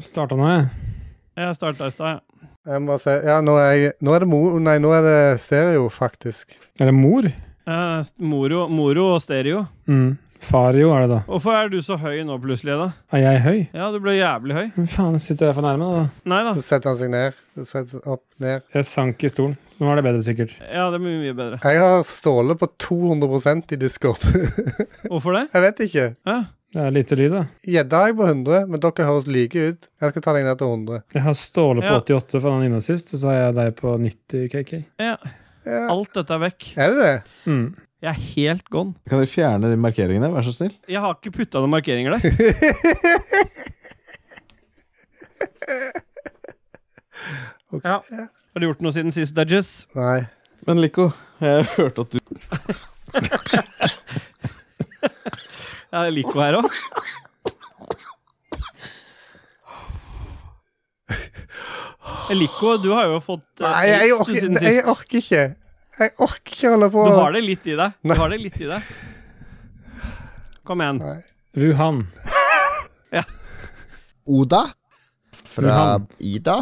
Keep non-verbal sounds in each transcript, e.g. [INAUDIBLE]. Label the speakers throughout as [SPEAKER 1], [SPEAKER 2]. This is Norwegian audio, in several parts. [SPEAKER 1] Starta nå, jeg.
[SPEAKER 2] Jeg starta i stad, ja.
[SPEAKER 3] Jeg må bare si Ja, nå er, jeg, nå er det mo... Nei, nå er det stereo, faktisk.
[SPEAKER 1] Er det mor?
[SPEAKER 2] Eh, st- Moro, moro og stereo.
[SPEAKER 1] Mm. Fario er det, da.
[SPEAKER 2] Hvorfor er du så høy nå plutselig, da?
[SPEAKER 1] Er jeg høy?
[SPEAKER 2] Ja, du ble jævlig høy.
[SPEAKER 1] Hva faen sitter jeg for nærme, da?
[SPEAKER 2] Nei da.
[SPEAKER 3] Så setter han seg ned. Så setter han opp, ned.
[SPEAKER 1] Jeg sank i stolen. Nå er det bedre, sikkert.
[SPEAKER 2] Ja, det blir mye bedre.
[SPEAKER 3] Jeg har Ståle på 200 i Discord. [LAUGHS]
[SPEAKER 2] Hvorfor det?
[SPEAKER 3] jeg vet ikke.
[SPEAKER 2] Hæ?
[SPEAKER 1] Det er lite lyd, da.
[SPEAKER 3] Gjedda har jeg på 100, men dere høres like ut. Jeg skal ta deg ned til 100.
[SPEAKER 1] Jeg har Ståle på
[SPEAKER 2] Ja.
[SPEAKER 1] 88 for han inne sist, og så har jeg deg på 90 KK.
[SPEAKER 2] Ja,
[SPEAKER 3] Ja.
[SPEAKER 2] alt dette er vekk.
[SPEAKER 3] Er det det?
[SPEAKER 1] Mm.
[SPEAKER 2] Jeg er helt gone.
[SPEAKER 4] Kan dere fjerne de markeringene, vær så snill?
[SPEAKER 2] Jeg har ikke putta noen markeringer der.
[SPEAKER 3] [LAUGHS] Ok.
[SPEAKER 2] Ja. Har du gjort noe siden sist, Dudges?
[SPEAKER 3] Nei.
[SPEAKER 4] Men Lico, jeg hørte at du
[SPEAKER 2] Ja, jeg liker henne her òg. Eliko, du har jo fått eh,
[SPEAKER 3] Nei, jeg
[SPEAKER 2] aids du
[SPEAKER 3] orker,
[SPEAKER 2] siden
[SPEAKER 3] nei, jeg
[SPEAKER 2] sist.
[SPEAKER 3] orker ikke. Jeg orker ikke holde på.
[SPEAKER 2] Du har det litt i deg. Du
[SPEAKER 3] Nei.
[SPEAKER 2] har det litt i deg. Kom igjen.
[SPEAKER 3] Nei.
[SPEAKER 1] Wuhan.
[SPEAKER 5] Oda fra
[SPEAKER 1] Wuhan.
[SPEAKER 5] Ida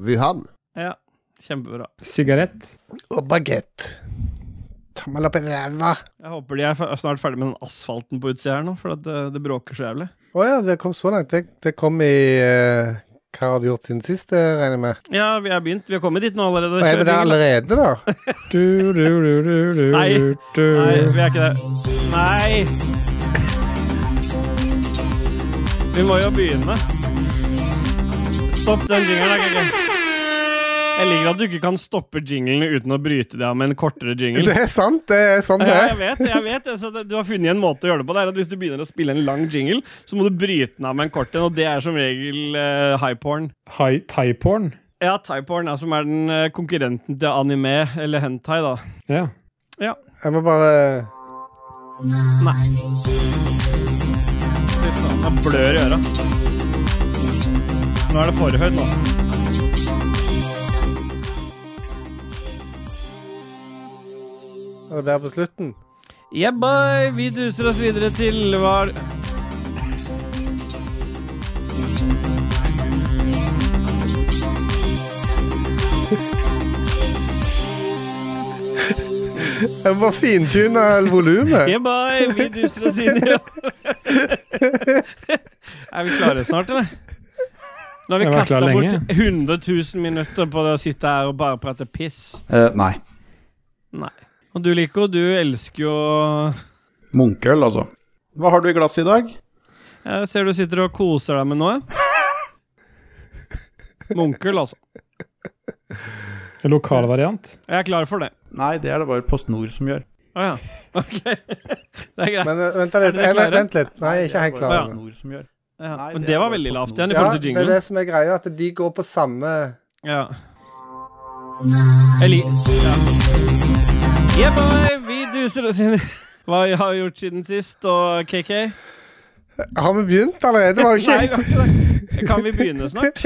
[SPEAKER 5] Wuhan.
[SPEAKER 2] Ja, kjempebra.
[SPEAKER 1] Sigarett.
[SPEAKER 3] Og bagett. Tommel opp i ræva.
[SPEAKER 2] Jeg håper de er fe- snart ferdig med den asfalten på utsida her nå, for at det, det bråker så jævlig.
[SPEAKER 3] Å ja, det kom så langt. Det, det kom i eh, Hva har du gjort siden sist, eh, regner jeg med?
[SPEAKER 2] Ja, vi er begynt. Vi har kommet dit nå allerede.
[SPEAKER 3] Nei,
[SPEAKER 2] Kjør
[SPEAKER 3] men det er
[SPEAKER 2] jingle.
[SPEAKER 3] allerede, da.
[SPEAKER 1] Du, du, du, du, du,
[SPEAKER 2] Nei.
[SPEAKER 1] du.
[SPEAKER 2] Nei, vi er ikke der. Nei! Vi må jo begynne. Stopp den jingelen. da, Kiki. Jeg liker at du ikke kan stoppe jinglene uten å bryte det av med en kortere jingle.
[SPEAKER 3] Det er sant. Det er sånn det
[SPEAKER 2] Ja,
[SPEAKER 3] er.
[SPEAKER 2] jeg vet, jeg vet altså, det- Du har funnet en måte å gjøre det på. Det er at Hvis du begynner å spille en lang jingle, så må du bryte den av med en kort en, og det er som regel eh, high porn.
[SPEAKER 1] Hi- Thai-porn.
[SPEAKER 2] Ja, thai porn, ja, som er den eh, konkurrenten til anime, eller hentai, da.
[SPEAKER 1] Ja.
[SPEAKER 3] Jeg må bare
[SPEAKER 2] Nei. Fy faen, jeg sånn, blør i øra. Nå er det for høyt, nå.
[SPEAKER 3] Er det der på slutten?
[SPEAKER 2] Yeah, boy! Vi duser oss videre til hva
[SPEAKER 3] Jeg må bare fintune
[SPEAKER 2] [LAUGHS]
[SPEAKER 3] volumet.
[SPEAKER 2] Yeah, boy! Vi duser oss inn i [LAUGHS] Er vi klare snart, eller? Nå har
[SPEAKER 1] Jeg har
[SPEAKER 2] vi
[SPEAKER 1] vært
[SPEAKER 2] kasta
[SPEAKER 1] klar lenge.
[SPEAKER 2] bort 100 000 minutter på å sitte her og bare prate piss.
[SPEAKER 6] Eh, nei.
[SPEAKER 2] Nei. Og du, Lico, du elsker jo
[SPEAKER 6] Munkøl, altså. Hva har du i glasset i dag?
[SPEAKER 2] Jeg ser du sitter og koser deg med noe. Munkel, altså.
[SPEAKER 1] Lokal variant.
[SPEAKER 2] Jeg er klar for det.
[SPEAKER 6] Nei, det er det bare PostNord som gjør.
[SPEAKER 2] Å ja. Ok. [LAUGHS] Det er greit.
[SPEAKER 3] Men eh, vent litt.
[SPEAKER 2] dere
[SPEAKER 3] Jeg,
[SPEAKER 2] klare?
[SPEAKER 3] vent litt. Nei, jeg er ikke
[SPEAKER 2] Å,
[SPEAKER 3] helt klar.
[SPEAKER 2] ja.
[SPEAKER 6] PostNord som gjør.
[SPEAKER 2] Ja,
[SPEAKER 6] Nei,
[SPEAKER 2] men
[SPEAKER 6] det
[SPEAKER 2] det
[SPEAKER 6] er
[SPEAKER 2] var
[SPEAKER 6] bare
[SPEAKER 2] veldig
[SPEAKER 6] på
[SPEAKER 2] lavt
[SPEAKER 6] snoren.
[SPEAKER 2] igjen i
[SPEAKER 3] Ja,
[SPEAKER 2] forhold til
[SPEAKER 3] det er det
[SPEAKER 2] jinglen.
[SPEAKER 3] som er greia, at de går på samme
[SPEAKER 2] Ja. Jeg liker ja. Yeah, boy! Vi duser oss inn i [LAUGHS] hva jeg har gjort siden sist, og KK
[SPEAKER 3] Har vi begynt allerede? Var jo
[SPEAKER 2] Nei, vi
[SPEAKER 3] ikke
[SPEAKER 2] har ikke det. Kan vi begynne snart?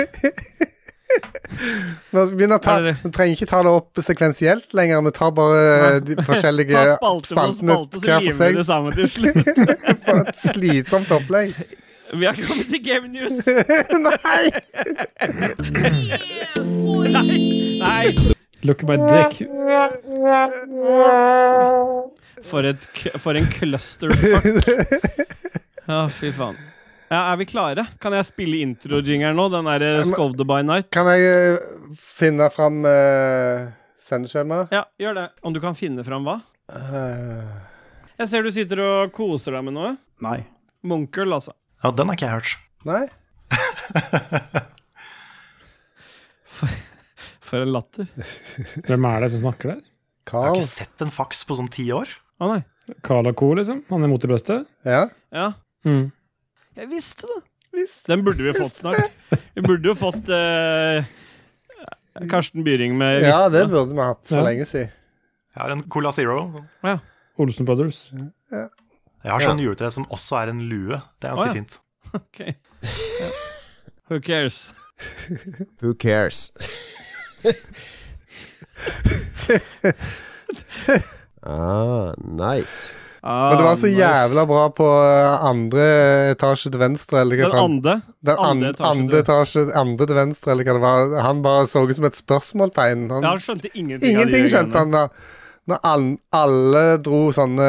[SPEAKER 2] [LAUGHS]
[SPEAKER 3] Vi begynner å ta,
[SPEAKER 2] Er det-
[SPEAKER 3] vi trenger ikke ta det opp sekvensielt lenger. Vi tar bare eh, de forskjellige
[SPEAKER 2] [LAUGHS] Ta spalte for
[SPEAKER 3] spaltene
[SPEAKER 2] spalte, så liksom.
[SPEAKER 3] hver for
[SPEAKER 2] rimer vi
[SPEAKER 3] seg.
[SPEAKER 2] det sammen til slutt.
[SPEAKER 3] For et slitsomt
[SPEAKER 2] [LAUGHS]
[SPEAKER 3] opplegg.
[SPEAKER 2] Vi har kommet til Game News.
[SPEAKER 3] Nei!
[SPEAKER 2] Nei! Nei.
[SPEAKER 1] Look at my dick.
[SPEAKER 2] For, et, k- for en clusterfuck. Ja, fy faen. Ja, er vi klare? Kan jeg spille introjingeren nå? Den derre Skovde by night?
[SPEAKER 3] Kan jeg eh, finne fram uh, sendeskjemaet?
[SPEAKER 2] Ja, gjør det. Om du kan finne fram hva?
[SPEAKER 3] Eh,
[SPEAKER 2] Jeg ser du sitter og koser deg med noe.
[SPEAKER 6] Nei.
[SPEAKER 2] Munkel, altså.
[SPEAKER 7] Ja, den har ikke jeg hørt.
[SPEAKER 3] nei?
[SPEAKER 2] For en latter.
[SPEAKER 1] Hvem er det som snakker der?
[SPEAKER 7] Jeg har
[SPEAKER 3] Carl?
[SPEAKER 7] ikke sett en faks på sånn ti år.
[SPEAKER 2] Å nei.
[SPEAKER 1] Carl og Co., liksom? Han er mot i brøstet?
[SPEAKER 3] Ja?
[SPEAKER 2] Ja.
[SPEAKER 1] Mm.
[SPEAKER 2] Jeg visste det. Den burde vi fått snart. Vi burde jo fått eh, Karsten Byring med
[SPEAKER 3] ja, det
[SPEAKER 2] listene.
[SPEAKER 3] burde vi hatt for
[SPEAKER 1] Ja.
[SPEAKER 3] lenge siden.
[SPEAKER 7] Jeg har en Cola Zero.
[SPEAKER 1] Olsen Brothers.
[SPEAKER 7] Jeg har sånn juletre som også er en lue. Det er ganske
[SPEAKER 2] Å, ja.
[SPEAKER 7] fint.
[SPEAKER 2] Ok. Ja. Who cares?
[SPEAKER 5] Who
[SPEAKER 2] [LAUGHS]
[SPEAKER 5] cares? ah, nice.
[SPEAKER 2] Ah,
[SPEAKER 3] Men det var så
[SPEAKER 2] nice.
[SPEAKER 3] jævla bra på eh, andre etasje til venstre, eller hva
[SPEAKER 2] Den
[SPEAKER 3] faen.
[SPEAKER 2] andre?
[SPEAKER 3] Den an-
[SPEAKER 2] andre etasje
[SPEAKER 3] andre etasje, andre til venstre, eller hva det var. Han bare så ut som et spørsmålstegn. Han-
[SPEAKER 2] Ja, han skjønte ingenting. av de
[SPEAKER 3] Ingenting
[SPEAKER 2] greiene.
[SPEAKER 3] skjønte han da. Når an- alle dro sånne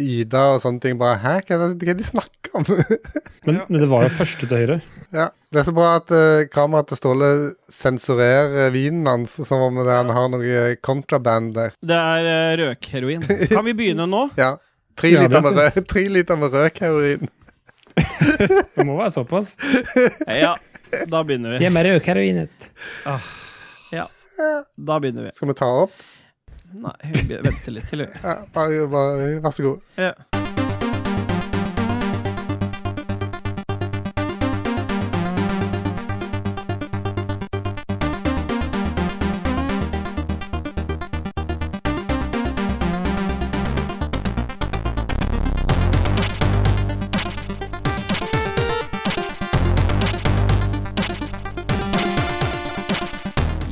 [SPEAKER 3] Ida og sånne ting, bare Hæ, hva er det hva er det de snakker om? [LAUGHS]
[SPEAKER 1] Men, men det var jo første til høyre.
[SPEAKER 3] ja, Det er så bra at uh, kameraet til Ståle sensurerer vinen hans som om det, han har noe kontraband der.
[SPEAKER 2] Det er eh, røkheroin. Kan vi begynne nå?
[SPEAKER 3] Ja. Tre
[SPEAKER 1] Ja, det
[SPEAKER 3] liter med, rød, [LAUGHS] tre liter med rød heroin.
[SPEAKER 1] Det må være såpass.
[SPEAKER 2] Ja, da begynner vi.
[SPEAKER 1] med
[SPEAKER 2] [LAUGHS]
[SPEAKER 1] rødheroinet.
[SPEAKER 2] Da begynner vi.
[SPEAKER 3] Skal vi ta opp?
[SPEAKER 2] Nei, vi be- venter litt til. vi.
[SPEAKER 3] Ja, bare, bare, vær så god.
[SPEAKER 2] Ja.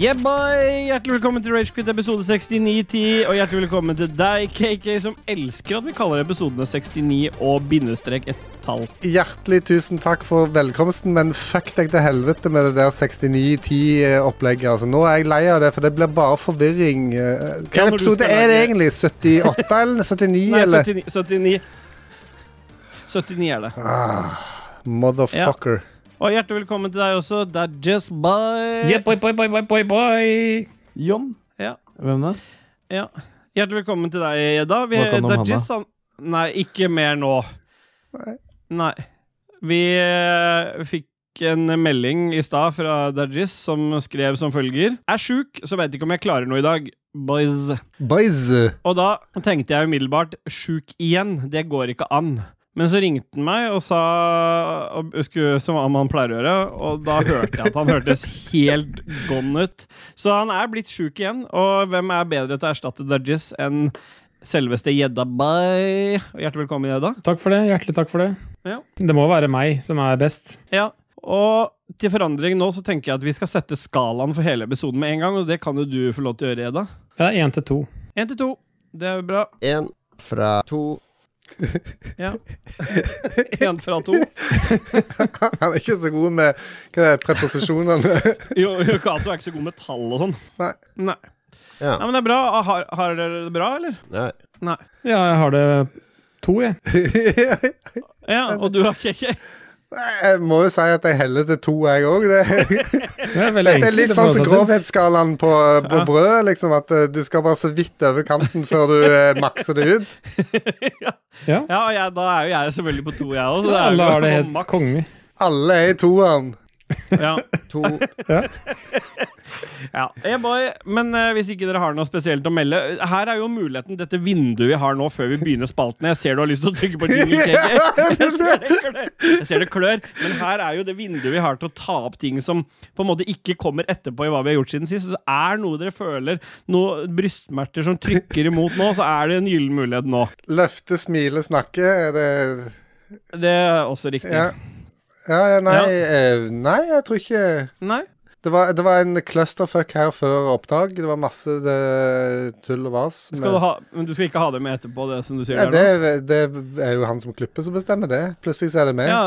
[SPEAKER 2] Yeah, boy! Hjertelig velkommen til Ragequit episode 6910. Og hjertelig velkommen til deg, KK, som elsker at vi kaller episodene 69 og bindestrek et tall.
[SPEAKER 3] Hjertelig tusen takk for velkomsten, men fuck deg til helvete med det der 69-10-opplegget. Altså, nå er jeg lei av det, for det blir bare forvirring. Eh,
[SPEAKER 2] Ja,
[SPEAKER 3] Hvilken
[SPEAKER 2] når du
[SPEAKER 3] episode
[SPEAKER 2] skal
[SPEAKER 3] er det
[SPEAKER 2] lage-
[SPEAKER 3] egentlig? 78 eller 79?
[SPEAKER 2] [LAUGHS] Nei,
[SPEAKER 3] eller?
[SPEAKER 2] 79. 79. 79 er det.
[SPEAKER 3] Motherfucker.
[SPEAKER 2] Og hjertelig velkommen til deg også. Det er Just Bye.
[SPEAKER 1] boy, boy, boy, boy, boy, boy.
[SPEAKER 4] John?
[SPEAKER 2] Ja.
[SPEAKER 4] Hvem da?
[SPEAKER 2] Ja. Hjertelig velkommen til deg, Edda. Vi,
[SPEAKER 4] Hva kan du om
[SPEAKER 2] det er
[SPEAKER 4] Hanna?
[SPEAKER 2] Jess, han- Nei, ikke mer nå. Nei. Vi eh, fikk en melding i stad fra Dajis som skrev som følger Er sjuk, så veit ikke om jeg klarer noe i dag. Boys.
[SPEAKER 3] Boys. [LAUGHS]
[SPEAKER 2] Og da tenkte jeg umiddelbart sjuk igjen. Det går ikke an. Men så ringte han meg og sa og skulle, som om han pleier å gjøre, og da hørte jeg at han hørtes helt gone ut. Så han er blitt sjuk igjen, og hvem er bedre til å erstatte Dudges enn selveste Gjedda Bay? Og Hjertelig velkommen, Gjedda.
[SPEAKER 1] Takk for det. Hjertelig takk for det.
[SPEAKER 2] Ja.
[SPEAKER 1] Det må være meg som er best.
[SPEAKER 2] Ja, og til forandring nå så tenker jeg at vi skal sette skalaen for hele episoden med en gang, og det kan jo du få lov til å gjøre, Gjedda.
[SPEAKER 1] Ja, det er én til to.
[SPEAKER 2] Én til to. Det er jo bra.
[SPEAKER 5] Én fra to
[SPEAKER 2] Ja. [LAUGHS] Én fra to.
[SPEAKER 3] Han er ikke så god med hva det er, preposisjonene. [LAUGHS]
[SPEAKER 2] Jo, Yokato er ikke så god med tall og sånn.
[SPEAKER 3] Nei.
[SPEAKER 2] Nei.
[SPEAKER 5] Ja.
[SPEAKER 2] Nei, men det er bra. Ah, Har, har dere det bra, eller?
[SPEAKER 5] Nei.
[SPEAKER 2] Nei.
[SPEAKER 1] Ja, jeg har det to, jeg.
[SPEAKER 2] Ja, og du har KK?
[SPEAKER 3] jeg må jo si at jeg heller til to, jeg òg. Det,
[SPEAKER 1] Det er veldig
[SPEAKER 3] det er
[SPEAKER 1] enkelt
[SPEAKER 3] litt
[SPEAKER 1] å forholde
[SPEAKER 3] sånn som
[SPEAKER 1] seg til.
[SPEAKER 3] grovhetsskalaen på, på brød. liksom At eh, du skal bare så vidt over kanten før du eh, makser det ut.
[SPEAKER 1] Ja.
[SPEAKER 2] Ja, og jeg, da er jo jeg selvfølgelig på to, jeg òg.
[SPEAKER 1] Alle har det helt konge.
[SPEAKER 3] Alle er i toeren.
[SPEAKER 2] Ja.
[SPEAKER 5] To
[SPEAKER 2] Ja. Hey boy. Men eh, hvis ikke dere har noe spesielt å melde Her er jo muligheten, dette vinduet vi har nå før vi begynner spalten. Jeg ser du har lyst til å
[SPEAKER 3] [LAUGHS]
[SPEAKER 2] trykke på jingle, KK. [LAUGHS] Jeg ser det klør. Jeg ser det klør. Men her er jo det vinduet vi har til å ta opp ting som på en måte ikke kommer etterpå i hva vi har gjort siden sist. Så det er noe dere føler, noe brystsmerter som trykker imot nå, så er det en gyllen mulighet nå.
[SPEAKER 3] Løfte, smile, snakke. Er det
[SPEAKER 2] Det er også riktig.
[SPEAKER 3] Ja. Ja, ja, nei,
[SPEAKER 2] Ja.
[SPEAKER 3] eh, nei, jeg tror ikke
[SPEAKER 2] Nei?
[SPEAKER 3] det var, det var en clusterfuck her før opptak. Det var masse det, tull og vas.
[SPEAKER 2] Skal du ha, men du skal ikke ha det med etterpå, det som du sier
[SPEAKER 3] ja, det,
[SPEAKER 2] der nå?
[SPEAKER 3] er- det er jo han som klipper som bestemmer det. Plutselig så er det med.
[SPEAKER 2] Ja,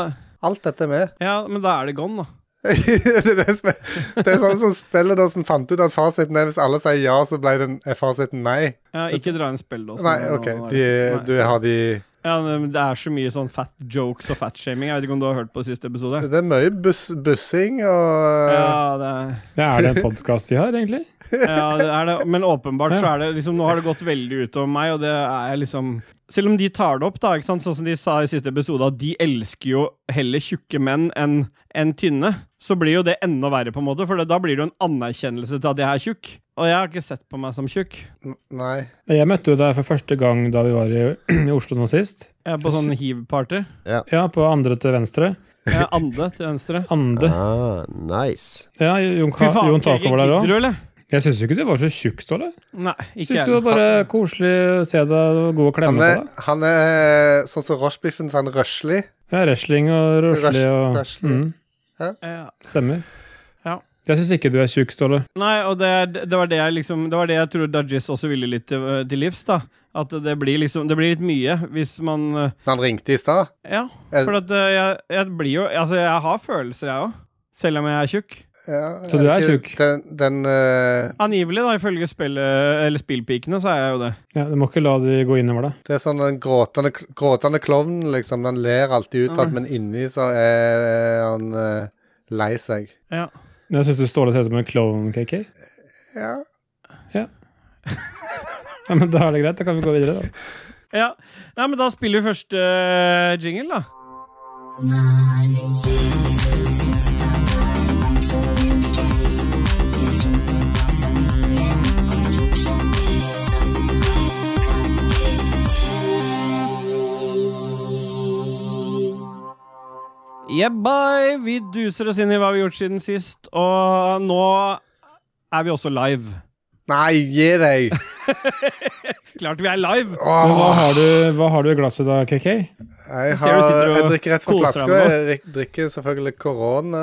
[SPEAKER 3] Alt dette er med.
[SPEAKER 2] ja, men da er det gone, da.
[SPEAKER 3] det, er det, som er, det er sånn som spilledåsen fant ut at fasiten er hvis alle sier ja, så ble den, er fasiten nei.
[SPEAKER 2] Ja, ikke dra inn spilledåsen.
[SPEAKER 3] Nei,
[SPEAKER 2] nå,
[SPEAKER 3] OK.
[SPEAKER 2] nå,
[SPEAKER 3] De,
[SPEAKER 2] nei.
[SPEAKER 3] du har de
[SPEAKER 2] Ja, men Det er så mye sånn fat jokes og fatshaming. Jeg vet ikke om du har hørt på siste episode?
[SPEAKER 3] Det er mye buss, bussing og
[SPEAKER 2] Ja, det er,
[SPEAKER 1] Ja, er det en podkast de har, egentlig?
[SPEAKER 2] ja, det er det. Men åpenbart
[SPEAKER 1] Ja.
[SPEAKER 2] så er det liksom Nå har det gått veldig utover meg, og det er liksom Selv om de tar det opp, da, ikke sant? sånn som de sa i siste episode, at de elsker jo heller tjukke menn enn enn tynne, så blir jo det enda verre, på en måte. For det, da blir det jo en anerkjennelse til at jeg er tjukk. Og jeg har ikke sett på meg som tjukk.
[SPEAKER 3] Nei.
[SPEAKER 1] Jeg møtte jo deg for første gang da vi var i, [CLEARS THROAT] i Oslo nå sist.
[SPEAKER 2] Jeg er på sånn hiv-party.
[SPEAKER 1] Ja, på andre til venstre.
[SPEAKER 2] Jeg er ande til venstre.
[SPEAKER 1] Ande.
[SPEAKER 5] ah, Nice.
[SPEAKER 1] Ja, Jon,
[SPEAKER 2] Fy
[SPEAKER 1] Ka
[SPEAKER 2] faen,
[SPEAKER 1] Jon Taco var der
[SPEAKER 2] gidder
[SPEAKER 1] òg.
[SPEAKER 2] du, eller?
[SPEAKER 1] Jeg syns jo ikke du var så tjukk, Ståle.
[SPEAKER 2] Nei, ikke
[SPEAKER 1] Syns
[SPEAKER 2] jeg.
[SPEAKER 1] du var bare koselig å se deg, det var god å
[SPEAKER 3] Han
[SPEAKER 1] klemme
[SPEAKER 3] er,
[SPEAKER 1] på deg.
[SPEAKER 3] han er sånn som Rochebiffen, så han er røslig.
[SPEAKER 1] Ja, wrestling og Mm. røslig og
[SPEAKER 3] Rush- røslig.
[SPEAKER 1] mm,
[SPEAKER 2] Ja.
[SPEAKER 1] Stemmer. Jeg syns ikke du er tjukk, Ståle.
[SPEAKER 2] Nei, og det, er- det var det jeg liksom Det var det jeg tror Dajis også ville litt til, øh, til livs, da. At det blir liksom Det blir litt mye hvis man eh,
[SPEAKER 3] Han ringte i stad.
[SPEAKER 2] Ja.
[SPEAKER 3] Er-
[SPEAKER 2] For at eh, jeg, jeg blir jo Altså, jeg har følelser, jeg òg. Selv om jeg er tjukk.
[SPEAKER 3] Ja,
[SPEAKER 1] Så du er
[SPEAKER 3] ikke-
[SPEAKER 1] tjukk?
[SPEAKER 3] Den, den eh,
[SPEAKER 2] Angivelig, da, ifølge spillet, øh, eller spillpikene, så er jeg jo det.
[SPEAKER 1] Ja, du må ikke la de gå innover deg.
[SPEAKER 3] Det er sånn den gråtende, gråtende klovnen, liksom. Den ler alltid utad,
[SPEAKER 2] Ja.
[SPEAKER 3] men inni så er han eh, lei seg.
[SPEAKER 2] Ja.
[SPEAKER 1] Jeg syns du Ståle ser ut som en klovn, KK.
[SPEAKER 3] Ja.
[SPEAKER 1] Ja, men da er det greit. Da kan vi gå videre, da.
[SPEAKER 2] ja. Nei, men da spiller vi første eh, jingle, da. Yeah, bye! Vi duser oss inn i hva vi har gjort siden sist, og nå er vi også live.
[SPEAKER 3] Nei, gi
[SPEAKER 1] [LAUGHS]
[SPEAKER 3] deg!
[SPEAKER 2] Klart vi er live!
[SPEAKER 1] Men hva
[SPEAKER 3] Åh,
[SPEAKER 1] har du, hva har du i glasset da, KK?
[SPEAKER 3] jeg,
[SPEAKER 2] Jeg ser du
[SPEAKER 3] har,
[SPEAKER 2] sitter og
[SPEAKER 3] jeg drikker rett fra
[SPEAKER 2] koser deg
[SPEAKER 3] flaska.
[SPEAKER 2] med
[SPEAKER 3] Jeg rik- drikker selvfølgelig korona.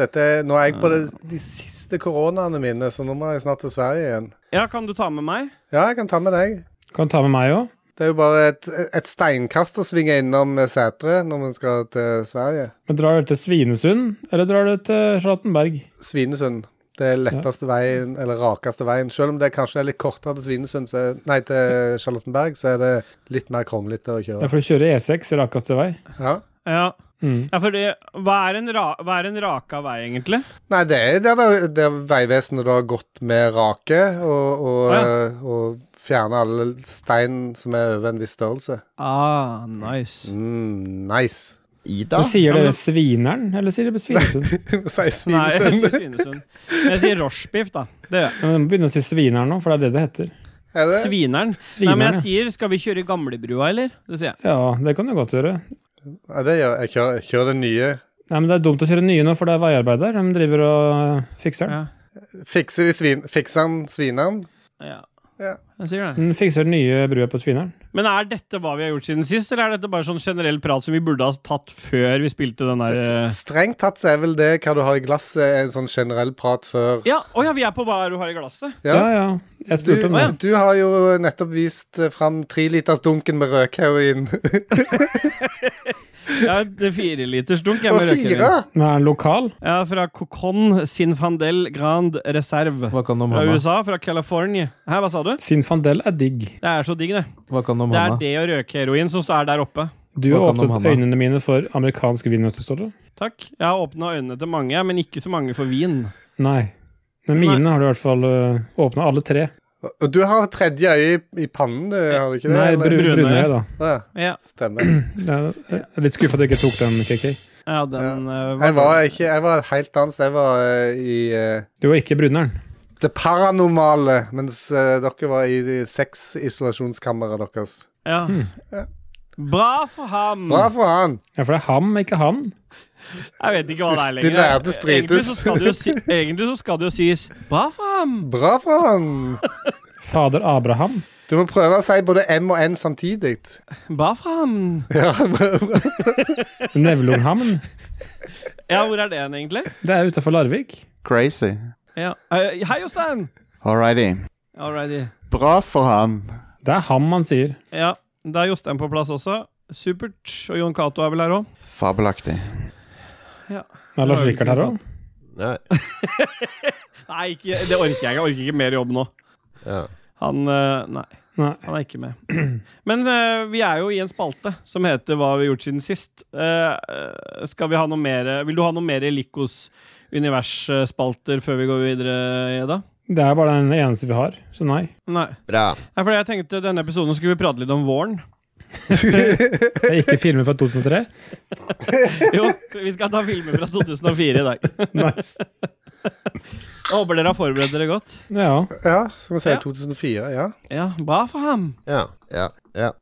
[SPEAKER 3] Dette, er- nå er jeg på det, de siste koronaene mine, så nå må jeg snart til Sverige igjen.
[SPEAKER 2] Ja, kan du ta med meg?
[SPEAKER 3] Ja, jeg kan ta med deg.
[SPEAKER 1] Kan ta med meg òg.
[SPEAKER 3] Det er jo bare et, et steinkast å svinge innom eh, Sætre når vi skal til Sverige.
[SPEAKER 1] Men drar du til Svinesund, eller drar du til Charlottenberg?
[SPEAKER 3] Svinesund. Det er letteste veien, eller rakeste veien. Selv om det kanskje er litt kortere til Svinesund, så er, nei, til Charlottenberg, så er det litt mer kronglete å
[SPEAKER 1] Ja,
[SPEAKER 3] kjøre.
[SPEAKER 1] for du kjører E6 i rakeste vei.
[SPEAKER 3] Ja.
[SPEAKER 2] Ja.
[SPEAKER 1] Mm.
[SPEAKER 2] Ja, for det, hva, er en ra, hva er en raka vei, egentlig?
[SPEAKER 3] Nei, det er der, det- der Vegvesenet da har gått med rake og, og,
[SPEAKER 2] Ja.
[SPEAKER 3] eh, og fjernet alle stein som er over en viss størrelse.
[SPEAKER 2] Ah, nice.
[SPEAKER 3] Mm, nice. [LAUGHS]
[SPEAKER 5] Ida?
[SPEAKER 1] Men sier
[SPEAKER 2] Ja, men-
[SPEAKER 1] dere Svineren, eller sier dere Svinesund?
[SPEAKER 2] [LAUGHS]
[SPEAKER 3] Sier
[SPEAKER 2] Nei, jeg sier
[SPEAKER 3] Svinesund.
[SPEAKER 2] Svinesund. Jeg sier rochebiff, da. Det gjør jeg.
[SPEAKER 1] Ja, men Du må begynne å si Svineren nå, for det er det det heter.
[SPEAKER 3] [LAUGHS] Er det?
[SPEAKER 2] Svineren. Nei, men
[SPEAKER 1] Svineren,
[SPEAKER 2] jeg
[SPEAKER 1] ja.
[SPEAKER 2] sier skal vi kjøre gamlebrua, eller? Det sier jeg.
[SPEAKER 1] Ja, det kan du godt gjøre.
[SPEAKER 3] Ja, det gjør jeg. Jeg Kjører, jeg kjører det nye.
[SPEAKER 1] Nei, men Det er dumt å kjøre nye nå, for det er veiarbeid der. De driver og øh, fikser den.
[SPEAKER 2] Ja.
[SPEAKER 3] Fikser de svin... Fikser han svineren?
[SPEAKER 2] Ja.
[SPEAKER 3] Ja.
[SPEAKER 2] Jeg sier det.
[SPEAKER 1] De fikser den nye brua på Svineren.
[SPEAKER 2] Men er dette hva vi har gjort siden sist, eller er dette bare sånn generell prat som vi burde ha tatt før vi spilte den der eh?
[SPEAKER 3] Strengt tatt så er vel det hva du har i glasset, en sånn generell prat før
[SPEAKER 2] Ja, å ja, vi er på hva du har i glasset.
[SPEAKER 3] Ja.
[SPEAKER 1] Ja, ja. Jeg
[SPEAKER 3] Du,
[SPEAKER 1] spurte om det.
[SPEAKER 3] du har jo nettopp vist eh, fram trelitersdunken med røkheroin.
[SPEAKER 2] Ja, det er fire liters dunk. jeg,
[SPEAKER 3] [LAUGHS] Og
[SPEAKER 2] med rødkjevin.
[SPEAKER 3] fire!
[SPEAKER 1] Den er lokal.
[SPEAKER 2] Ja, fra Cocon Sinfandel Grand Reserve.
[SPEAKER 4] Hva kan du om
[SPEAKER 2] Fra
[SPEAKER 4] Hanna?
[SPEAKER 2] USA, fra California. Hæ, hva sa du?
[SPEAKER 1] Sinfandel er digg.
[SPEAKER 2] Det er så digg, det.
[SPEAKER 4] Hva kan du om
[SPEAKER 2] Det er
[SPEAKER 4] Hanna?
[SPEAKER 2] det og røkeheroin som står der oppe.
[SPEAKER 1] Du
[SPEAKER 4] Hva
[SPEAKER 1] har
[SPEAKER 4] kan du om
[SPEAKER 1] åpnet
[SPEAKER 4] Hanna?
[SPEAKER 1] øynene mine for amerikansk vin, vet du, Ståle.
[SPEAKER 2] Takk. Jeg har åpna øynene til mange, men ikke så mange for vin.
[SPEAKER 1] Nei. Men
[SPEAKER 2] Nei.
[SPEAKER 1] mine har du i hvert fall åpna alle tre.
[SPEAKER 3] Og- Og du har tredje øye i, i pannen, du, har du ikke det?
[SPEAKER 1] Nei,
[SPEAKER 3] eller?
[SPEAKER 1] bru-
[SPEAKER 2] Brunøye.
[SPEAKER 1] brunøye, da.
[SPEAKER 3] Å ja,
[SPEAKER 2] Ja,
[SPEAKER 3] stemmer.
[SPEAKER 1] Jeg er litt skuffa at du ikke tok den, KK.
[SPEAKER 2] ja den eh,
[SPEAKER 3] Jeg var ikke Jeg var et helt annet sted. Jeg var eh, i eh,
[SPEAKER 1] Du var ikke bruneren.
[SPEAKER 3] det paranormale, mens eh, dere var i de seks isolasjonskammeret deres.
[SPEAKER 2] ja. Bra for ham!
[SPEAKER 3] Hmm. Bra for han!
[SPEAKER 1] Ja, for det er ham, ikke han.
[SPEAKER 2] Jeg vet ikke hva det er
[SPEAKER 3] De
[SPEAKER 2] lenger.
[SPEAKER 3] lærde
[SPEAKER 2] Egentlig
[SPEAKER 3] strides.
[SPEAKER 2] så skal det jo, si, egentlig så skal det jo sies 'bra for ham'.
[SPEAKER 3] Bra for han!
[SPEAKER 1] Fader Abraham.
[SPEAKER 3] Du må prøve å si både M og N samtidig.
[SPEAKER 2] [LAUGHS] Bra for ham.
[SPEAKER 3] Ja, bra, bra.
[SPEAKER 1] Nevlunghamn.
[SPEAKER 2] Ja, hvor er det hen, egentlig?
[SPEAKER 1] Det er utafor Larvik.
[SPEAKER 8] Crazy.
[SPEAKER 2] Ja. Eh, Hei, Jostein!
[SPEAKER 8] Alrighty.
[SPEAKER 2] All righty.
[SPEAKER 8] Bra for han.
[SPEAKER 1] Det er ham han sier.
[SPEAKER 2] Ja, da er Jostein på plass også. Supert. Og Jon Cato er vel her òg?
[SPEAKER 8] Fabelaktig.
[SPEAKER 1] Er Lars Rikard her òg?
[SPEAKER 5] Nei.
[SPEAKER 2] Nei, ikke, det orker jeg ikke. Jeg orker ikke mer jobb nå.
[SPEAKER 5] Ja.
[SPEAKER 2] Han eh, Nei.
[SPEAKER 1] Nei.
[SPEAKER 2] Han er ikke med. Men eh, vi er jo i en spalte som heter Hva har vi gjort siden sist. Eh, eh, skal vi ha noe mer Vil du ha noe mer Likos universspalter før vi går videre, Eda?
[SPEAKER 1] Det er bare den eneste vi har, så nei.
[SPEAKER 2] Nei.
[SPEAKER 5] Bra.
[SPEAKER 2] Nei, for jeg tenkte denne episoden skulle vi prate litt om våren.
[SPEAKER 1] Det er ikke filmer fra 2003.
[SPEAKER 2] Jo, vi skal ta filmer fra 2004 i dag.
[SPEAKER 1] Nice.
[SPEAKER 2] Jeg håper dere har forberedt dere godt.
[SPEAKER 1] Ja.
[SPEAKER 3] Ja, skal vi si
[SPEAKER 2] Ja.
[SPEAKER 3] 2004. Ja.
[SPEAKER 2] Ja, bra for ham.
[SPEAKER 5] Ja. Ja. ja.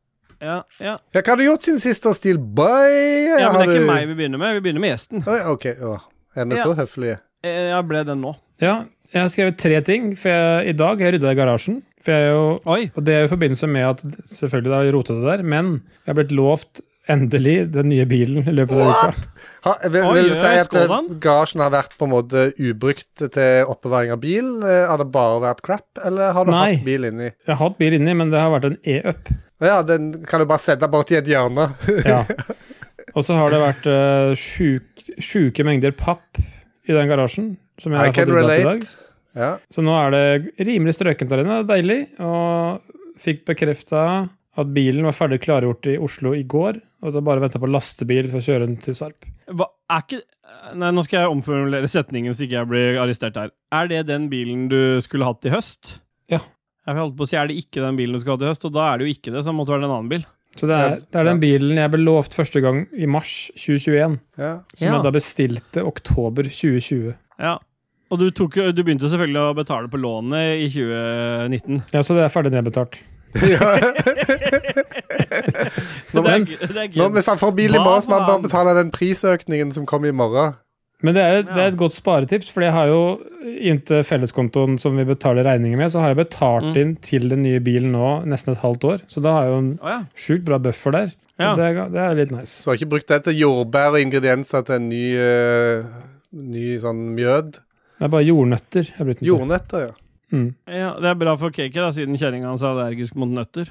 [SPEAKER 2] Ja, ja.
[SPEAKER 3] ja, hva har du gjort siden sist, da, Steel Boy?
[SPEAKER 2] ja, men det
[SPEAKER 3] Har
[SPEAKER 2] er
[SPEAKER 3] du-
[SPEAKER 2] ikke meg vi begynner med. Vi begynner med gjesten.
[SPEAKER 3] Oi, OK. Å, er vi
[SPEAKER 2] Ja.
[SPEAKER 3] så høflige?
[SPEAKER 2] Eh, Jeg ble den nå.
[SPEAKER 1] ja. Jeg har skrevet tre ting, for jeg, i dag har jeg rydda i garasjen. For jeg er jo
[SPEAKER 2] Oi.
[SPEAKER 1] Og det er i forbindelse med at selvfølgelig da jeg rotet det der, men jeg har blitt lovt Endelig den nye bilen i løpet av uka.
[SPEAKER 3] Ha, vil,
[SPEAKER 2] Oi,
[SPEAKER 3] vil du
[SPEAKER 2] oi,
[SPEAKER 3] si at eh,
[SPEAKER 2] skål, mann.
[SPEAKER 3] gasjen har vært på en måte ubrukt til oppbevaring av bil? Eh, Har det bare vært crap, eller har du
[SPEAKER 1] Nei.
[SPEAKER 3] hatt bil inni?
[SPEAKER 1] Jeg har hatt bil inni, men det har vært en e-up.
[SPEAKER 3] Ja, den kan du bare sette borti et hjørne. [LAUGHS]
[SPEAKER 1] Ja. Og så har det vært eh, sjuk, sjuke mengder papp i den garasjen. Som jeg
[SPEAKER 3] I
[SPEAKER 1] har fått
[SPEAKER 3] can
[SPEAKER 1] rydda opp i dag.
[SPEAKER 3] relate. Ja.
[SPEAKER 1] Så nå er det rimelig strøkent der inne. Det er Deilig. Og fikk bekrefta at bilen var ferdig klargjort i Oslo i går. Og da bare venta på lastebil for å kjøre den til Sarp.
[SPEAKER 2] Hva, er ikke Nei, nå skal jeg omformulere setningen så ikke jeg blir arrestert her. Er det den bilen du skulle hatt i høst?
[SPEAKER 1] Ja.
[SPEAKER 2] Jeg holdt på å si, Er det ikke den bilen du skulle hatt i høst? Og da er det jo ikke det, så det måtte være en annen bil.
[SPEAKER 1] Så det er, det er den bilen jeg ble lovt første gang i mars 2021.
[SPEAKER 3] Ja.
[SPEAKER 1] Som
[SPEAKER 2] Ja.
[SPEAKER 1] jeg da bestilte oktober 2020.
[SPEAKER 2] Ja. Og du, tok, jo- du begynte selvfølgelig å betale på lånet i 2019.
[SPEAKER 1] Ja, Så det er ferdig nedbetalt. [LAUGHS]
[SPEAKER 3] Nå,
[SPEAKER 2] det er, g- det er
[SPEAKER 3] nå,
[SPEAKER 2] gøy.
[SPEAKER 3] hvis han får bil i
[SPEAKER 2] Hva
[SPEAKER 3] morgen, så må han
[SPEAKER 2] faen?
[SPEAKER 3] bare betale den prisøkningen som kom i morgen.
[SPEAKER 1] Men det er, et-
[SPEAKER 2] Ja.
[SPEAKER 1] det er et godt sparetips, for jeg har jo inntil felleskontoen som vi betaler regninger med, så har jeg betalt
[SPEAKER 2] Mm.
[SPEAKER 1] inn til den nye bilen nå nesten et halvt år. Så da har jeg jo en
[SPEAKER 2] Å ja.
[SPEAKER 1] sjukt bra buffer der. Så
[SPEAKER 2] Ja.
[SPEAKER 1] det, er, ga- det er litt nice.
[SPEAKER 3] Så du har ikke brukt det til jordbær og ingredienser til en ny, eh, ny sånn mjød.
[SPEAKER 1] Det er bare jordnøtter. Jeg har brukt den til.
[SPEAKER 3] Jordnøtter, ja.
[SPEAKER 1] Mm.
[SPEAKER 2] ja. Det er bra for cake, da, siden kjerringa hans er allergisk mot nøtter.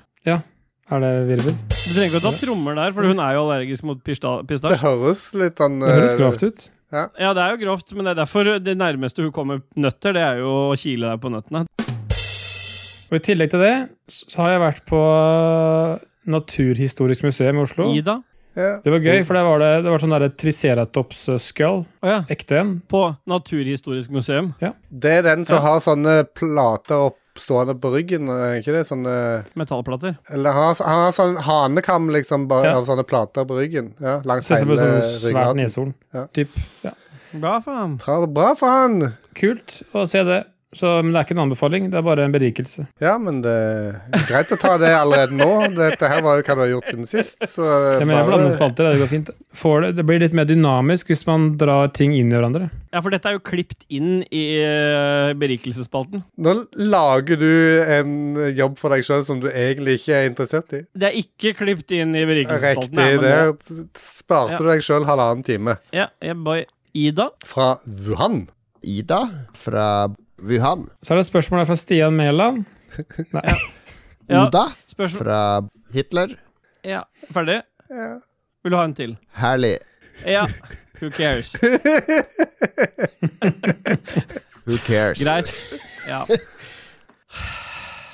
[SPEAKER 1] Er det virvel?
[SPEAKER 2] Du trenger ikke å ta trommer der, for hun er jo allergisk mot pista- pistasje.
[SPEAKER 3] Det høres litt sånn
[SPEAKER 1] Det høres
[SPEAKER 3] eh,
[SPEAKER 1] grovt ut.
[SPEAKER 2] Ja, det er jo grovt, men det er derfor det nærmeste hun kommer nøtter, det er jo å kile deg på nøttene.
[SPEAKER 1] Og I tillegg til det s- så har jeg vært på eh, Naturhistorisk museum i Oslo.
[SPEAKER 2] Ida?
[SPEAKER 3] eh, Ja.
[SPEAKER 1] Det var gøy, for der var det, det var sånn derre triceratops-skull.
[SPEAKER 2] Å ja.
[SPEAKER 1] Ekte en.
[SPEAKER 2] På Naturhistorisk museum.
[SPEAKER 3] Det er den som
[SPEAKER 2] Ja.
[SPEAKER 3] har sånne plater oppstående på ryggen, er ikke det? Sånne,
[SPEAKER 2] Metallplater.
[SPEAKER 3] eller han har, han har sånn hanekam, liksom, bare,
[SPEAKER 1] Ja.
[SPEAKER 3] av sånne plater på ryggen. Ja, langs
[SPEAKER 1] Ser ut som
[SPEAKER 3] hele
[SPEAKER 1] et sånn svært
[SPEAKER 3] ryggen.
[SPEAKER 1] neshorn.
[SPEAKER 3] Ja.
[SPEAKER 1] Typ. Ja.
[SPEAKER 2] Bra, faen.
[SPEAKER 3] Bra, bra for han!
[SPEAKER 1] Kult å se det. Så, men det er ikke en anbefaling, det er bare en berikelse.
[SPEAKER 3] Ja, men det er greit å ta det allerede nå. Dette her var jo hva du har gjort siden sist, så
[SPEAKER 1] Jeg mener, jeg blander spalter, det går fint. Får det, det blir litt mer dynamisk hvis man drar ting inn i hverandre.
[SPEAKER 2] Ja, for dette er jo klipt inn i eh, berikelsesspalten.
[SPEAKER 3] Nå lager du en jobb for deg sjøl som du egentlig ikke er interessert i.
[SPEAKER 2] Det er ikke klipt inn i
[SPEAKER 3] Riktig,
[SPEAKER 2] berikelsesspalten. er man
[SPEAKER 3] der
[SPEAKER 2] nå.
[SPEAKER 3] sparte du deg sjøl halvannen time.
[SPEAKER 2] Ja, yeah, boy. Ida?
[SPEAKER 3] Fra Wuhan.
[SPEAKER 5] Ida fra Wuhan.
[SPEAKER 1] Så er det et spørsmål her fra Stian Mæland.
[SPEAKER 2] Ja,
[SPEAKER 5] Oda
[SPEAKER 2] spørsmål
[SPEAKER 5] fra Hitler.
[SPEAKER 2] Ja, ferdig?
[SPEAKER 3] Ja.
[SPEAKER 2] Vil du ha en til?
[SPEAKER 5] Herlig.
[SPEAKER 2] Ja. Who
[SPEAKER 3] [LAUGHS]
[SPEAKER 2] cares?
[SPEAKER 5] Who cares?
[SPEAKER 2] Greit. Ja.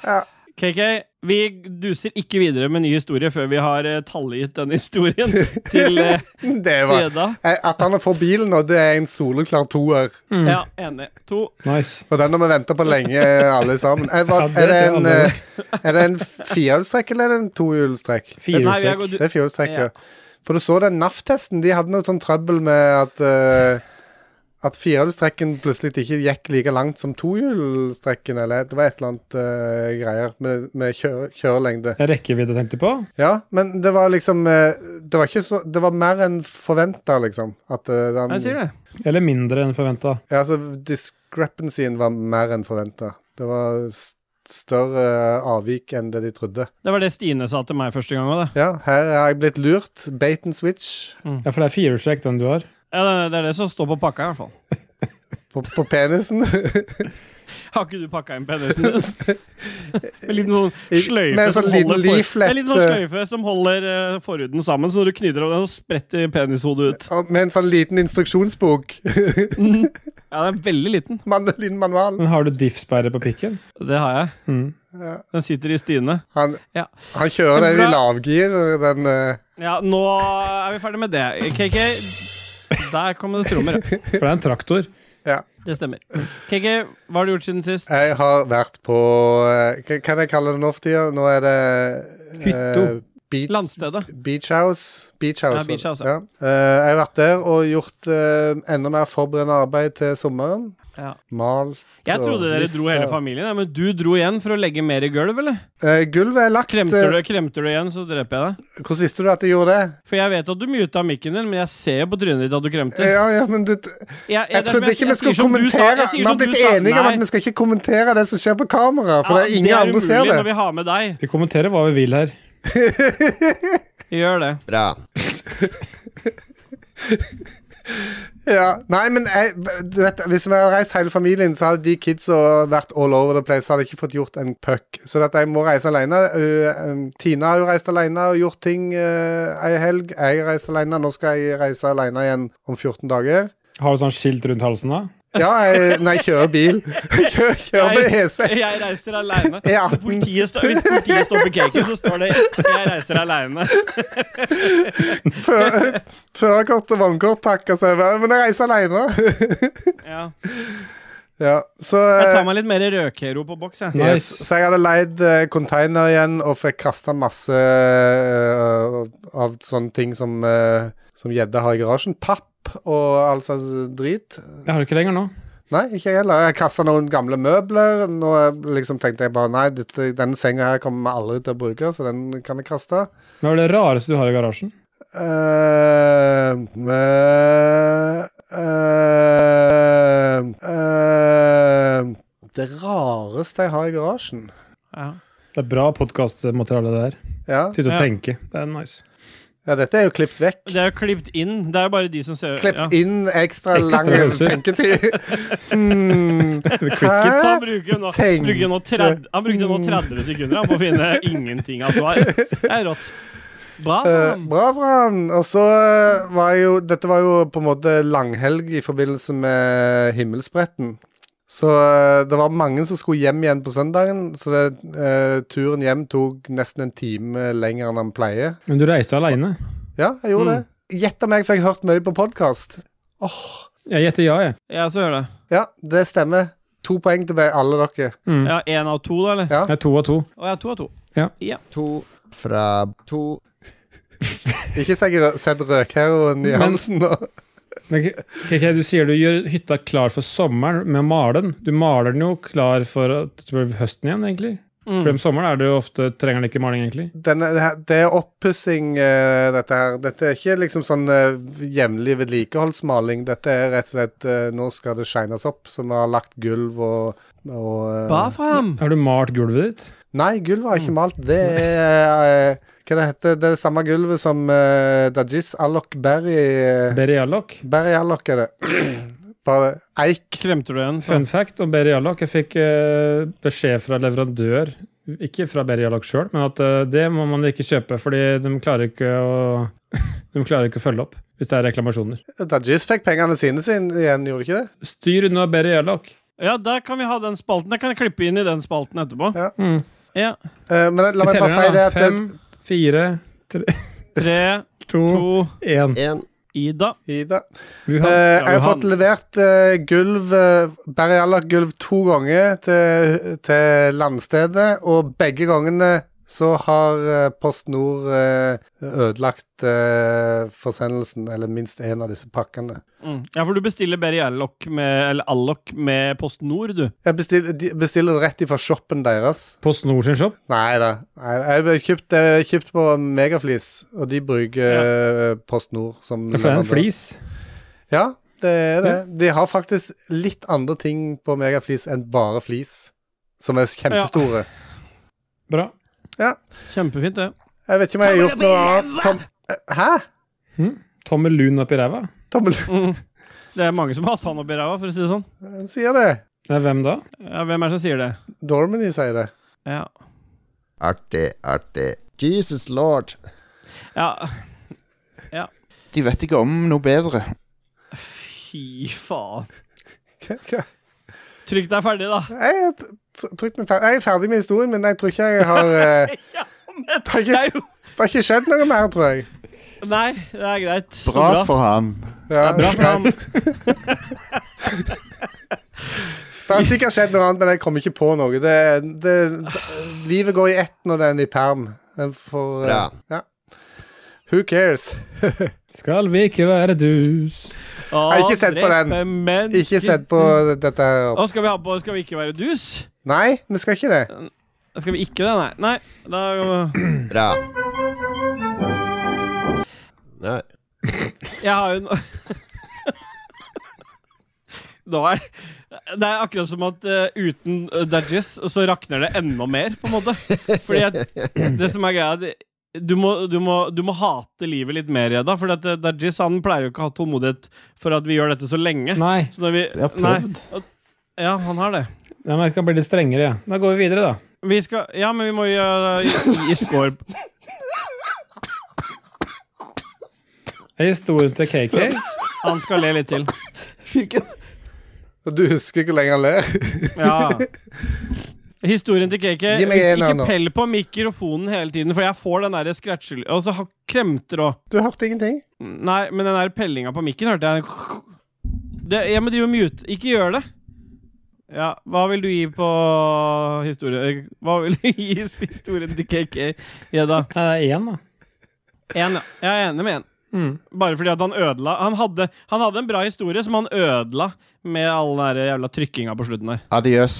[SPEAKER 3] Ja.
[SPEAKER 2] KK, vi duser ikke videre med ny historie før vi har eh, tallgitt denne
[SPEAKER 3] [LAUGHS]
[SPEAKER 2] historien til eh,
[SPEAKER 3] Det var
[SPEAKER 2] Ida.
[SPEAKER 3] Eh, At han får bilen nå, det er en soleklar toer.
[SPEAKER 2] Ja, enig. To.
[SPEAKER 1] Nice.
[SPEAKER 3] For den har vi venta på lenge, alle sammen. Er, hva,
[SPEAKER 1] Ja, det
[SPEAKER 3] er
[SPEAKER 1] tror
[SPEAKER 3] det
[SPEAKER 1] jeg
[SPEAKER 3] en,
[SPEAKER 1] alle.
[SPEAKER 3] eh, er det en firehjulstrekk eller er det en tohjulstrekk?
[SPEAKER 2] Nei, vi er
[SPEAKER 1] Firehjulstrekk.
[SPEAKER 2] gått-
[SPEAKER 3] Det er firehjulstrekk,
[SPEAKER 2] Ja.
[SPEAKER 3] ja. For du så den NAF-testen. De hadde noe sånn trøbbel med at eh, at firehjulstrekken plutselig ikke gikk like langt som tohjulstrekken. Eller det var et eller annet eh, greier med, med kjøre, kjørelengde.
[SPEAKER 1] Det er rekkevidde, tenkte jeg på.
[SPEAKER 3] Ja, men det var liksom eh, Det var ikke så Det var mer enn forventa, liksom. At eh, den
[SPEAKER 2] Jeg sier det.
[SPEAKER 1] Eller mindre enn forventa.
[SPEAKER 3] Ja, altså discrepancyen var mer enn forventa. Det var st- større avvik enn det de trodde.
[SPEAKER 2] Det var det Stine sa til meg første gang òg, det.
[SPEAKER 3] Ja, her er jeg blitt lurt. Bait and switch
[SPEAKER 1] Ja, for det er firehjulstrekk, den du har.
[SPEAKER 2] Ja, det- det er det som står på pakka, i hvert fall. [LAUGHS]
[SPEAKER 3] på, på penisen.
[SPEAKER 2] Har ikke du pakka inn penisen din? En liten sånn
[SPEAKER 3] I-
[SPEAKER 2] sløyfe
[SPEAKER 3] med en
[SPEAKER 2] som
[SPEAKER 3] sånn liten
[SPEAKER 2] holder
[SPEAKER 3] leaflet,
[SPEAKER 2] En liten sånn sløyfe som holder eh, forhuden sammen, så når du knyter over den, så spretter penishodet ut.
[SPEAKER 3] Og med en sånn liten instruksjonsbok. [LAUGHS]
[SPEAKER 2] Ja, den er veldig liten.
[SPEAKER 3] Man, liten manual.
[SPEAKER 1] Men har du diff-sperre på pikken?
[SPEAKER 2] Det har jeg.
[SPEAKER 1] Mm.
[SPEAKER 2] Den sitter i Stine.
[SPEAKER 3] Han,
[SPEAKER 2] Ja.
[SPEAKER 3] han kjører den i
[SPEAKER 2] Bra.
[SPEAKER 3] lavgir, den eh,
[SPEAKER 2] Ja, nå er vi ferdig med det. KK, der kom det trommer. ja.
[SPEAKER 1] For det er en traktor.
[SPEAKER 2] Det stemmer. KK, hva har du gjort siden sist?
[SPEAKER 3] Jeg har vært på eh, Hva kan jeg kalle det nå for tida? Nå er det eh,
[SPEAKER 1] Hytto.
[SPEAKER 3] Beach,
[SPEAKER 2] Landstedet.
[SPEAKER 3] Beach House. Beach House,
[SPEAKER 2] Ja, Beach House, ja.
[SPEAKER 3] ja. Eh, jeg har vært der og gjort eh, enda mer forberedende arbeid til sommeren.
[SPEAKER 2] Ja.
[SPEAKER 3] Malt
[SPEAKER 2] Jeg
[SPEAKER 3] og
[SPEAKER 2] trodde dere dro
[SPEAKER 3] lista.
[SPEAKER 2] hele familien, ja, men du dro igjen for å legge mer i gulv, eller?
[SPEAKER 3] Eh, gulvet er lagt.
[SPEAKER 2] Kremter du,
[SPEAKER 3] eh,
[SPEAKER 2] kremter du igjen, så dreper jeg deg.
[SPEAKER 3] Hvordan visste du at jeg gjorde det?
[SPEAKER 2] For jeg vet at du muta mikken din, men jeg ser jo på trynet ditt at du kremter.
[SPEAKER 3] Eh, Ja, ja, men du
[SPEAKER 2] Jeg,
[SPEAKER 3] Jeg trodde ikke vi skulle kommentere. Vi har blitt enige om at vi skal ikke kommentere det som skjer på kamera, for det er ingen andre
[SPEAKER 2] Det
[SPEAKER 3] ser
[SPEAKER 2] er umulig når
[SPEAKER 3] det.
[SPEAKER 2] vi har med deg.
[SPEAKER 1] Vi kommenterer hva vi vil her.
[SPEAKER 2] Gjør det.
[SPEAKER 5] Bra.
[SPEAKER 3] Ja, nei, men jeg, du vet, Hvis vi hadde reist hele familien, så hadde de kidsa vært all over the place. Så hadde jeg ikke fått gjort en puck. Så at jeg må reise alene. Uh, um, Tina har jo reist alene og gjort ting uh, ei helg. Jeg har reist alene. Nå skal jeg reise alene igjen om 14 dager.
[SPEAKER 1] Har du sånn skilt rundt halsen da?
[SPEAKER 3] Ja, jeg, nei, jeg kjører bil. [LAUGHS] Jeg kjører, kjører med E
[SPEAKER 2] Jeg,
[SPEAKER 3] hese.
[SPEAKER 2] jeg reiser aleine.
[SPEAKER 3] [LAUGHS] Ja.
[SPEAKER 2] Så Politiet står- hvis politiet stopper caken, så står det 'Jeg reiser aleine'.
[SPEAKER 3] Før- [LAUGHS] Førerkort og vannkort takker seg vel, men jeg reiser alene. [LAUGHS]
[SPEAKER 2] Ja.
[SPEAKER 3] ja, så
[SPEAKER 2] Jeg
[SPEAKER 3] uh,
[SPEAKER 2] tar meg litt mer rødkero på boks, jeg.
[SPEAKER 3] Yes. Så jeg hadde leid eh, container igjen og fikk kasta masse eh, av sånne ting som eh, Som gjedda har i garasjen. Papp og all slags drit.
[SPEAKER 1] Jeg har det ikke lenger nå.
[SPEAKER 3] Nei, ikke jeg heller. Jeg kasta noen gamle møbler. Nå liksom tenkte jeg bare nei, dette, denne senga her kommer vi aldri til å bruke, så den kan jeg kaste.
[SPEAKER 1] Hva er det rareste du har i garasjen?
[SPEAKER 3] eh eh, eh, eh, det rareste jeg har i garasjen.
[SPEAKER 2] Ja.
[SPEAKER 1] Det er bra podkastmateriale, det her.
[SPEAKER 3] Ja.
[SPEAKER 1] Tid til å
[SPEAKER 2] Ja.
[SPEAKER 1] tenke. Det er nice.
[SPEAKER 3] ja, dette er jo klippet vekk.
[SPEAKER 2] Det er jo klippet inn. Det er jo bare de som ser
[SPEAKER 3] Klipp
[SPEAKER 2] ja.
[SPEAKER 3] inn ekstra,
[SPEAKER 1] Ekstra
[SPEAKER 3] lang
[SPEAKER 1] pauser.
[SPEAKER 3] tenketid. Hmm.
[SPEAKER 2] Så
[SPEAKER 3] Hæ?
[SPEAKER 2] han bruker nå,
[SPEAKER 3] Tenk. Mm.
[SPEAKER 2] bruker nå 30, han brukte nå 30 sekunder han, på å finne ingenting av svar. Det er rått. Bra.
[SPEAKER 3] Eh,
[SPEAKER 2] faen.
[SPEAKER 3] bra for han. Og så eh, var jo Dette var jo på en måte langhelg i forbindelse med Himmelspretten. Så eh, det var mange som skulle hjem igjen på søndagen, så det, eh, turen hjem tok nesten en time lenger enn han pleier.
[SPEAKER 1] Men du reiste jo aleine.
[SPEAKER 3] Ja, jeg gjorde det. Gjett om jeg fikk hørt mye på podkast.
[SPEAKER 1] Jeg gjetter ja, jeg.
[SPEAKER 2] Ja, så gjør det.
[SPEAKER 3] Ja, det stemmer. To poeng til alle dere.
[SPEAKER 1] Mm.
[SPEAKER 2] Ja, Én av to, da, eller?
[SPEAKER 3] Ja.
[SPEAKER 1] Det er to av to.
[SPEAKER 2] Å ja, to av to.
[SPEAKER 5] To fra to
[SPEAKER 3] Ikke sikkert sett rødheroen i
[SPEAKER 1] Men-
[SPEAKER 3] halsen nå.
[SPEAKER 1] Men K- KK, du sier du gjør hytta klar for sommeren med å male den. Du maler den jo klar for at det blir høsten igjen, egentlig.
[SPEAKER 3] Mm.
[SPEAKER 1] For om sommeren er det jo ofte trenger den ikke maling, egentlig.
[SPEAKER 3] denne, det her- det er oppussing, eh, dette her. Dette er ikke liksom sånn eh, jevnlig vedlikeholdsmaling. Dette er rett og slett eh, Nå skal det shines opp, så vi har lagt gulv og, og eh,
[SPEAKER 2] Hva faen?
[SPEAKER 1] Har du malt gulvet ditt?
[SPEAKER 3] Nei, gulvet har
[SPEAKER 1] Mm.
[SPEAKER 3] ikke malt. Det er eh, Hva det heter det? er det samme gulvet som eh, Dajis Alok Berry eh,
[SPEAKER 1] Berry Allock.
[SPEAKER 3] Berry Alok er det. [CLEARS THROAT] Bare eik.
[SPEAKER 2] Kremter du en? faen?
[SPEAKER 1] Fun fact om Berry Allock. Jeg fikk eh, beskjed fra leverandør, ikke fra Berry Allock sjøl, men at eh, det må man ikke kjøpe, fordi de klarer ikke å [LAUGHS] De klarer ikke å følge opp hvis det er reklamasjoner.
[SPEAKER 3] Dajis fikk pengene sine sin igjen, gjorde de ikke det?
[SPEAKER 1] Styr unna Berry Allock.
[SPEAKER 2] Ja, der kan vi ha den spalten. Der kan jeg klippe inn i den spalten etterpå.
[SPEAKER 3] Ja.
[SPEAKER 1] Mm.
[SPEAKER 2] Ja.
[SPEAKER 3] Eh, men la
[SPEAKER 1] Vi
[SPEAKER 3] meg bare si
[SPEAKER 1] teller
[SPEAKER 3] det
[SPEAKER 1] da.
[SPEAKER 3] at
[SPEAKER 1] Fem, fire,
[SPEAKER 2] Tre,
[SPEAKER 1] to,
[SPEAKER 2] to,
[SPEAKER 1] én.
[SPEAKER 5] En
[SPEAKER 2] Ida.
[SPEAKER 3] Ida
[SPEAKER 1] Vi
[SPEAKER 3] Eh,
[SPEAKER 1] har
[SPEAKER 3] jeg har
[SPEAKER 2] Johan.
[SPEAKER 3] fått levert eh, gulv, uh, gulv to ganger til, til landstedet, og begge gangene så har eh, Post Nord eh, ødelagt eh, forsendelsen, eller minst én av disse pakkene.
[SPEAKER 2] Mm. Ja, for du bestiller Berry Alloc med, eller Alloc med Post Nord, du.
[SPEAKER 3] Jeg bestiller, de bestiller det rett ifra shoppen deres.
[SPEAKER 1] på Snor sin shop.
[SPEAKER 3] Nei da. Nei, Jeg har kjøpt, eh, kjøpt på Megaflis, og de bruker eh, Post Nord som
[SPEAKER 1] Det er en
[SPEAKER 3] leverandør.
[SPEAKER 1] flis.
[SPEAKER 3] Ja, det er det. De har faktisk litt andre ting på Megaflis enn bare flis, som er kjempestore.
[SPEAKER 1] Bra.
[SPEAKER 2] Kjempefint, det.
[SPEAKER 3] Jeg vet ikke om jeg har gjort noe annet. Tom Eh, Hæ?
[SPEAKER 1] Tommel lun oppi ræva.
[SPEAKER 3] Tommel
[SPEAKER 2] Mm. Det er mange som har hatt han oppi ræva, for å si det sånn.
[SPEAKER 3] Han sier det.
[SPEAKER 1] Det er hvem da?
[SPEAKER 2] Ja, hvem er det som sier det?
[SPEAKER 3] Dormany sier det.
[SPEAKER 2] Ja.
[SPEAKER 5] artig, artig. Jesus lord.
[SPEAKER 2] ja.
[SPEAKER 8] De vet ikke om noe bedre.
[SPEAKER 2] Fy faen.
[SPEAKER 3] Hva- hva-
[SPEAKER 2] Trykk deg ferdig, da.
[SPEAKER 3] Jeg er, tr- trykt meg fer- jeg er ferdig med historien, men jeg tror ikke jeg
[SPEAKER 2] [LAUGHS]
[SPEAKER 3] har eh, Det har
[SPEAKER 2] Det er
[SPEAKER 3] ikke,
[SPEAKER 2] jo
[SPEAKER 3] det har ikke skjedd noe mer, tror jeg.
[SPEAKER 2] Nei, det er greit. Så
[SPEAKER 8] Bra for han.
[SPEAKER 3] Ja,
[SPEAKER 2] Bra for ham.
[SPEAKER 3] [LAUGHS] Det har sikkert skjedd noe annet, men jeg kommer ikke på noe. Det, det, det, livet går i ett når den er i perm. Den får, eh,
[SPEAKER 5] Bra.
[SPEAKER 3] ja. Who cares?
[SPEAKER 1] Skal vi ikke være dus?
[SPEAKER 3] Nei, ikke sett på den. Ikke sett på dette her.
[SPEAKER 2] Å, skal vi ha på Skal vi ikke være dus?
[SPEAKER 3] Nei, vi skal ikke det.
[SPEAKER 2] Skal vi ikke det? Nei. Nei. Da er jo
[SPEAKER 5] Bra. Nei.
[SPEAKER 2] Jeg har jo en Nå er Det er akkurat som at eh, uten uh, Dajis så rakner det enda mer, på en måte. Fordi at, det som er greia, er at du må, du, må, du må hate livet litt mer, Edda. For at, eh, Dajis han pleier jo ikke å ha tålmodighet for at vi gjør dette så lenge.
[SPEAKER 1] Nei,
[SPEAKER 2] Så når vi,
[SPEAKER 4] Jeg har prøvd.
[SPEAKER 2] Nei. Ja, han har det.
[SPEAKER 1] jeg merker han blir litt strengere. Ja. Da går vi videre, da.
[SPEAKER 2] Vi skal Ja, men vi må jo eh, gi- gi score
[SPEAKER 1] Er Historien til KK.
[SPEAKER 2] Han skal le litt til.
[SPEAKER 4] Hvilken?
[SPEAKER 3] Og Du husker ikke hvor lenge han ler.
[SPEAKER 2] Ja. [LAUGHS] Historien til KK
[SPEAKER 3] Gi meg en annen nå.
[SPEAKER 2] Ikke pell på mikrofonen hele tiden, for jeg får den der scratchelyd Og så har- kremter òg.
[SPEAKER 3] [LAUGHS] Du hørte ingenting.
[SPEAKER 2] Nei, men den der pellinga på mikken hørte jeg det, Jeg må drive og mute. Ikke gjør det. Ja, hva vil du gi på historie... Hva vil du [LAUGHS] gi historien til KK, Jedda?
[SPEAKER 1] Nei, det er én, da.
[SPEAKER 2] Én, ja. Jeg er enig med én.
[SPEAKER 1] Mm.
[SPEAKER 2] Bare fordi at han ødela han hadde, han hadde en bra historie som han ødela med all den der jævla trykkinga på slutten her.
[SPEAKER 8] Adiøs.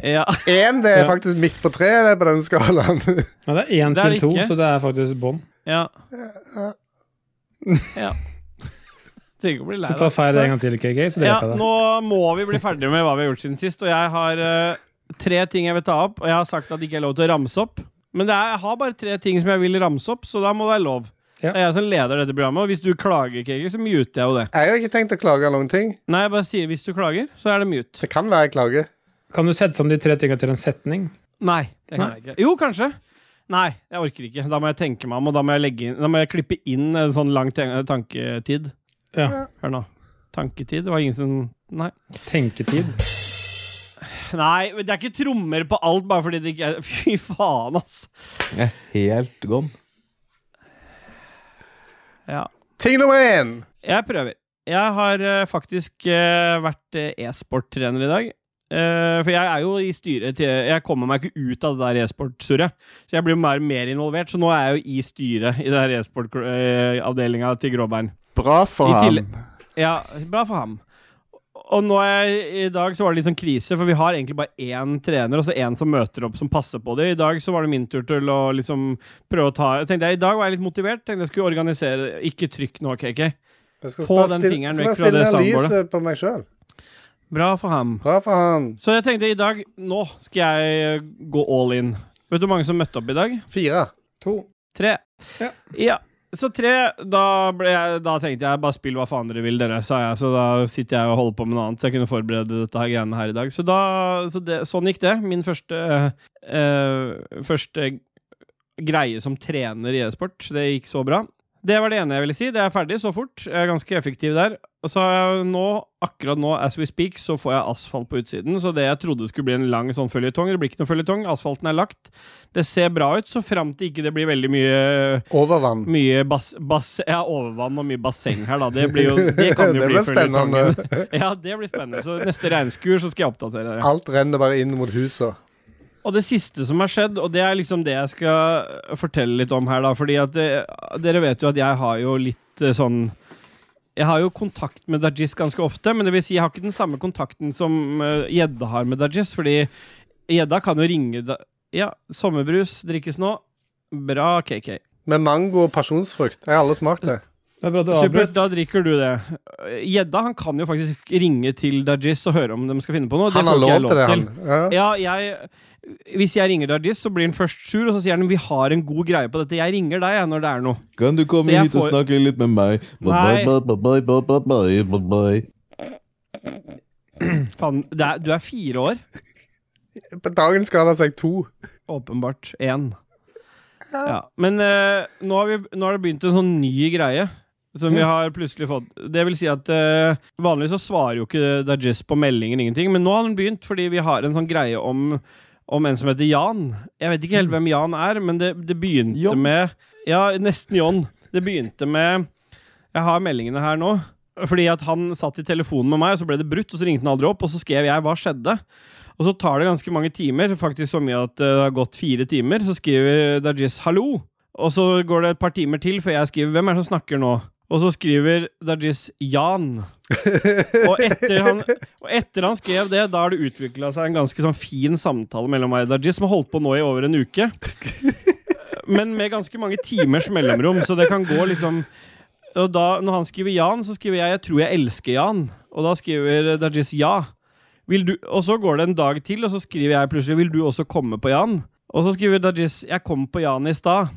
[SPEAKER 2] Ja.
[SPEAKER 3] Én, det er
[SPEAKER 1] Ja.
[SPEAKER 3] faktisk midt på treet det, på den skalaen. [LAUGHS]
[SPEAKER 1] Nei, det er én
[SPEAKER 2] Det er det
[SPEAKER 1] til to,
[SPEAKER 2] ikke.
[SPEAKER 1] så det er faktisk bånn. [LAUGHS]
[SPEAKER 2] Ja. ja. Trenger ikke å bli lei
[SPEAKER 1] Så ta
[SPEAKER 2] deg.
[SPEAKER 1] feil en gang til, KK, så
[SPEAKER 2] Ja,
[SPEAKER 1] dreper jeg deg.
[SPEAKER 2] nå må vi bli ferdige med hva vi har gjort siden sist, og jeg har eh, tre ting jeg vil ta opp, og jeg har sagt at det ikke er lov til å ramse opp. Men det er, jeg har bare tre ting som jeg vil ramse opp, så da må det være lov.
[SPEAKER 1] Ja.
[SPEAKER 2] Det er jeg som leder dette programmet, og hvis du klager, Kegel, så muter jeg jo det.
[SPEAKER 3] Jeg har ikke tenkt å klage noen ting.
[SPEAKER 2] Nei, jeg bare sier hvis du klager, så er det mute.
[SPEAKER 3] Det kan være jeg klager.
[SPEAKER 1] Kan du sette sammen de tre tingene til en setning?
[SPEAKER 2] Nei, det kan
[SPEAKER 1] Nei.
[SPEAKER 2] jeg ikke. Jo, kanskje. Nei, jeg orker ikke. Da må jeg tenke meg om, og da må jeg, legge inn, da må jeg klippe inn en sånn lang ten- tanketid.
[SPEAKER 1] Ja.
[SPEAKER 2] Hør nå. Tanketid? Det var ingen som Nei.
[SPEAKER 1] Tenketid.
[SPEAKER 2] Nei, men det er ikke trommer på alt bare fordi det ikke er [LAUGHS] Fy faen, ass.
[SPEAKER 4] Jeg er helt gone.
[SPEAKER 3] Ting nummer én.
[SPEAKER 2] Jeg prøver. Jeg har eh, faktisk eh, vært eh, e-sporttrener i dag. Eh, for jeg er jo i styret til Jeg kommer meg ikke ut av det der e-sport-surret. Så jeg blir jo mer, mer involvert, så nå er jeg jo i styret i det der e-sport-avdelinga til Gråbein.
[SPEAKER 8] Bra for
[SPEAKER 2] I
[SPEAKER 8] ham.
[SPEAKER 2] tillegg- Ja, bra for ham. Og nå er jeg, i dag så var det litt sånn krise, for vi har egentlig bare én trener, og så én som møter opp som passer på det. I dag så var det min tur til å liksom prøve å ta jeg tenkte jeg, I dag var jeg litt motivert. tenkte jeg skulle organisere Ikke trykk nå, KK.
[SPEAKER 3] Jeg skal
[SPEAKER 2] Få
[SPEAKER 3] bare
[SPEAKER 2] den
[SPEAKER 3] stille-
[SPEAKER 2] fingeren
[SPEAKER 3] skal bare
[SPEAKER 2] vekk fra det
[SPEAKER 3] stille
[SPEAKER 2] soundboardet.
[SPEAKER 3] lyset på meg sjøl.
[SPEAKER 2] Bra for ham.
[SPEAKER 3] Bra for han.
[SPEAKER 2] Så jeg tenkte i dag Nå skal jeg gå all in. Vet du hvor mange som møtte opp i dag?
[SPEAKER 3] Fire.
[SPEAKER 1] To.
[SPEAKER 2] Tre.
[SPEAKER 1] Ja.
[SPEAKER 2] Så tre, da, ble jeg, da tenkte jeg bare spill hva faen dere vil, dere, sa jeg. Så da sitter jeg og holder på med noe annet, så jeg kunne forberede dette her greiene her i dag. Så, da, så det, sånn gikk det. Min første, eh, første greie som trener i e-sport. Det gikk så bra. Det var det ene jeg ville si. Det er ferdig så fort. Jeg er ganske effektiv der. Og så har jeg nå, akkurat nå, as we speak, så får jeg asfalt på utsiden. Så det jeg trodde skulle bli en lang sånn føljetong, det blir ikke noe føljetong. Asfalten er lagt. Det ser bra ut, så fram til ikke det blir veldig mye,
[SPEAKER 3] Overvann.
[SPEAKER 2] mye bass, bass, ja, overvann og mye basseng her, da. Det, blir jo, det kan jo
[SPEAKER 3] [LAUGHS]
[SPEAKER 2] bli
[SPEAKER 3] Det blir spennende.
[SPEAKER 2] føljetongen. [LAUGHS] Ja, det blir spennende. Så neste regnskur så skal jeg oppdatere dere.
[SPEAKER 3] Alt renner bare inn mot huset.
[SPEAKER 2] Og det siste som har skjedd, og det er liksom det jeg skal fortelle litt om her, da, fordi at det, dere vet jo at jeg har jo litt eh, sånn jeg har jo kontakt med Dajis ganske ofte, men det vil si jeg har ikke den samme kontakten som eh, gjedda har med Dajis, fordi gjedda kan jo ringe da Ja, sommerbrus drikkes nå. Bra, KK.
[SPEAKER 3] Med mango og pasjonsfrukt. Jeg har aldri smakt det.
[SPEAKER 1] Det er bra du
[SPEAKER 2] Supert,
[SPEAKER 1] avbrøt.
[SPEAKER 2] da drikker du det. Gjedda han kan jo faktisk ringe til Dajis og høre om de skal finne på noe.
[SPEAKER 3] Han
[SPEAKER 2] det
[SPEAKER 3] har
[SPEAKER 2] får ikke jeg
[SPEAKER 3] lov til det, han. Ja.
[SPEAKER 2] Ja, jeg Hvis jeg ringer Dajis, så blir han først sur, og så sier han vi har en god greie på dette. Jeg ringer deg jeg, når det er noe.
[SPEAKER 4] Kan du komme
[SPEAKER 2] Så jeg
[SPEAKER 4] hit og
[SPEAKER 2] får-
[SPEAKER 4] snakke litt med meg?
[SPEAKER 2] Nei.
[SPEAKER 4] Bye, bye, bye, bye, bye, bye, bye, bye.
[SPEAKER 2] Faen, det er, du er fire år.
[SPEAKER 3] På dagen skal han ha seg to.
[SPEAKER 2] Åpenbart én. Ja. Men eh, nå, har vi, nå har det begynt en sånn ny greie. Som vi har plutselig fått Det vil si at eh, vanligvis så svarer jo ikke Dajis på meldinger ingenting, men nå har den begynt, fordi vi har en sånn greie om om en som heter Jan. Jeg vet ikke helt hvem Jan er, men det, det begynte
[SPEAKER 4] Jon.
[SPEAKER 2] med Ja, nesten Jon. Det begynte med Jeg har meldingene her nå. Fordi at han satt i telefonen med meg, og så ble det brutt, og så ringte han aldri opp, og så skrev jeg 'hva skjedde'? Og så tar det ganske mange timer, faktisk så mye at eh, det har gått fire timer. Så skriver Dajis 'hallo', og så går det et par timer til før jeg skriver 'hvem er det som snakker nå'? Og så skriver Dajis 'Jan'. Og etter han, og etter han skrev det, da har det utvikla seg en ganske sånn fin samtale mellom meg og Dajis, som har holdt på nå i over en uke. Men med ganske mange timers mellomrom, så det kan gå liksom Og da, når han skriver Jan, så skriver jeg 'Jeg tror jeg elsker Jan', og da skriver Dajis 'Ja'. Vil du, og så går det en dag til, og så skriver jeg plutselig 'Vil du også komme på Jan?' Og så skriver Dajis 'Jeg kom på Jan i stad'.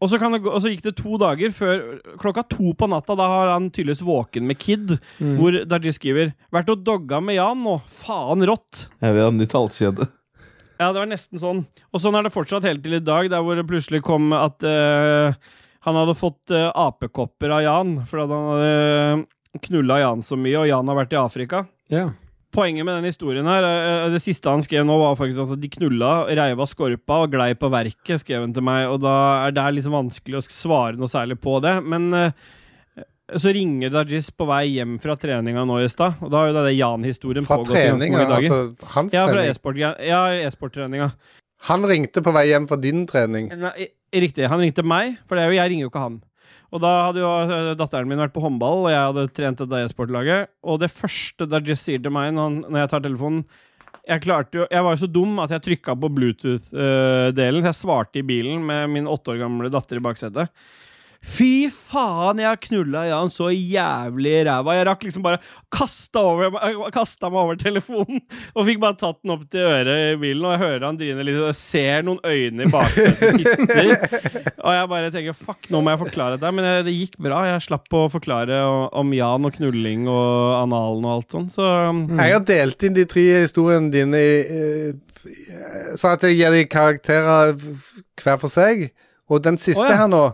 [SPEAKER 2] Og så, kan det gå, og så gikk det to dager før klokka to på natta. Da har han tydeligvis våken med Kid, hvor Daji skriver 'Vært og dogga med Jan nå. Faen rått'.
[SPEAKER 4] Jeg vil ha en ny halskjede.
[SPEAKER 2] Ja, det var nesten sånn. Og sånn er det fortsatt helt til i dag, der hvor det plutselig kom at eh, han hadde fått eh, apekopper av Jan, fordi at han hadde knulla Jan så mye, og Jan har vært i Afrika.
[SPEAKER 1] Ja.
[SPEAKER 2] Poenget med den historien her, eh, det siste han skrev nå, var faktisk at de knulla, reiv av skorpa og glei på verket, skrev han til meg, og da er det liksom vanskelig å svare noe særlig på det, men eh, så ringer Dajis på vei hjem fra treninga nå i stad, og da har jo denne Jan-historien
[SPEAKER 3] Fra
[SPEAKER 2] pågått i ganske
[SPEAKER 3] treninga,
[SPEAKER 2] mange dager.
[SPEAKER 3] altså hans
[SPEAKER 2] ja, fra
[SPEAKER 3] trening.
[SPEAKER 2] e-sport-treninga. Ja, e-sport-treninga.
[SPEAKER 3] Han ringte på vei hjem fra din trening.
[SPEAKER 2] Nei, i- riktig. Han ringte meg, for det er jo, jeg ringer jo ikke han. Og da hadde jo eh, datteren min vært på håndball, og jeg hadde trent dette e-sportlaget. Og det første da Jess sier til meg når, han, når jeg tar telefonen Jeg, klarte jo, jeg var jo så dum at jeg trykka på Bluetooth-delen, så jeg svarte i bilen med min åtte år gamle datter i baksetet. Fy faen, jeg har knulla Jan så jævlig i ræva. Jeg rakk liksom bare kasta, over, jeg kastet meg over telefonen og fikk bare tatt den opp til øret i bilen. Og jeg hører han drine litt, og jeg ser noen øyne i baksetet titter. Og jeg bare tenker fuck, nå må jeg forklare dette. Men jeg, det gikk bra. Jeg slapp å forklare o- om Jan og knulling og analen og alt sånt. Så mm,
[SPEAKER 3] Jeg har delt inn de tre historiene dine i eh, Så at jeg gir de karakterer f- hver for seg. Og den siste
[SPEAKER 2] Å, ja.
[SPEAKER 3] her nå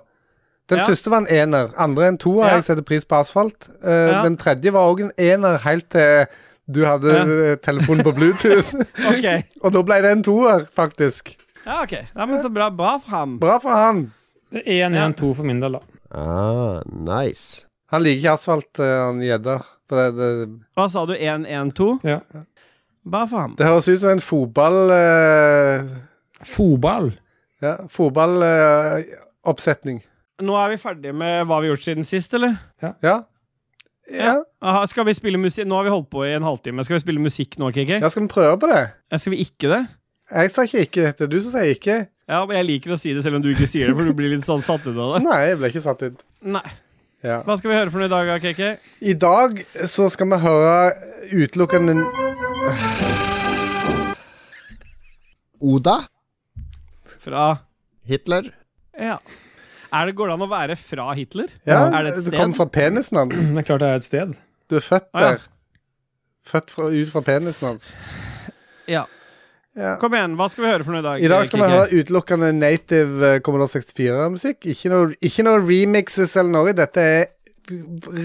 [SPEAKER 3] Den
[SPEAKER 2] Ja.
[SPEAKER 3] første var en ener. Andre en toer.
[SPEAKER 2] Ja.
[SPEAKER 3] Jeg setter pris på asfalt. Eh,
[SPEAKER 2] Ja.
[SPEAKER 3] Den tredje var òg en ener, helt til du hadde
[SPEAKER 2] Ja.
[SPEAKER 3] eh, telefonen på
[SPEAKER 2] [LAUGHS]
[SPEAKER 3] Bluetooth.
[SPEAKER 2] OK.
[SPEAKER 3] og da ble det en toer, faktisk.
[SPEAKER 2] Ja, ok. Nei, men så bra. Bra for ham.
[SPEAKER 3] Bra for han.
[SPEAKER 1] 1-1-2 for min del, da.
[SPEAKER 5] Ah, nice.
[SPEAKER 3] Han liker ikke asfalt, eh, han gjedda. For det, det,
[SPEAKER 2] Hva sa du? 1-1-2?
[SPEAKER 1] Ja.
[SPEAKER 2] Bra for ham.
[SPEAKER 3] det høres ut som en fotball... eh,
[SPEAKER 1] Fotball.
[SPEAKER 3] ja, eh, fotballoppsetning.
[SPEAKER 2] Nå er vi ferdige med hva vi har gjort siden sist, eller?
[SPEAKER 3] ja. Ja.
[SPEAKER 2] Aha, skal vi spille musikk? Nå har vi holdt på i en halvtime. Skal vi spille musikk nå, KK?
[SPEAKER 3] ja, skal vi prøve på det?
[SPEAKER 2] Skal vi ikke det?
[SPEAKER 3] Jeg sa ikke ikke. Det er du som sier ikke.
[SPEAKER 2] Ja, men Jeg liker å si det selv om du ikke sier det, for du blir litt sånn satt ut av det.
[SPEAKER 3] Nei, jeg ble ikke satt ut.
[SPEAKER 2] [LAUGHS] Nei.
[SPEAKER 3] Ja.
[SPEAKER 2] Hva skal vi høre for noe i dag, KK?
[SPEAKER 3] I dag så skal vi høre utelukkende
[SPEAKER 5] Oda?
[SPEAKER 2] Fra
[SPEAKER 5] Hitler?
[SPEAKER 2] Ja. Er det, går det an å være fra Hitler?
[SPEAKER 3] Ja,
[SPEAKER 2] Er det et sted?
[SPEAKER 3] kom fra penisen hans.
[SPEAKER 1] Det er klart det er et sted.
[SPEAKER 3] Du er født
[SPEAKER 2] Ah, ja.
[SPEAKER 3] der. Født fra, ut fra penisen hans.
[SPEAKER 2] Ja.
[SPEAKER 3] Ja.
[SPEAKER 2] Kom igjen, hva skal vi høre for noe i dag?
[SPEAKER 3] I dag skal vi
[SPEAKER 2] Kiki?
[SPEAKER 3] høre utelukkende native eh, Commodore 64-musikk. Ikke noe, ikke noe remixes eller noe. Dette er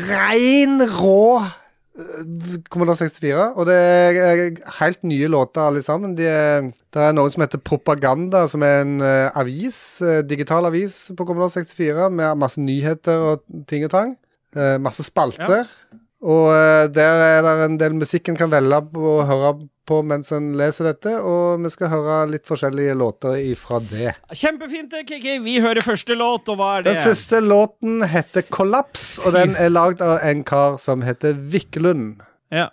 [SPEAKER 3] rein, rå eh, Commodore 64. Og det er eh, helt nye låter, alle sammen. De er, det er noe som heter Propaganda, som er en eh, avis, eh, digital avis på Commodore 64, med masse nyheter og ting og tang. Eh, masse spalter. Og eh, der er det en del musikk en kan velge og høre på mens en leser dette, og vi skal høre litt forskjellige låter ifra det.
[SPEAKER 2] Kjempefint, det, Kiki. Vi hører første låt, og hva er det?
[SPEAKER 3] Den første låten heter 'Kollaps', og den er lagd av en kar som heter Viklund.
[SPEAKER 2] Ja.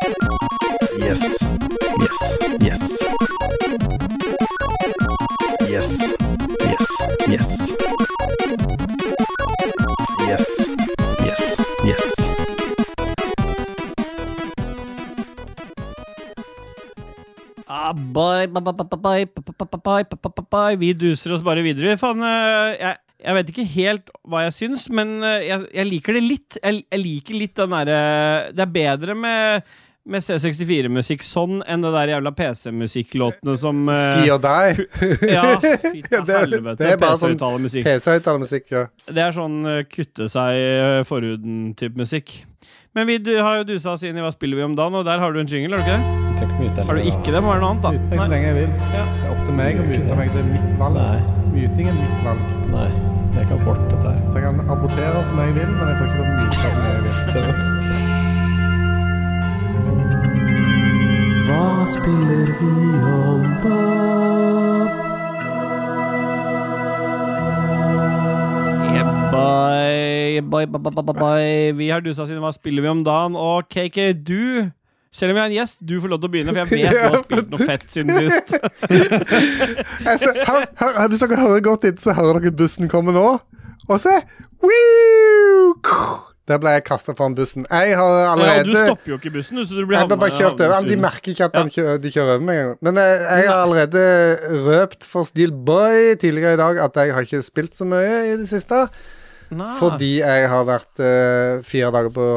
[SPEAKER 6] Yes. Yes. Yes. Yes. Yes. Yes. Yes. Yes. Yes.
[SPEAKER 2] Ah, boy, ba, ba, ba, ba, boy, ba, ba, ba, ba, boy, ba, ba, ba, boy. Vi duser oss bare videre. Faen, eh, jeg, jeg vet ikke helt hva jeg syns, men eh, jeg, jeg liker det litt. Jeg, jeg liker litt den derre Det er bedre med, med C64-musikk sånn enn det der jævla PC-musikklåtene som eh,
[SPEAKER 3] Ski og die.
[SPEAKER 2] [LAUGHS]
[SPEAKER 3] [LAUGHS]
[SPEAKER 2] Ja, fy til
[SPEAKER 3] det er-
[SPEAKER 2] helvete.
[SPEAKER 3] det er bare sånn
[SPEAKER 2] PC-uttalemusikk.
[SPEAKER 3] PC-høyttalermusikk, ja.
[SPEAKER 2] Det er sånn eh, kutte seg eh, forhuden-type musikk. Men vi du, har jo dusa oss inn i Hva spiller vi om dagen, og der har du en jingle, har du ikke det? Har du ikke det, må det være noe annet, da.
[SPEAKER 3] lenge jeg vil.
[SPEAKER 2] Ja.
[SPEAKER 3] Det er opp til meg å mute meg. Det er mitt valg.
[SPEAKER 4] Nei.
[SPEAKER 3] Myting er mitt valg.
[SPEAKER 9] Nei, det er ikke abort, dette her.
[SPEAKER 3] Så jeg kan abortere som jeg vil, men jeg får ikke lov til å myte som jeg vil.
[SPEAKER 10] Hva spiller vi om da?
[SPEAKER 2] Bye, bye, bye, bye, bye, bye. Vi har dusa siden hva spiller vi om dagen? Og KK, du selv om jeg er en gjest, du får lov til å begynne, for jeg vet
[SPEAKER 3] [LAUGHS]
[SPEAKER 2] du har spilt noe fett siden sist.
[SPEAKER 3] altså, hør, hør, hvis dere hører godt etter, så hører dere bussen komme nå. Og se! Woo! Der ble jeg kasta foran bussen. Jeg har
[SPEAKER 2] Ja, du
[SPEAKER 3] allerede
[SPEAKER 2] stopper jo ikke bussen, du, så du blir
[SPEAKER 3] Jeg ble bare
[SPEAKER 2] havna-
[SPEAKER 3] kjørt over.
[SPEAKER 2] havnet i
[SPEAKER 3] De
[SPEAKER 2] studio.
[SPEAKER 3] merker ikke at han kjø- de kjører over meg engang. Men eh, jeg har allerede røpt for Steelboy tidligere i dag at jeg har ikke spilt så mye i det siste.
[SPEAKER 2] Nei.
[SPEAKER 3] Fordi jeg har vært eh, fire dager på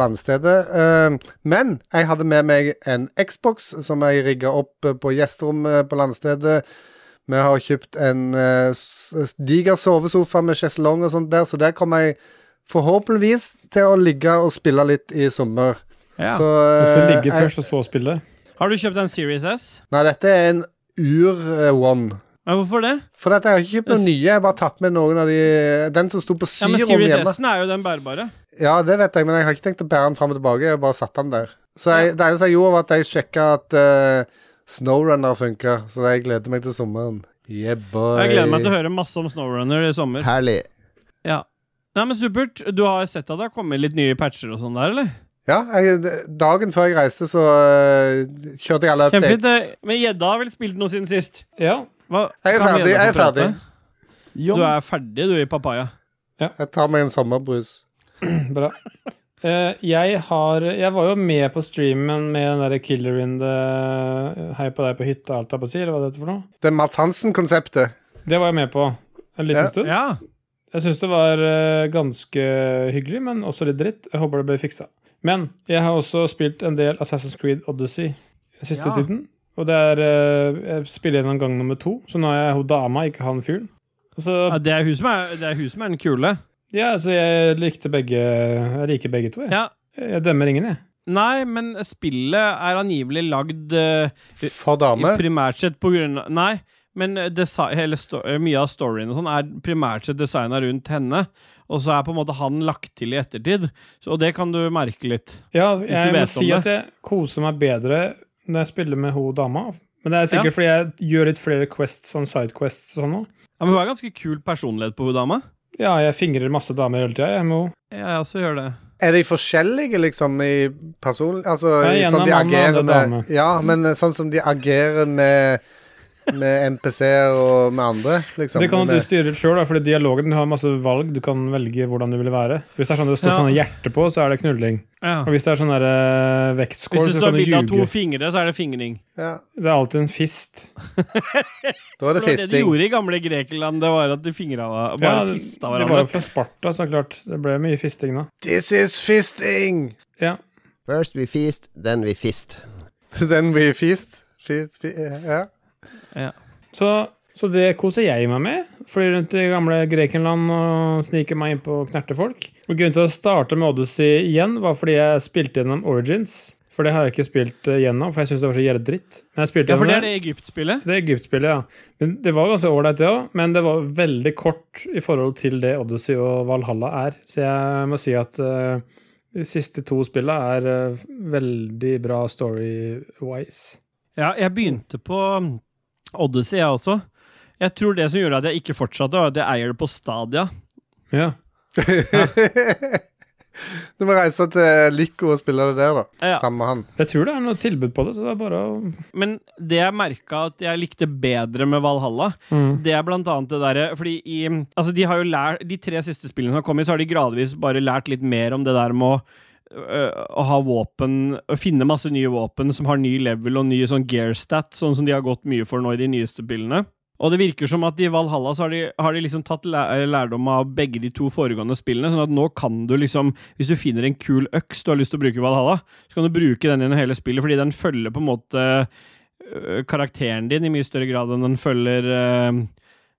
[SPEAKER 3] landstedet. Eh, men jeg hadde med meg en Xbox som jeg rigga opp eh, på gjesterommet på landstedet. Vi har kjøpt en eh, s- s- diger sovesofa med sjeselong og sånt der, så der kommer jeg forhåpentligvis til å ligge og spille litt i sommer.
[SPEAKER 2] Ja.
[SPEAKER 3] Så
[SPEAKER 1] Du får
[SPEAKER 3] eh,
[SPEAKER 1] ligge
[SPEAKER 3] jeg-
[SPEAKER 1] først, og så spille.
[SPEAKER 2] Har du kjøpt en Series S?
[SPEAKER 3] Nei, dette er en ur-one.
[SPEAKER 2] Ja, hvorfor det?
[SPEAKER 3] For dette, jeg har ikke kjøpt noen
[SPEAKER 2] Det-
[SPEAKER 3] nye, jeg har bare tatt med noen av de Den som sto på
[SPEAKER 2] Ja, men
[SPEAKER 3] syrom
[SPEAKER 2] Series
[SPEAKER 3] hjemme.
[SPEAKER 2] S-en er jo den bærbare.
[SPEAKER 3] Ja, det vet jeg, men jeg har ikke tenkt å bære den fram og tilbake. Jeg har bare satt den der. Så jeg, det eneste jeg gjorde, var at jeg sjekka at eh, Snowrunner funka, så jeg gleder meg til sommeren. Yeah, boy.
[SPEAKER 2] Jeg gleder meg til å høre masse om Snowrunner i sommer.
[SPEAKER 5] Herlig.
[SPEAKER 2] Ja. Nei, men Supert, du har sett at det har kommet litt nye patcher og sånn der, eller?
[SPEAKER 3] Ja, jeg, dagen før jeg reiste, så eh, kjørte jeg alle
[SPEAKER 2] Kjempefint.
[SPEAKER 3] updates.
[SPEAKER 2] eh, Men Gjedda har vel spilt noe siden sist?
[SPEAKER 1] Ja.
[SPEAKER 2] Hva,
[SPEAKER 3] Jeg er
[SPEAKER 2] kan
[SPEAKER 3] ferdig,
[SPEAKER 2] Gjedda
[SPEAKER 3] jeg er
[SPEAKER 2] få prate?
[SPEAKER 3] ferdig.
[SPEAKER 2] Du er ferdig, du, i papaya.
[SPEAKER 3] Jeg tar meg en sommerbrus.
[SPEAKER 1] Bra. Eh, jeg har Jeg var jo med på streamen med den derre Killer in the Hei på deg på hytta, alt jeg på å si, eller hva det heter for noe.
[SPEAKER 3] Det er Mads Hansen-konseptet.
[SPEAKER 1] Det var jeg med på en liten
[SPEAKER 3] Ja.
[SPEAKER 1] stund.
[SPEAKER 2] Ja.
[SPEAKER 1] Jeg syns det var eh, ganske hyggelig, men også litt dritt. Jeg håper det blir fiksa. Men jeg har også spilt en del Assassin's Creed Odyssey den siste
[SPEAKER 2] Ja.
[SPEAKER 1] tiden. Og det er eh, Jeg spiller gjennom gang nummer to, så nå er jeg hun dama, ikke han fyren. Og så,
[SPEAKER 2] ja det er hun som er, det er, hun som er den kule.
[SPEAKER 1] ja, så jeg likte begge Jeg liker begge to, jeg.
[SPEAKER 2] Ja.
[SPEAKER 1] Jeg dømmer ingen, jeg.
[SPEAKER 2] Nei, men spillet er angivelig lagd eh,
[SPEAKER 3] For dame.
[SPEAKER 2] i primært sett på grunn av Nei, men eh, desi- hele sto eh, mye av storyen og sånn er primært sett designa rundt henne. Og så er på en måte han lagt til i ettertid, så, og det kan du merke litt.
[SPEAKER 1] Ja,
[SPEAKER 2] Hvis du
[SPEAKER 1] jeg må
[SPEAKER 2] vet om
[SPEAKER 1] si
[SPEAKER 2] det.
[SPEAKER 1] at jeg koser meg bedre når jeg spiller med hun dama. Men det er sikkert
[SPEAKER 2] Ja.
[SPEAKER 1] fordi jeg gjør litt flere quests, sånn sidequests og sånn nå.
[SPEAKER 2] Ja, men hun er ganske kul personlighet på hun dama.
[SPEAKER 1] Ja, jeg fingrer masse damer hele tida, jeg med henne.
[SPEAKER 2] Ja, jeg også gjør det.
[SPEAKER 3] Er de forskjellige, liksom, i person... Altså,
[SPEAKER 1] Ja,
[SPEAKER 3] i
[SPEAKER 1] ene
[SPEAKER 3] sånn de
[SPEAKER 1] mann og
[SPEAKER 3] agerer
[SPEAKER 1] andre
[SPEAKER 3] med
[SPEAKER 1] dame.
[SPEAKER 3] Ja, men eh, sånn som de agerer med med NPC-er og med andre, liksom.
[SPEAKER 1] Det kan jo
[SPEAKER 3] med,
[SPEAKER 1] du styre litt sjøl, fordi dialogen har masse valg. Du kan velge hvordan du vil være. Hvis det er sånn det står
[SPEAKER 2] Ja.
[SPEAKER 1] sånn hjerte på, så er det knulling.
[SPEAKER 2] Ja.
[SPEAKER 1] Og hvis det er sånn der, eh, vektskål,
[SPEAKER 2] Hvis du
[SPEAKER 1] så
[SPEAKER 2] tar
[SPEAKER 1] kan du
[SPEAKER 2] bilde av to
[SPEAKER 1] ljuge.
[SPEAKER 2] fingre, så er det fingring.
[SPEAKER 3] ja,
[SPEAKER 1] Det er alltid en fist.
[SPEAKER 3] da er
[SPEAKER 2] Det
[SPEAKER 3] det
[SPEAKER 2] var det de
[SPEAKER 3] fisting.
[SPEAKER 2] gjorde i gamle Grekeland, det var at de fingra var- bare
[SPEAKER 1] Ja, det,
[SPEAKER 2] fista
[SPEAKER 1] det var jo
[SPEAKER 2] hverandre.
[SPEAKER 1] fra Sparta, så klart. Det ble mye fisting da.
[SPEAKER 3] This is fisting! [LAUGHS]
[SPEAKER 1] Ja.
[SPEAKER 5] First we feast, then we fist.
[SPEAKER 3] Den blir fist. Fist, fi, ja. [LAUGHS]
[SPEAKER 1] Så, så det koser jeg meg med. Fly rundt i gamle Grekenland og sniker meg innpå og knerter folk. Og Grunnen til å starte med Odyssey igjen var fordi jeg spilte gjennom Origins. For det har jeg ikke spilt eh, gjennom, for jeg syns det var så jævlig dritt. Men jeg spilte
[SPEAKER 2] Ja, for det
[SPEAKER 1] gjennom
[SPEAKER 2] er det Egypt-spillet.
[SPEAKER 1] Det er Egypt-spillet, ja. Men det var ganske ålreit, det òg. Men det var veldig kort i forhold til det Odyssey og Valhalla er. Så jeg må si at eh, de siste to spillene er eh, veldig bra story-wise.
[SPEAKER 2] Ja, jeg begynte på um, Odyssey, jeg også. Jeg tror det som gjorde at jeg ikke fortsatte, var at jeg eier det på Stadia.
[SPEAKER 1] Ja.
[SPEAKER 3] du må reise til Lico og spille det der, da.
[SPEAKER 2] Ja. Sånn.
[SPEAKER 3] Sammen med han.
[SPEAKER 1] Jeg tror det er noe tilbud på det, så det er bare å
[SPEAKER 2] Men det jeg merka at jeg likte bedre med Valhalla,
[SPEAKER 1] mm.
[SPEAKER 2] det er blant annet det derre Fordi i Altså, de har jo lært De tre siste spillene som har kommet, så har de gradvis bare lært litt mer om det der med å øh, å ha våpen Å finne masse nye våpen som har ny level og ny sånn gearstat, sånn som de har gått mye for nå i de nyeste spillene. Og det virker som at i Valhalla så har de, har de liksom tatt læ- lærdom av begge de to foregående spillene, sånn at nå kan du liksom Hvis du finner en kul øks du har lyst til å bruke i Valhalla, så kan du bruke den gjennom hele spillet, fordi den følger på en måte øh, karakteren din i mye større grad enn den følger øh,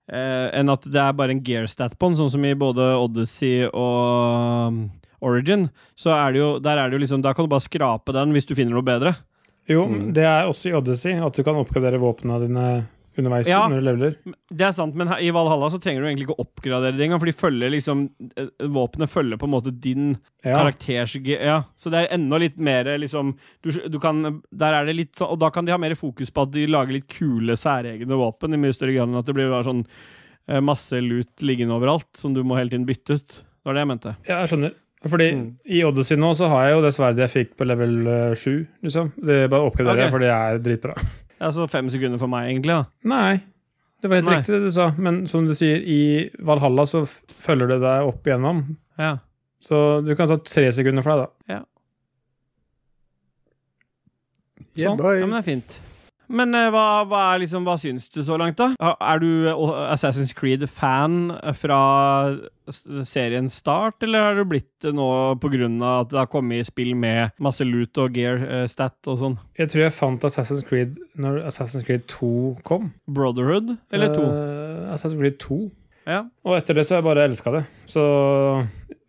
[SPEAKER 2] Eh, enn at det er bare en gearstat på den, sånn som i både Odyssey og um, Origin. Så er det jo, der er det jo liksom, da kan du bare skrape den hvis du finner noe bedre.
[SPEAKER 1] Jo, det er også i Odyssey at du kan oppgradere våpnene dine underveis
[SPEAKER 2] Ja.
[SPEAKER 1] når du leveler.
[SPEAKER 2] Det er sant, men her, i Valhalla så trenger du egentlig ikke å oppgradere det engang, for de følger liksom eh, Våpenet følger på en måte din
[SPEAKER 1] Ja.
[SPEAKER 2] karakters Ja, så det er enda litt mer liksom du, du kan, Der er det litt sånn Og da kan de ha mer fokus på at de lager litt kule, særegne våpen, i mye større grad enn at det blir bare sånn eh, masse lut liggende overalt som du må hele tiden bytte ut. Det var det jeg mente.
[SPEAKER 1] Ja, jeg skjønner. Fordi i Odyssey nå så har jeg jo det sverdet jeg fikk på level eh, 7, liksom. Det er bare å oppgradere,
[SPEAKER 2] Ok.
[SPEAKER 1] for det er dritbra.
[SPEAKER 2] Ja, så fem sekunder for meg, egentlig. da
[SPEAKER 1] Nei. Det var helt
[SPEAKER 2] Nei.
[SPEAKER 1] riktig det du sa, men som du sier, i Valhalla så f- følger det deg opp igjennom.
[SPEAKER 2] Ja.
[SPEAKER 1] Så du kan ta tre sekunder for deg, da.
[SPEAKER 3] Yeah,
[SPEAKER 1] Sånn.
[SPEAKER 3] boy.
[SPEAKER 2] Ja, men det er fint. Men eh, hva, hva, er liksom, hva syns du så langt, da? Er- Er du eh, Assassin's Creed-fan fra s- seriens start, eller har du blitt det nå pga. at det har kommet i spill med masse loot og gear eh, stat og sånn?
[SPEAKER 1] Jeg tror jeg fant Assassin's Creed når Assassin's Creed 2 kom.
[SPEAKER 2] Brotherhood eller to?
[SPEAKER 1] Eh, Assassin's Creed 2.
[SPEAKER 2] Ja.
[SPEAKER 1] Og etter det så har jeg bare elska det. Så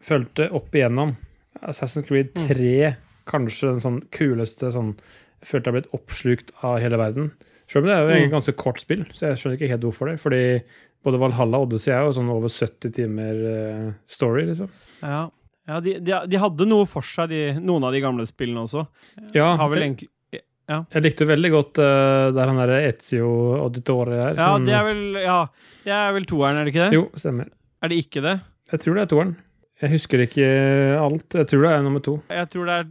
[SPEAKER 1] følte opp igjennom Assassin's Creed
[SPEAKER 2] Mm.
[SPEAKER 1] 3, kanskje den sånn kuleste sånn Jeg følte jeg har blitt oppslukt av hele verden. Selv om det er jo
[SPEAKER 2] Mm.
[SPEAKER 1] egentlig et ganske kort spill, så jeg skjønner ikke helt hvorfor det. Fordi både Valhalla og Odyssey er jo sånn over 70 timer eh, story, liksom.
[SPEAKER 2] ja. ja de, de, de hadde noe for seg, de, noen av de gamle spillene også.
[SPEAKER 1] Ja,
[SPEAKER 2] Har vel
[SPEAKER 1] jeg,
[SPEAKER 2] egentlig
[SPEAKER 1] jeg likte veldig godt eh, der han derre Ezio Auditore er.
[SPEAKER 2] Ja,
[SPEAKER 1] Han-
[SPEAKER 2] det er vel, ja, det er vel toeren, er det ikke det?
[SPEAKER 1] Jo, stemmer.
[SPEAKER 2] Er det ikke det?
[SPEAKER 1] Jeg tror det er toeren. Jeg husker ikke alt. Jeg tror det er nummer to.
[SPEAKER 2] Jeg tror det er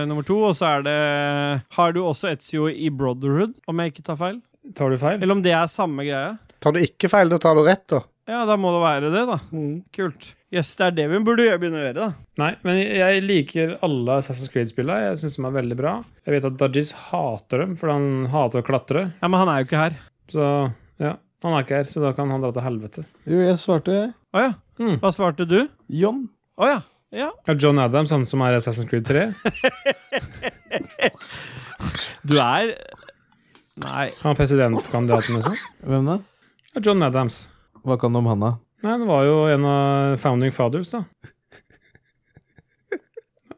[SPEAKER 2] eh, nummer to, og så er det Har du også Etzio i Brotherhood, om jeg ikke tar feil?
[SPEAKER 1] Tar du feil?
[SPEAKER 2] Eller om det er samme greie?
[SPEAKER 3] Tar du ikke feil, da tar du rett, da.
[SPEAKER 2] Ja, da må det være det, da.
[SPEAKER 3] Mm.
[SPEAKER 2] Kult. Jøss, yes, det er det vi burde gjøre, begynne å gjøre, da.
[SPEAKER 1] Nei, men jeg liker alle Assassin's Creed-spillene. Jeg syns de er veldig bra. Jeg vet at Dudgies hater dem, for han hater å klatre.
[SPEAKER 2] Ja, Men han er jo ikke her.
[SPEAKER 1] Så ja, han er ikke her, så da kan han dra til helvete.
[SPEAKER 4] Jo, jeg svarte
[SPEAKER 2] Å ja.
[SPEAKER 1] Mm.
[SPEAKER 2] Hva svarte du?
[SPEAKER 4] John.
[SPEAKER 2] Å ja. Ja.
[SPEAKER 1] Ja, John Adams, han som er i Assassin's Creed 3,
[SPEAKER 2] Du er Nei.
[SPEAKER 1] han er presidentkandidaten og sånn.
[SPEAKER 4] Hvem da?
[SPEAKER 1] Ja, John Adams.
[SPEAKER 4] Hva kan du om han, da?
[SPEAKER 1] Nei, han var jo en av founding fathers, da.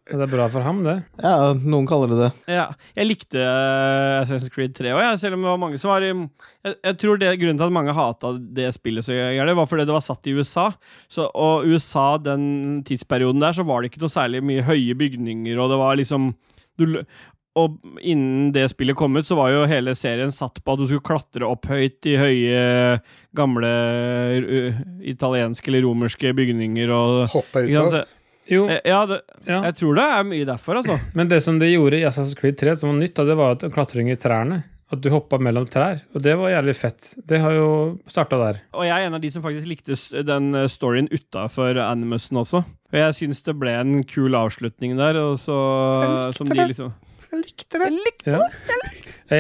[SPEAKER 1] Ja, Det er bra for ham, det.
[SPEAKER 4] Ja, noen kaller det det.
[SPEAKER 2] Ja. Jeg likte eh, Assassin's Creed 3 òg, jeg, selv om det var mange som var i Jeg, jeg tror det grunnen til at mange hata det spillet så gærent, var fordi det var satt i USA. Så, og USA den tidsperioden der, så var det ikke noe særlig mye høye bygninger, og det var liksom du, lø- og innen det spillet kom ut, så var jo hele serien satt på at du skulle klatre opp høyt i høye, gamle ø, italienske eller romerske bygninger og
[SPEAKER 3] Hoppe
[SPEAKER 2] ikke sant?
[SPEAKER 3] ut.
[SPEAKER 2] Så-
[SPEAKER 1] Jo,
[SPEAKER 2] eh, Ja, det,
[SPEAKER 1] ja.
[SPEAKER 2] jeg tror det er mye derfor, altså.
[SPEAKER 1] Men det som de gjorde i Assassin's Creed 3 som var nytt, da, det var at klatring i trærne. At du hoppa mellom trær. Og det var jævlig fett. Det har jo starta der.
[SPEAKER 2] Og jeg er en av de som faktisk likte s- den eh, storyen utafor animusen også. Og jeg syns det ble en kul avslutning der, og så
[SPEAKER 3] Jeg likte
[SPEAKER 2] som de
[SPEAKER 3] det.
[SPEAKER 2] liksom
[SPEAKER 3] Jeg likte det.
[SPEAKER 1] Ja.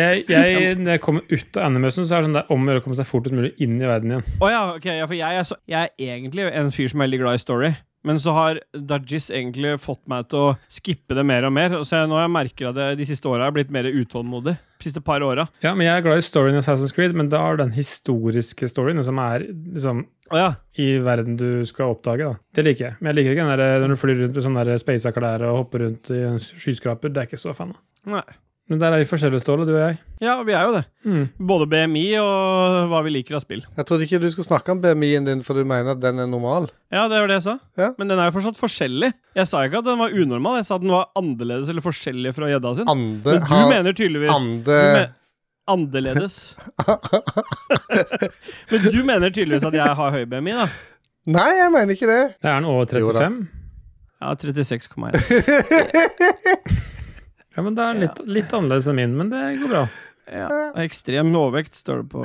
[SPEAKER 1] Jeg, jeg, når jeg kommer ut av animusen, så er det sånn der om å gjøre å komme seg fortest mulig inn i verden igjen.
[SPEAKER 2] Å ja, ok, ja, for jeg er, så, jeg er egentlig en fyr som er veldig glad i story. Men så har Dudgies egentlig fått meg til å skippe det mer og mer. og Så jeg, nå har jeg merker at jeg de siste åra har jeg blitt mer utålmodig. De siste par åra.
[SPEAKER 1] Ja, men Jeg er glad i storyen i Assassin's Creed, men da er det den historiske storyen som er liksom
[SPEAKER 2] Å ja.
[SPEAKER 1] i verden du skal oppdage. da. Det liker jeg. Men jeg liker ikke den der, når du flyr rundt med sånne der speisa klær og hopper rundt i en skyskraper. Det er ikke så fan av.
[SPEAKER 2] Nei.
[SPEAKER 1] Men der er vi forskjellige, Ståle, du og jeg.
[SPEAKER 2] Ja, vi er jo det.
[SPEAKER 1] Mm.
[SPEAKER 2] Både BMI og hva vi liker av spill.
[SPEAKER 3] Jeg trodde ikke du skulle snakke om BMI-en din, for du mener at den er normal.
[SPEAKER 2] Ja, det var det jeg sa.
[SPEAKER 3] Ja.
[SPEAKER 2] Men den er jo fortsatt forskjellig. Jeg sa ikke at den var unormal, jeg sa at den var annerledes eller forskjellig fra gjedda sin.
[SPEAKER 3] Ande
[SPEAKER 2] Men du
[SPEAKER 3] har
[SPEAKER 2] mener tydeligvis
[SPEAKER 3] Ande
[SPEAKER 2] du me- Annerledes. Men du mener tydeligvis at jeg har høy BMI, da.
[SPEAKER 3] Nei, jeg mener ikke det.
[SPEAKER 1] Det er den over
[SPEAKER 3] Jo da.
[SPEAKER 1] 35.
[SPEAKER 2] Ja, 36,1.
[SPEAKER 1] Ja, men Det er litt, litt annerledes enn min, men det går bra.
[SPEAKER 2] Ja. Ekstrem overvekt står det på.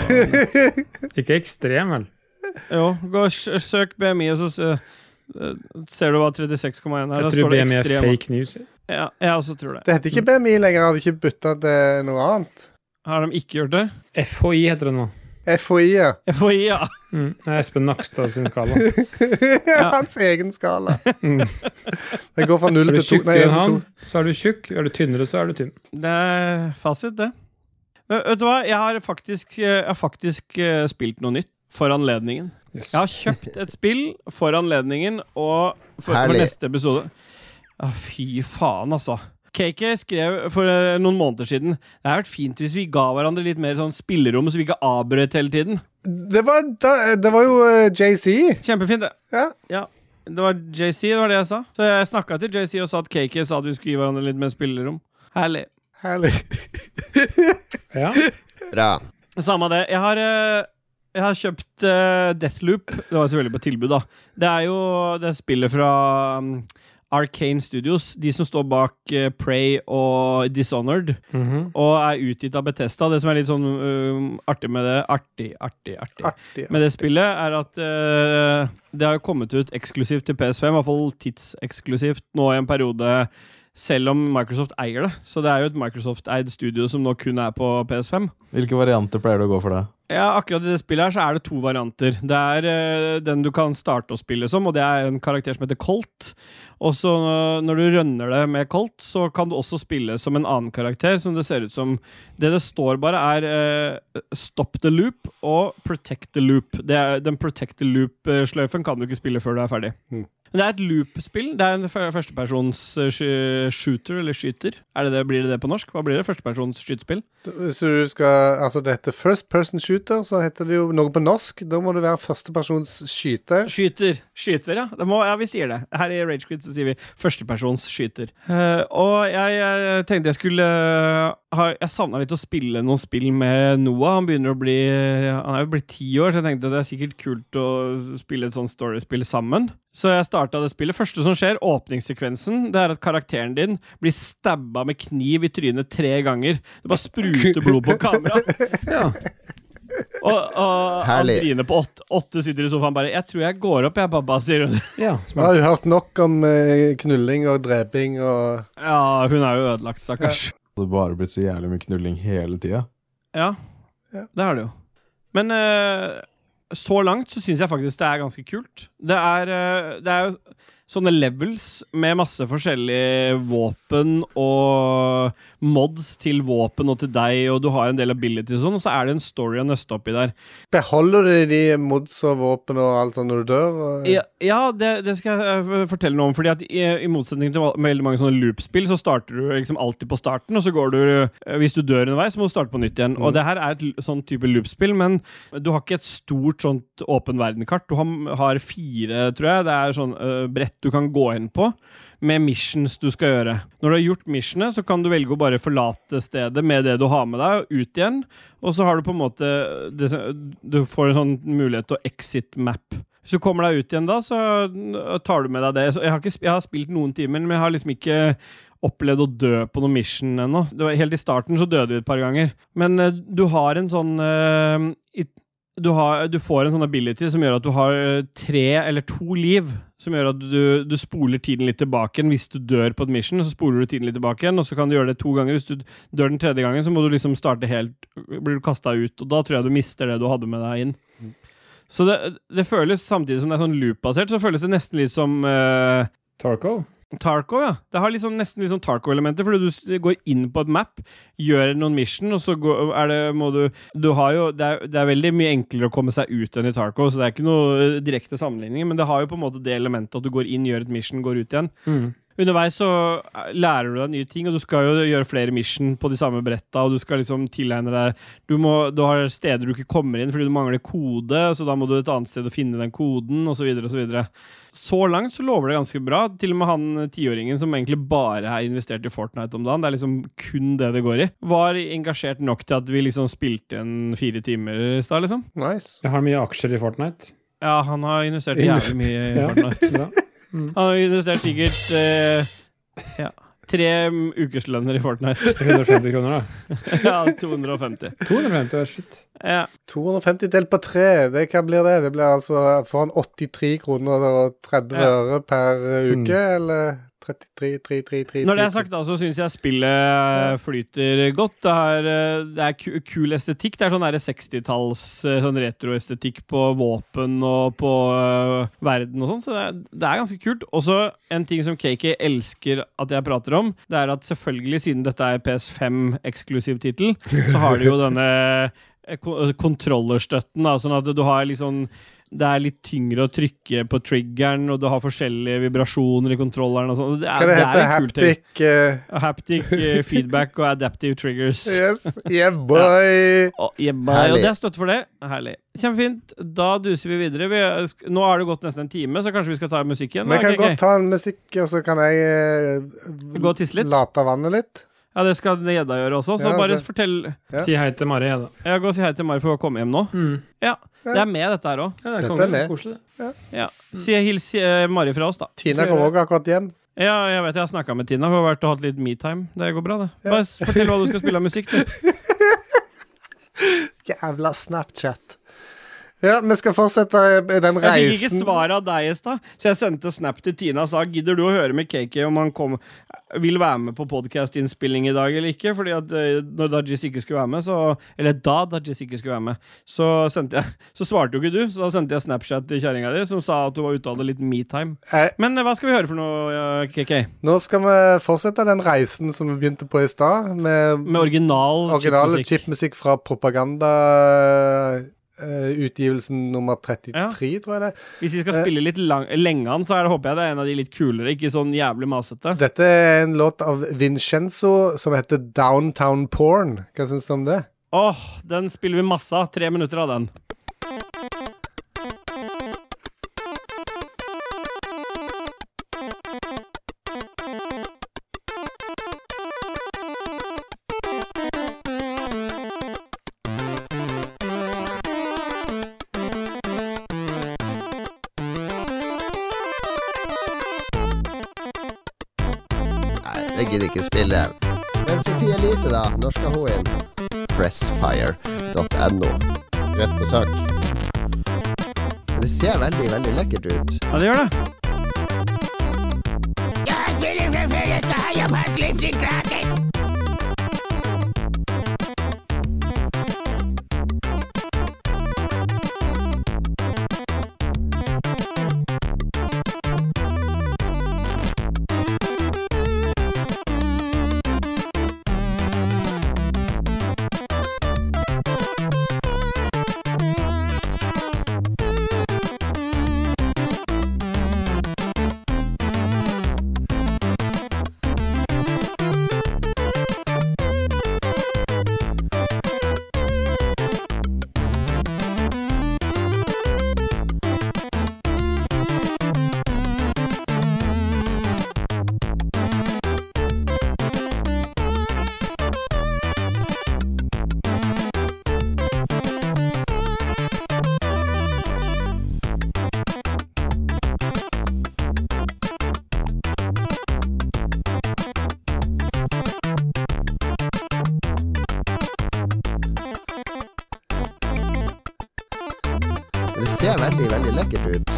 [SPEAKER 1] Ikke ekstrem, vel.
[SPEAKER 2] Jo, gå og s- søk BMI, og så se- eh, ser du hva 36,1 er. Da
[SPEAKER 1] Jeg
[SPEAKER 2] står
[SPEAKER 1] tror
[SPEAKER 2] det
[SPEAKER 1] BMI er
[SPEAKER 2] ekstrem.
[SPEAKER 1] fake news.
[SPEAKER 2] Ja, jeg også tror det.
[SPEAKER 3] Det heter ikke BMI lenger. Hadde ikke bytta til noe annet.
[SPEAKER 2] Har de ikke gjort det?
[SPEAKER 1] FHI heter det nå.
[SPEAKER 3] FHI, ja. [LAUGHS]
[SPEAKER 2] FHI, ja.
[SPEAKER 1] Mm. Det er Espen Nakstad sin skala.
[SPEAKER 3] Hans egen skala. Den går fra null
[SPEAKER 1] Er du
[SPEAKER 3] til to.
[SPEAKER 1] tjukkere
[SPEAKER 3] Nei,
[SPEAKER 1] enn
[SPEAKER 3] en til
[SPEAKER 1] han,
[SPEAKER 3] to.
[SPEAKER 1] så er du tjukk. Er du tynnere, så er du tynn.
[SPEAKER 2] Det er fasit, det. Men vet du hva? Jeg har faktisk, jeg har faktisk eh, spilt noe nytt for anledningen.
[SPEAKER 1] Yes.
[SPEAKER 2] Jeg har kjøpt et spill for anledningen og for, for
[SPEAKER 5] Herlig.
[SPEAKER 2] neste episode. Ah, fy faen, altså. KK skrev for eh, noen måneder siden Det hadde vært fint hvis vi ga hverandre litt mer sånn spillerom, så vi ikke avbrøt hele tiden.
[SPEAKER 3] Det var, da, det var jo eh, JC.
[SPEAKER 2] Kjempefint, det.
[SPEAKER 3] Ja.
[SPEAKER 2] Det var JC, det var det jeg sa. Så jeg snakka til JC og sa at KK sa at vi skulle gi hverandre litt mer spillerom. Herlig.
[SPEAKER 3] Herlig.
[SPEAKER 1] Ja.
[SPEAKER 5] Bra.
[SPEAKER 2] Samme det. Jeg har, eh, jeg har kjøpt eh, Deathloop. Det var selvfølgelig på tilbud, da. Det er jo det spillet fra um, Arcane Studios, de som står bak eh, Prey og Dishonored,
[SPEAKER 1] Mhm.
[SPEAKER 2] og er utgitt av Bethesda. Det som er litt sånn um, artig med det Artig, artig, artig.
[SPEAKER 3] Artig.
[SPEAKER 2] med det spillet, er at eh, det har jo kommet ut eksklusivt til PS5, i hvert fall tidseksklusivt nå i en periode, selv om Microsoft eier det. Så det er jo et Microsoft-eid studio som nå kun er på PS5.
[SPEAKER 4] Hvilke varianter pleier du å gå for det?
[SPEAKER 2] Ja, akkurat i det spillet her så er det to varianter. Det er eh, den du kan starte å spille som, og det er en karakter som heter Colt. Og så eh, når du rønner det med Colt, så kan du også spille som en annen karakter, som det ser ut som. Det det står bare er eh, Stop the loop og Protect the loop. Det er, den Protect the loop-sløyfen kan du ikke spille før du er ferdig.
[SPEAKER 3] Mm.
[SPEAKER 2] Men Det er et loop-spill. Det er en fø- førstepersons eh, sky- shooter, eller skyter. Er det det, blir det det på norsk? Hva blir det? Førstepersons skytespill?
[SPEAKER 3] Hvis du skal Altså, det heter First Person Shooter, så heter det jo noe på norsk. Da må du være førstepersons skyter.
[SPEAKER 2] Skyter. Skyter, ja. Det må, ja. Vi sier det. Her i Ragequid så sier vi førstepersons skyter. Eh, og jeg, jeg tenkte jeg skulle eh, ha, Jeg savna litt å spille noen spill med Noah. Han begynner å bli Han er jo blitt ti år, så jeg tenkte det er sikkert kult å spille et sånt storiespill sammen. Så jeg starta det spillet. Første som skjer, åpningssekvensen, det er at karakteren din blir stabba med kniv i trynet tre ganger. Det bare spruter blod på kamera.
[SPEAKER 1] ja.
[SPEAKER 2] Og, og
[SPEAKER 5] Herlig.
[SPEAKER 2] Andrine på åtte, åtte sitter i sofaen bare 'Jeg tror jeg går opp, jeg, pappa', sier hun.
[SPEAKER 1] ja.
[SPEAKER 3] Vi har jo hørt nok om eh, knulling og dreping og
[SPEAKER 2] Ja, hun er jo ødelagt, stakkars.
[SPEAKER 4] Det har bare blitt så jævlig mye knulling hele tida.
[SPEAKER 2] Ja,
[SPEAKER 3] Ja.
[SPEAKER 2] det har det jo. Men eh, så langt så syns jeg faktisk det er ganske kult. Det er, eh, det er jo sånne levels med masse forskjellige våpen og mods til våpen og til deg, og du har en del abilities og sånn, og så er det en story å nøste opp i der.
[SPEAKER 3] Beholder du de mods og våpen og alt sånt når du dør? Og,
[SPEAKER 2] Ja, ja det, det skal jeg eh, fortelle noe om. Fordi at eh, I, i motsetning til veldig mange sånne loop-spill, så starter du liksom alltid på starten, og så går du eh, Hvis du dør underveis, så må du starte på nytt igjen. Og det her er et l- sånn type loop-spill, men du har ikke et stort sånt åpen verden-kart. Du har, har fire, tror jeg. Det er sånn eh, brett du kan gå inn på. Med missions du skal gjøre. Når du har gjort missionet, så kan du velge å bare forlate stedet med det du har med deg, og ut igjen. Og så har du på en måte det, Du får en sånn mulighet til å exit map. Hvis du kommer deg ut igjen da, så øh, tar du med deg det. Så jeg, har ikke, sp- jeg har spilt noen timer, men jeg har liksom ikke opplevd å dø på noen mission ennå. Det var- Helt i starten så døde vi et par ganger. Men eh, du har en sånn eh, it- du, har, du får en sånn ability som gjør at du har eh, tre eller to liv. Som gjør at du, du spoler tiden litt tilbake igjen. Hvis du dør på et mission, så spoler du tiden litt tilbake igjen, og så kan du gjøre det to ganger. Hvis du dør den tredje gangen, så må du liksom starte helt Blir du kasta ut, og da tror jeg du mister det du hadde med deg inn. Så det, det føles, samtidig som det er sånn loop-basert, så føles det nesten litt som eh,
[SPEAKER 1] Tarkov?
[SPEAKER 2] Tarko, ja. Det har liksom nesten litt sånn Tarko-elementer, fordi du s- går inn på et map, gjør noen mission, og så går, er det, må du Du har jo det er, det er veldig mye enklere å komme seg ut enn i Tarko, så det er ikke noe eh, direkte sammenligning, men det har jo på en måte det elementet at du går inn, gjør et mission, går ut igjen.
[SPEAKER 1] Mhm.
[SPEAKER 2] Underveis så eh, lærer du deg nye ting, og du skal jo gjøre flere mission på de samme bretta, og du skal liksom tilegne deg Du, må, du har steder du ikke kommer inn fordi du mangler kode, så da må du et annet sted og finne den koden, osv., osv. Så langt så lover det ganske bra. Til og med han eh, tiåringen som egentlig bare har investert i Fortnite om dagen, det er liksom kun det det går i, var engasjert nok til at vi liksom spilte igjen fire timer i stad, liksom.
[SPEAKER 3] Nice.
[SPEAKER 1] Jeg har mye aksjer i Fortnite.
[SPEAKER 2] Ja, han har investert jævlig mye i
[SPEAKER 1] Ja.
[SPEAKER 2] Fortnite.
[SPEAKER 1] Ja.
[SPEAKER 2] Han har investert sikkert eh, ja, tre mm, ukeslønner i
[SPEAKER 1] [LAUGHS]
[SPEAKER 2] Fortnite.
[SPEAKER 1] 150 kroner, da.
[SPEAKER 2] ja, 250.
[SPEAKER 1] 250, shit.
[SPEAKER 2] Ja.
[SPEAKER 3] 250 delt på tre, det, hva blir det? Det blir altså Får han 83 kroner og 30
[SPEAKER 2] Ja.
[SPEAKER 3] øre per eh,
[SPEAKER 1] Mm.
[SPEAKER 3] uke, eller 33, 3, 3, 3
[SPEAKER 2] Når det er sagt, da, så syns jeg spillet eh, flyter godt. Det, har, eh, det er ku- kul estetikk. Det er sånn der 60-talls eh, sånn retroestetikk på våpen og på eh, verden og sånn, så det er, det er ganske kult. Også en ting som KK elsker at jeg prater om, det er at selvfølgelig, siden dette er PS5-eksklusiv tittel, altså, så har de jo denne eh, ko- kontrollerstøtten, da, sånn at du har liksom Det er litt tyngre å trykke på triggeren, og du har forskjellige vibrasjoner i kontrolleren og sånn. Det,
[SPEAKER 3] Hva
[SPEAKER 2] er-
[SPEAKER 3] det
[SPEAKER 2] det er
[SPEAKER 3] heter
[SPEAKER 2] en kul ting.
[SPEAKER 3] haptic eh,
[SPEAKER 2] Haptic
[SPEAKER 3] [LAUGHS]
[SPEAKER 2] eh, feedback og adaptive triggers.
[SPEAKER 3] Yes, yeah boy!
[SPEAKER 2] Å, jebba,
[SPEAKER 5] Herlig.
[SPEAKER 2] og det er støtte for det. Herlig. Kjempefint. Da duser vi videre. Vi, sk- nå har det gått nesten en time, så kanskje vi skal ta musikk igjen?
[SPEAKER 3] Vi
[SPEAKER 2] da?
[SPEAKER 3] kan
[SPEAKER 2] Ok, ok.
[SPEAKER 3] godt ta en musikk, og så kan jeg eh,
[SPEAKER 2] Gå og tisse litt?
[SPEAKER 3] late vannet litt.
[SPEAKER 2] Ja, det skal Jedda gjøre også, så
[SPEAKER 3] Ja,
[SPEAKER 2] bare
[SPEAKER 3] altså.
[SPEAKER 2] fortell
[SPEAKER 3] Ja.
[SPEAKER 1] Si hei til Mari, jeg, da.
[SPEAKER 2] Jeg går og si hei til Mari for å komme hjem nå.
[SPEAKER 1] Mm.
[SPEAKER 2] Ja, det er med dette her òg.
[SPEAKER 1] Ja, det
[SPEAKER 3] Dette
[SPEAKER 1] er
[SPEAKER 3] er
[SPEAKER 1] konge.
[SPEAKER 3] med.
[SPEAKER 1] Koselig. det.
[SPEAKER 2] Ja. Si hils eh, Mari fra oss, da.
[SPEAKER 3] Tina kom òg akkurat hjem.
[SPEAKER 2] Ja, jeg vet jeg har snakka med Tina. Hun har vært og hatt litt metime. Det går bra, det. Bare s- fortell hva du skal spille av musikk, du.
[SPEAKER 3] Jævla Snapchat. Ja, vi skal fortsette eh, den
[SPEAKER 2] Jeg fikk ikke
[SPEAKER 3] reisen.
[SPEAKER 2] svar av deg i stad, så jeg sendte snap til Tina og sa gidder du å høre med KK om han kom, vil være med på podkastinnspilling i dag eller ikke. Fordi at eh, når Dajis ikke skulle være med, så Eller da Dajis ikke skulle være med, så, sendte jeg, [LAUGHS] så svarte jo ikke du. Så da sendte jeg Snapchat til kjerringa di, som sa at du var ute og hadde litt metime.
[SPEAKER 3] Eh,
[SPEAKER 2] Men eh, hva skal vi høre for noe, eh, KK?
[SPEAKER 3] Nå skal vi fortsette den reisen som vi begynte på i stad, med,
[SPEAKER 2] Med original
[SPEAKER 3] original
[SPEAKER 2] chipmusikk?
[SPEAKER 3] chipmusikk fra propagandautgivelsen nummer 33,
[SPEAKER 2] Ja.
[SPEAKER 3] tror jeg det.
[SPEAKER 2] Hvis vi skal
[SPEAKER 3] Eh.
[SPEAKER 2] spille litt lang, lenge an, så er det, håper jeg det er en av de litt kulere, ikke sånn jævlig masete.
[SPEAKER 3] Dette er en låt av Vincenzo som heter Downtown Porn. Hva syns du om det?
[SPEAKER 2] Åh, den spiller vi masse av. Tre minutter av den.
[SPEAKER 5] Nei, det gidder ikke spille. Men Sofie Elise, da? Når skal hun inn? Pressfire.no. Rett på sak. Det ser veldig, veldig lekkert ut.
[SPEAKER 2] Ja, det gjør det.
[SPEAKER 10] Jeg spiller selvfølgelig skal ha japansk lipstick gratis!
[SPEAKER 5] Det ser veldig, veldig lekkert ut.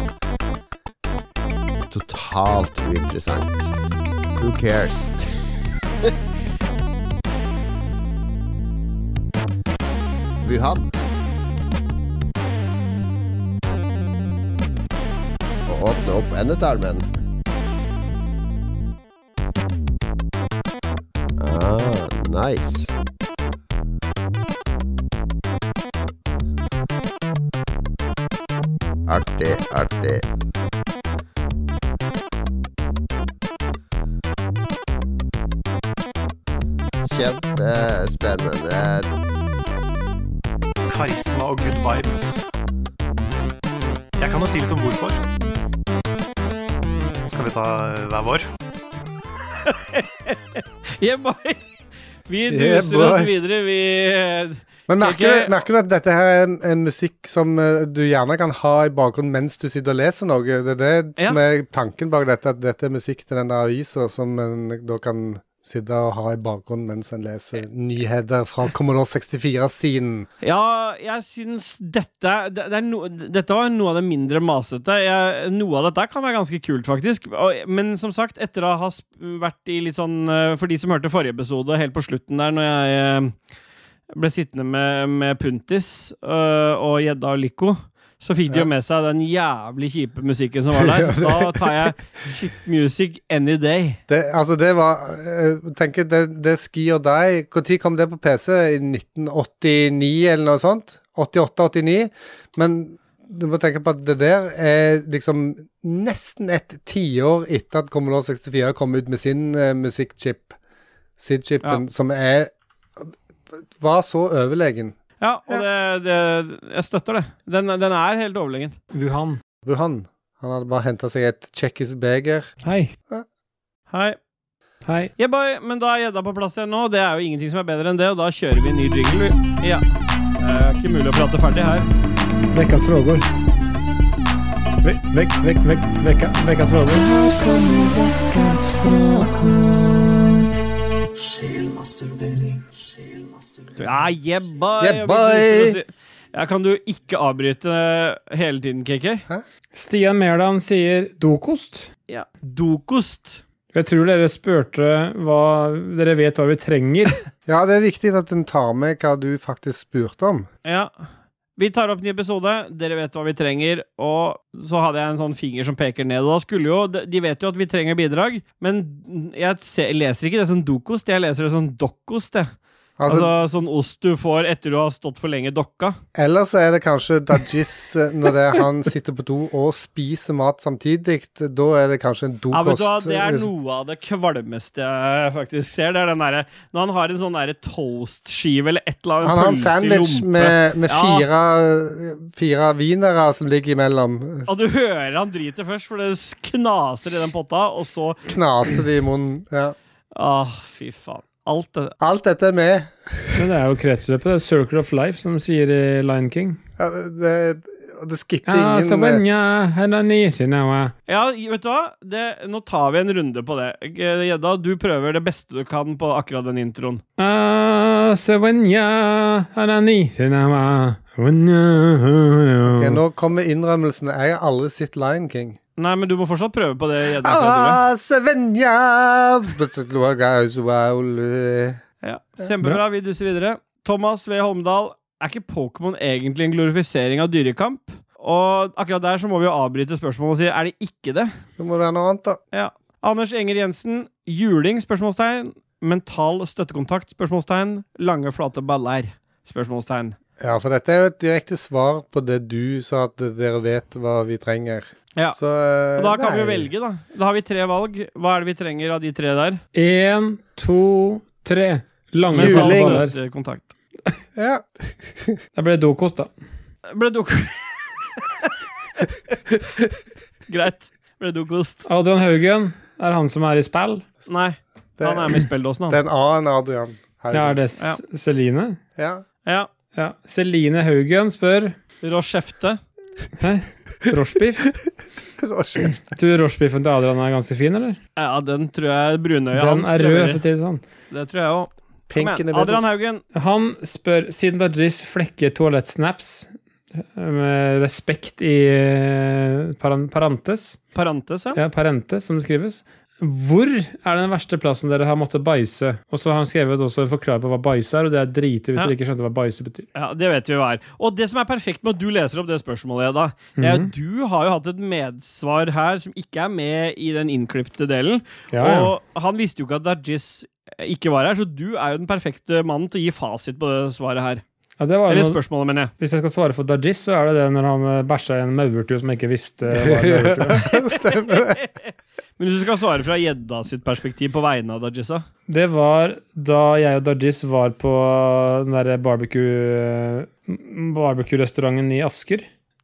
[SPEAKER 5] Totalt uinteressant. Who cares? [LAUGHS] Wuhan. Å åpne opp endetarmen. Ah, nice. Artig, artig. Kjempespennende.
[SPEAKER 7] Karisma og good vibes. Jeg kan jo si litt om hvorfor. Skal vi ta eh, hver vår?
[SPEAKER 2] Yeah, boy. [LAUGHS] Vi duser
[SPEAKER 3] Yeah, boy.
[SPEAKER 2] oss videre. Vi eh,
[SPEAKER 3] Men merker,
[SPEAKER 2] Jeg-
[SPEAKER 3] du, merker du at dette her er en, en musikk som eh, du gjerne kan ha i bakgrunnen mens du sitter og leser noe? Det er det
[SPEAKER 2] Ja.
[SPEAKER 3] som er tanken bak dette, at dette er musikk til denne avisa som en da kan sitte og ha i bakgrunnen mens en leser nyheter fra Commodore 64-siden.
[SPEAKER 2] Ja, jeg syns dette det, det er no, Dette var noe av det mindre masete. Jeg, noe av dette kan være ganske kult, faktisk. Og, men som sagt, etter å ha sp vært i litt sånn eh, For de som hørte forrige episode, helt på slutten der, når jeg eh, ble sittende med, med Puntis eh, og Gjedda og Lico så fikk de jo med seg den jævlig kjipe musikken som var der. Da tar jeg chip music any day.
[SPEAKER 3] Det, altså, det var Jeg tenker, det, det er Ski or Die Når kom det på PC? I 1989, eller noe sånt? 88-89? Men du må tenke på at det der er liksom nesten et tiår etter at Commodore 64 kom ut med sin eh, musikkchip, SID-chipen, som er var så overlegen.
[SPEAKER 2] Ja, og det, det, jeg støtter det. Den, den er helt overlegen.
[SPEAKER 1] Wuhan.
[SPEAKER 3] Wuhan. Han hadde bare henta seg et tsjekkisk beger.
[SPEAKER 1] Hei.
[SPEAKER 2] Hei.
[SPEAKER 1] Hei.
[SPEAKER 2] Yeah, boy. Men da er gjedda på plass igjen nå. Det er jo ingenting som er bedre enn det, og da kjører vi en ny jingle. vi. Ja. Det er ikke mulig å prate ferdig her.
[SPEAKER 1] Vekkas frågor. Vekk, vekk, vekk, vekk, vekka, vekkas frågor.
[SPEAKER 2] Ja, yeah, boy.
[SPEAKER 3] Yeah,
[SPEAKER 2] Jeg
[SPEAKER 3] boy.
[SPEAKER 2] brukte lyst til å si- Ja, kan du ikke avbryte hele tiden, KK?
[SPEAKER 1] Stian Merdal sier dokost.
[SPEAKER 2] Ja. Dokost.
[SPEAKER 1] Jeg tror dere spurte hva Dere vet hva vi trenger.
[SPEAKER 3] Ja, det er viktig at en tar med hva du faktisk spurte om.
[SPEAKER 2] Ja. Vi tar opp ny episode. Dere vet hva vi trenger. Og så hadde jeg en sånn finger som peker ned. Og da skulle jo De de vet jo at vi trenger bidrag, men jeg se- leser ikke det som dokost. Jeg leser det som dokkost, jeg.
[SPEAKER 3] Altså,
[SPEAKER 2] Altså, sånn ost du får etter du har stått for lenge dokka.
[SPEAKER 3] Eller så er det kanskje Dajis eh, når det er han sitter på do og spiser mat samtidig. Da er det kanskje en
[SPEAKER 2] Ja, vet du
[SPEAKER 3] dokost.
[SPEAKER 2] hva, Det er
[SPEAKER 3] eh,
[SPEAKER 2] noe av det kvalmeste jeg faktisk ser. Det er den derre Når han har en sånn derre toastskive eller et eller annet
[SPEAKER 3] han har en
[SPEAKER 2] pølse i
[SPEAKER 3] sandwich
[SPEAKER 2] lompe.
[SPEAKER 3] med, med
[SPEAKER 2] Ja.
[SPEAKER 3] fire, eh, fire wienere som ligger imellom.
[SPEAKER 2] Og du hører han driter først, for det knaser i den potta, og så
[SPEAKER 3] Knaser de i munnen. Ja.
[SPEAKER 2] Åh, fy faen. Alt det
[SPEAKER 3] Alt dette er med.
[SPEAKER 1] Men det er jo kretsløpet. Det er Circle of Life, som de sier i Lion King.
[SPEAKER 3] Ja, det, og det skipper
[SPEAKER 1] Ja, så
[SPEAKER 3] ingen eh,
[SPEAKER 1] vanja, henani, sinawa.
[SPEAKER 2] Ja, vet du hva? Det, nå tar vi en runde på det. Eh, Gjedda, du prøver det beste du kan på akkurat den introen.
[SPEAKER 1] Ah, så vanja, henani, sinawa. Vanja.
[SPEAKER 3] Ok, Nå kommer innrømmelsen. Jeg har aldri sett Lion King.
[SPEAKER 2] Nei, men du må fortsatt prøve på det. Gjedda.
[SPEAKER 3] Ah, Sevenja Nei,
[SPEAKER 2] Ja, kjempebra. Vi duser videre. Thomas V. Holmdal, er ikke Pokémon egentlig en glorifisering av dyrekamp? Og akkurat der så må vi jo avbryte spørsmålet og si er det ikke det?
[SPEAKER 3] det må være noe annet, da.
[SPEAKER 2] Ja. Anders Enger Jensen, juling? spørsmålstegn. Mental støttekontakt? spørsmålstegn. Lange, flate baller? spørsmålstegn.
[SPEAKER 3] Ja, for dette er jo et direkte svar på det du sa, at dere vet hva vi trenger.
[SPEAKER 2] Ja.
[SPEAKER 3] Så eh,
[SPEAKER 2] Og da kan vi jo
[SPEAKER 3] nei.
[SPEAKER 2] velge, da. Da har vi tre valg. Hva er det vi trenger av de tre der?
[SPEAKER 1] En, to, tre. Lange
[SPEAKER 2] Mental
[SPEAKER 3] Juling.
[SPEAKER 1] baller.
[SPEAKER 2] støttekontakt.
[SPEAKER 3] Ja.
[SPEAKER 1] Det ble dokost, da.
[SPEAKER 2] Ble dok... [LAUGHS] Greit. Ble dokost.
[SPEAKER 1] Adrian Haugen er han som er i spill.
[SPEAKER 2] Nei,
[SPEAKER 3] Det,
[SPEAKER 2] han er med i spilledåsen,
[SPEAKER 3] det
[SPEAKER 2] han.
[SPEAKER 3] er en annen Adrian. Her.
[SPEAKER 1] Ja, er det S- Celine?
[SPEAKER 3] Ja. [LAUGHS]
[SPEAKER 2] Ja.
[SPEAKER 1] Ja. Celine Haugen spør
[SPEAKER 2] Rochefte.
[SPEAKER 1] Hæ? Rochebiff?
[SPEAKER 3] [LAUGHS] Å, shit.
[SPEAKER 1] Du, rochebiffen til Adrian er ganske fin, eller?
[SPEAKER 2] Ja, den tror jeg brunøya
[SPEAKER 1] Den
[SPEAKER 2] hans
[SPEAKER 1] er rød, for å
[SPEAKER 2] leverer.
[SPEAKER 1] si det sånn.
[SPEAKER 2] Det tror jeg òg.
[SPEAKER 3] Pinken er bedre.
[SPEAKER 2] Adrian Haugen.
[SPEAKER 1] Han spør siden Dajis flekker toalettsnaps eh, med respekt i eh, paran- parentes,
[SPEAKER 2] Parentes,
[SPEAKER 1] ja,
[SPEAKER 2] ja.
[SPEAKER 1] parentes som det skrives. Hvor er den verste plassen dere har måttet bæsje? Og så har han skrevet også en forklaring på hva bæsje er, og det er drite hvis
[SPEAKER 2] Ja.
[SPEAKER 1] dere ikke skjønte hva bæsje betyr.
[SPEAKER 2] ja. Det vet vi hva er. Og det som er perfekt med at du leser opp det spørsmålet, Edda, det
[SPEAKER 1] Mhm.
[SPEAKER 2] er at du har jo hatt et medsvar her som ikke er med i den innklipte delen.
[SPEAKER 1] Ja, ja.
[SPEAKER 2] Og han visste jo ikke at Dajis ikke var her, så du er jo den perfekte mannen til å gi fasit på det svaret her.
[SPEAKER 1] ja det var
[SPEAKER 2] Eller
[SPEAKER 1] jo noe,
[SPEAKER 2] spørsmålet, mener jeg.
[SPEAKER 1] hvis jeg skal svare for Dajis, så er det det når han eh, bæsja i en maurtue som jeg ikke visste [LAUGHS] var en maurtue.
[SPEAKER 3] Stemmer det.
[SPEAKER 2] Men hvis du skal svare fra gjedda sitt perspektiv på vegne av Dajisa
[SPEAKER 1] Det var da jeg og Dajis var på den derre barbecue eh, barbecue-restauranten i Asker.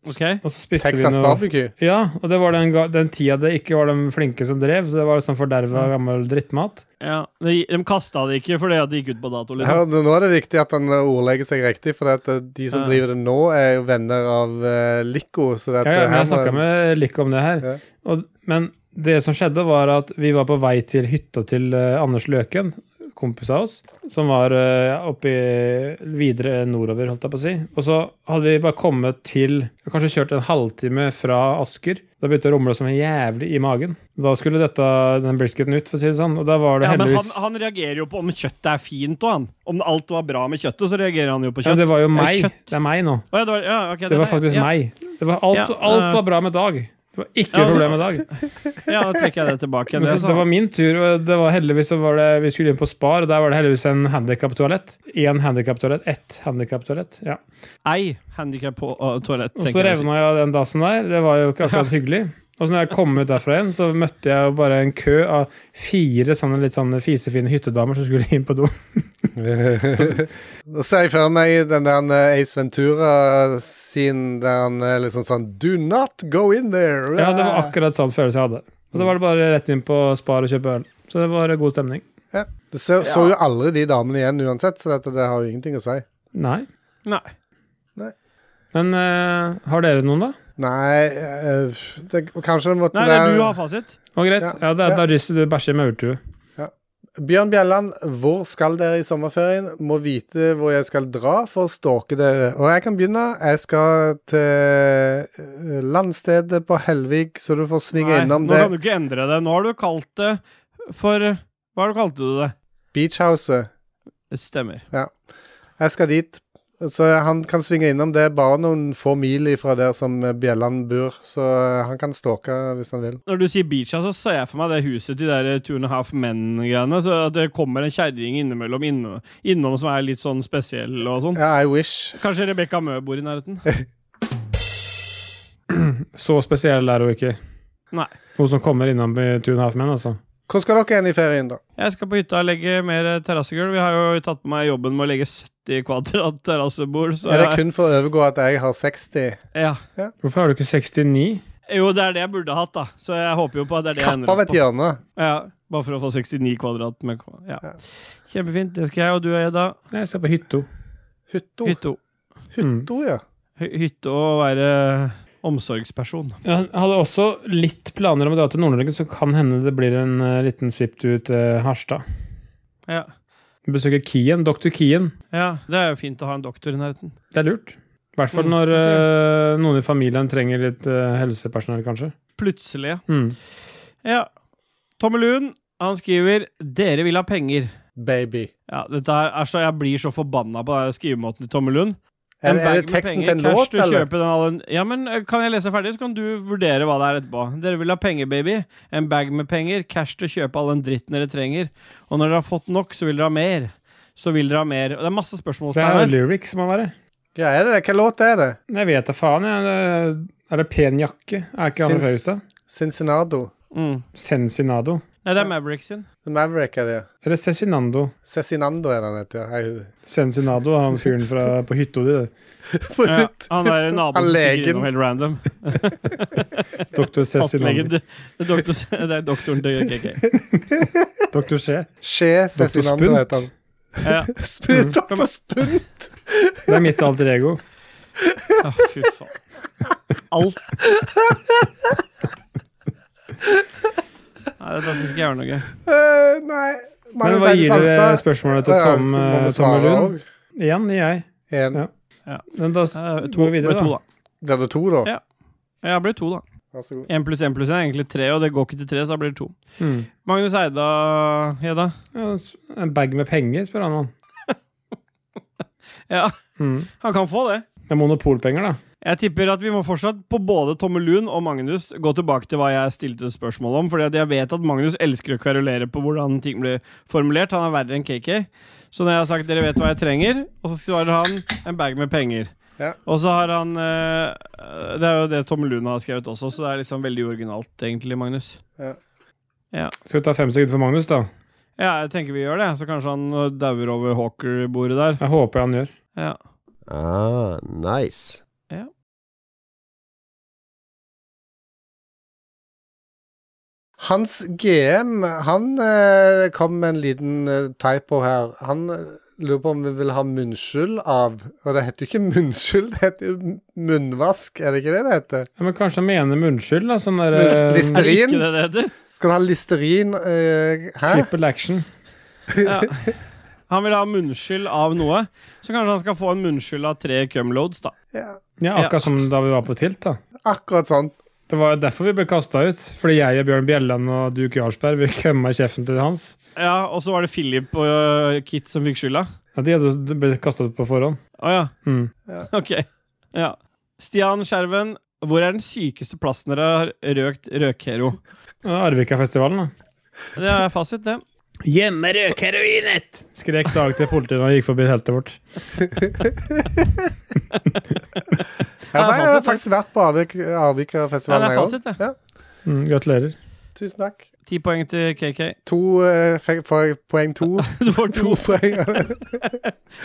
[SPEAKER 2] Ok?
[SPEAKER 1] Og så spiste
[SPEAKER 3] Texas
[SPEAKER 1] vi noe
[SPEAKER 3] barbecue.
[SPEAKER 1] Ja, og det var den, ga- den tida det ikke var de flinke som drev, så det var sånn forderva gammel drittmat.
[SPEAKER 2] Ja. De, de kasta det ikke fordi at det gikk ut på dato.
[SPEAKER 3] Ja,
[SPEAKER 2] Liksom.
[SPEAKER 3] nå nå er det viktig at han eh, ordlegger seg riktig, for at eh, de som
[SPEAKER 2] Ja.
[SPEAKER 3] driver det nå, er jo venner av uh, Lico. Så det at
[SPEAKER 1] Ja, ja,
[SPEAKER 3] her
[SPEAKER 1] men jeg
[SPEAKER 3] må-
[SPEAKER 1] snakka
[SPEAKER 3] [LAUGHS]
[SPEAKER 1] med Likke om det her.
[SPEAKER 3] Ja.
[SPEAKER 1] Og, men det som skjedde, var at vi var på vei til hytta til eh, Anders Løken, kompis av oss, som var uh, oppe i- videre nordover, holdt jeg på å si. Og så hadde vi bare kommet til Kanskje kjørt en halvtime fra Asker. Da begynte det å rumle som en jævlig i magen. Da skulle dette, den brisketen ut, for å si det sånn. Og da var det
[SPEAKER 2] Ja, men han,
[SPEAKER 1] heldigvis
[SPEAKER 2] han reagerer jo på om kjøttet er fint og han. Om alt var bra med kjøttet, så reagerer han jo på
[SPEAKER 1] ja,
[SPEAKER 2] kjøtt.
[SPEAKER 1] Det var jo
[SPEAKER 2] Eller
[SPEAKER 1] meg.
[SPEAKER 2] kjøtt.
[SPEAKER 1] Det er meg nå.
[SPEAKER 2] Å, ja, det var, ja, ok,
[SPEAKER 1] Det var
[SPEAKER 2] der,
[SPEAKER 1] faktisk
[SPEAKER 2] ja.
[SPEAKER 1] meg. Det var alt,
[SPEAKER 2] Ja,
[SPEAKER 1] alt
[SPEAKER 2] eh.
[SPEAKER 1] var bra med Dag. Det Det var ikke
[SPEAKER 2] Ja,
[SPEAKER 1] noe
[SPEAKER 2] altså-
[SPEAKER 1] problem i dag.
[SPEAKER 2] Ja, da trekker jeg det tilbake. igjen,
[SPEAKER 1] [LAUGHS] Men
[SPEAKER 2] det
[SPEAKER 1] så,
[SPEAKER 2] altså. sånn- jeg sa.
[SPEAKER 1] det var min tur, og det var heldigvis så var det, vi skulle inn på Spar, og der var det heldigvis en handikaptoalett. Én handikaptoalett, ett handikaptoalett. Ja.
[SPEAKER 2] Ei handikap på og toalett.
[SPEAKER 1] Og så revna jeg av den dasen der. Det var jo ikke akkurat hyggelig. Og så når jeg kom ut derfra igjen, så møtte jeg jo bare en kø av fire sånne litt sånne fisefine hyttedamer som skulle inn på do.
[SPEAKER 3] Da ser jeg for meg den der eh, Ace Ventura sin der han eh, liksom sånn Do not go in there!
[SPEAKER 1] Ja, det var akkurat sånn følelse jeg hadde. Og da var det bare rett inn på Spar og kjøpe øl. Så det var god stemning.
[SPEAKER 3] Du ser, så jo aldri de damene igjen uansett, så dette, det har jo ingenting å si.
[SPEAKER 1] Nei.
[SPEAKER 2] Nei.
[SPEAKER 1] Men eh, har dere noen, da?
[SPEAKER 3] Nei eh, det, Kanskje det måtte
[SPEAKER 2] Nei,
[SPEAKER 3] være
[SPEAKER 2] nei, du har fasit.
[SPEAKER 1] Å, greit.
[SPEAKER 3] Ja.
[SPEAKER 1] Ja, det er
[SPEAKER 3] Ja.
[SPEAKER 1] Dargis du bæsjer med urtue.
[SPEAKER 3] Bjørn Bjelland, hvor skal dere i sommerferien? Må vite hvor jeg skal dra for å stalke dere. Og jeg kan begynne. Jeg skal til eh, landstedet på Helvik, så du får svinge
[SPEAKER 2] Nei,
[SPEAKER 3] innom
[SPEAKER 2] nå
[SPEAKER 3] det.
[SPEAKER 2] kan du ikke endre det. Nå har du kalt det for Hva har du kalte du det?
[SPEAKER 3] Beachhouset.
[SPEAKER 2] Det stemmer.
[SPEAKER 3] Jeg skal dit. Så han kan svinge innom det er bare noen få mil ifra der som Bjelland bor, så han kan stalke hvis han vil.
[SPEAKER 2] Når du sier beacha, så ser jeg for meg det huset til de der eh, two and a half men-greiene. Så at det kommer en kjerring innimellom innom, innom som er litt sånn spesiell og sånn.
[SPEAKER 3] Ja, I wish.
[SPEAKER 2] Kanskje Rebekka Mø bor i nærheten?
[SPEAKER 1] Så spesiell er hun ikke.
[SPEAKER 2] Nei.
[SPEAKER 1] Hun som kommer innom i Two and a Half Men, altså.
[SPEAKER 3] Hvor skal dere hen i ferien, da?
[SPEAKER 2] Jeg skal på hytta og legge mer eh, terrassegulv. Vi har jo tatt på meg jobben med å legge 70 kvadrat terrassebord. Så
[SPEAKER 3] Er det
[SPEAKER 2] jeg-
[SPEAKER 3] kun for å overgå at jeg har 60?
[SPEAKER 2] Ja.
[SPEAKER 1] Hvorfor har du ikke 69?
[SPEAKER 2] Jo, det er det jeg burde hatt, da. Så jeg håper jo på at det er det jeg
[SPEAKER 3] Kappa
[SPEAKER 2] ender
[SPEAKER 3] av
[SPEAKER 2] opp
[SPEAKER 3] et
[SPEAKER 2] på.
[SPEAKER 3] hjørne.
[SPEAKER 2] Ja, bare for å få 69 kvadrat. Med, ja.
[SPEAKER 3] Ja.
[SPEAKER 2] Kjempefint. Det skal jeg, og du er da.
[SPEAKER 1] Nei, Jeg skal på hytta. Mm.
[SPEAKER 3] Hytto.
[SPEAKER 2] Hytte,
[SPEAKER 3] Hytto, ja.
[SPEAKER 2] hy- hytte og være omsorgsperson.
[SPEAKER 1] Jeg hadde også litt planer om å dra til Nord-Norge, så kan hende det blir en eh, liten svipptur til Harstad.
[SPEAKER 2] Ja.
[SPEAKER 1] Besøke Kien, Dr. Kien.
[SPEAKER 2] ja, det er jo fint å ha en doktor i nærheten.
[SPEAKER 1] Det er lurt. I hvert fall
[SPEAKER 2] Mm,
[SPEAKER 1] når
[SPEAKER 2] jeg
[SPEAKER 1] eh, noen i familien trenger litt eh, helsepersonell, kanskje.
[SPEAKER 2] Plutselig.
[SPEAKER 1] Mm.
[SPEAKER 2] Ja. Tommelun, han skriver 'Dere vil ha penger'.
[SPEAKER 3] Baby.
[SPEAKER 2] Ja, dette her er så Jeg blir så forbanna på den skrivemåten til Tommelun.
[SPEAKER 3] Er,
[SPEAKER 2] En bag
[SPEAKER 3] er det
[SPEAKER 2] med
[SPEAKER 3] teksten
[SPEAKER 2] penger,
[SPEAKER 3] til en
[SPEAKER 2] cash,
[SPEAKER 3] låt,
[SPEAKER 2] du
[SPEAKER 3] eller?
[SPEAKER 2] kjøper den alle- Ja, men eh, Kan jeg lese ferdig, så kan du vurdere hva det er etterpå. Dere vil ha penger, baby. En bag med penger. Cash til å kjøpe all den dritten dere trenger. Og når dere har fått nok, så vil dere ha mer. Så vil dere ha mer. Og det er masse
[SPEAKER 1] Det er
[SPEAKER 2] spørsmålstegn her.
[SPEAKER 1] lyrics, må være.
[SPEAKER 3] Ja, er det det? Hva låt er det?
[SPEAKER 1] Jeg vet da faen, jeg. Det- Er det pen jakke? Er ikke han
[SPEAKER 3] Sins-
[SPEAKER 1] fra Høyestad?
[SPEAKER 3] Cincinnado.
[SPEAKER 2] Mm.
[SPEAKER 1] Sensinado.
[SPEAKER 2] Nei, det er Maverick
[SPEAKER 3] [LAUGHS]
[SPEAKER 2] sin.
[SPEAKER 3] The Maverick er det.
[SPEAKER 1] Eller Cezinando.
[SPEAKER 3] Cezinando er den heter. [LAUGHS] Jeg-
[SPEAKER 1] Sensinado, han fyren fra, på hytta di, det.
[SPEAKER 2] Ja, han er naboen som
[SPEAKER 3] Han
[SPEAKER 2] stikker
[SPEAKER 3] legen.
[SPEAKER 2] innom helt random.
[SPEAKER 1] Doktor
[SPEAKER 2] [LAUGHS]
[SPEAKER 1] Cezinando.
[SPEAKER 2] Fastlegen. Det det er, doktor, det er doktoren til
[SPEAKER 3] [LAUGHS]
[SPEAKER 2] KK.
[SPEAKER 1] Doktor C.
[SPEAKER 3] Skje
[SPEAKER 1] Doktor
[SPEAKER 3] Cezinando
[SPEAKER 1] Spunt.
[SPEAKER 3] heter han.
[SPEAKER 2] Ja.
[SPEAKER 3] Sp-
[SPEAKER 2] Mm.
[SPEAKER 3] Doktor Spunt!
[SPEAKER 1] Det er mitt alter
[SPEAKER 3] [LAUGHS]
[SPEAKER 1] ego.
[SPEAKER 2] Å, fy faen.
[SPEAKER 3] [LAUGHS]
[SPEAKER 2] Alt. Nei, dette syns ikke jeg var noe gøy.
[SPEAKER 3] Eh, nei
[SPEAKER 1] Men
[SPEAKER 3] Magnus
[SPEAKER 1] hva
[SPEAKER 3] Eide
[SPEAKER 1] gir dere
[SPEAKER 3] Sandstad.
[SPEAKER 1] spørsmålet til
[SPEAKER 3] Ja, ja,
[SPEAKER 1] Tom,
[SPEAKER 3] så må vi
[SPEAKER 1] eh, Tom
[SPEAKER 3] svare
[SPEAKER 1] Lund?
[SPEAKER 3] også.
[SPEAKER 1] Igjen, jeg.
[SPEAKER 3] En.
[SPEAKER 1] Ja.
[SPEAKER 2] Ja.
[SPEAKER 1] Men da s-
[SPEAKER 2] Eh,
[SPEAKER 1] går vi videre,
[SPEAKER 2] ble to,
[SPEAKER 1] da.
[SPEAKER 2] da.
[SPEAKER 3] Det er det to, da?
[SPEAKER 2] Ja. Ja, det blir to, da.
[SPEAKER 3] Vær så god.
[SPEAKER 2] Én pluss én pluss én er egentlig tre, og det går ikke til tre, så da blir det to.
[SPEAKER 1] Mm.
[SPEAKER 2] Magnus Eida, Hedda.
[SPEAKER 1] Ja, s- en bag med penger, spør han om.
[SPEAKER 2] [LAUGHS] Ja,
[SPEAKER 1] Mm.
[SPEAKER 2] han kan få det.
[SPEAKER 1] Det er monopolpenger, da.
[SPEAKER 2] Jeg tipper at vi må fortsatt, på både Tommelun og Magnus, gå tilbake til hva jeg stilte spørsmål om. Fordi at jeg vet at Magnus elsker å kverulere på hvordan ting blir formulert. Han er verre enn KK. Så når jeg har sagt 'dere vet hva jeg trenger', og så svarer han 'en bag med penger'.
[SPEAKER 3] Ja.
[SPEAKER 2] Og så har han eh, Det er jo det Tommelun har skrevet også, så det er liksom veldig originalt, egentlig, Magnus.
[SPEAKER 1] Skal vi ta fem sekunder for Magnus, da?
[SPEAKER 2] Ja, jeg tenker vi gjør det. Så kanskje han øh, dauer over Hawker-bordet der.
[SPEAKER 1] Jeg håper han gjør.
[SPEAKER 2] Ja.
[SPEAKER 5] Ah, nice.
[SPEAKER 3] Hans GM, han eh, kom med en liten eh, typo her. Han eh, lurer på om vi vil ha munnskyld av Og det heter jo ikke munnskyld, det heter jo munnvask, er det ikke det det heter?
[SPEAKER 1] Ja, men kanskje han mener munnskyld, da? Sånn der
[SPEAKER 3] Men
[SPEAKER 1] eh,
[SPEAKER 3] lister-
[SPEAKER 2] Er det
[SPEAKER 3] Stearin?
[SPEAKER 2] ikke det det heter?
[SPEAKER 3] Skal du ha listerin eh, Hæ?
[SPEAKER 1] triple action.
[SPEAKER 2] Ja. Han vil ha munnskyld av noe, så kanskje han skal få en munnskyld av tre cumloads, da.
[SPEAKER 3] Ja,
[SPEAKER 1] Ja,
[SPEAKER 2] Ja.
[SPEAKER 1] akkurat som da vi var på tilt, da.
[SPEAKER 3] akkurat sånn.
[SPEAKER 1] Det var jo derfor vi ble kasta ut. Fordi jeg og Bjørn Bjelland og Duke Jarlsberg vi kømma kjeften til Hans.
[SPEAKER 2] Ja, og så var det Philip og øh, Kit som fikk skylda.
[SPEAKER 1] Ja, de hadde
[SPEAKER 2] [LAUGHS]
[SPEAKER 1] jo blitt kasta ut på forhånd.
[SPEAKER 2] Å ja,
[SPEAKER 1] Mm.
[SPEAKER 2] ok. Ja. Stian Skjerven, Hvor er den sykeste plassen dere har røkt røkhero?
[SPEAKER 1] Det er Arvika-festivalen, da.
[SPEAKER 2] Det er fasit, det.
[SPEAKER 1] Gjemme røkheroinet! Skrek Dag til politiet da han gikk forbi teltet vårt.
[SPEAKER 2] det er
[SPEAKER 3] Ja, for jeg har
[SPEAKER 2] fasit,
[SPEAKER 3] faktisk vært på Arvik-
[SPEAKER 2] Ja,
[SPEAKER 3] Arvika-festivalen.
[SPEAKER 2] det er
[SPEAKER 3] jeg
[SPEAKER 2] fasit,
[SPEAKER 3] også.
[SPEAKER 1] Mm, gratulerer.
[SPEAKER 3] Ja, tusen takk.
[SPEAKER 2] Ti poeng til KK.
[SPEAKER 3] To eh, fikk- får jeg poeng to.
[SPEAKER 2] Du får [LAUGHS] to,
[SPEAKER 3] [LAUGHS] To poeng.
[SPEAKER 2] [LAUGHS]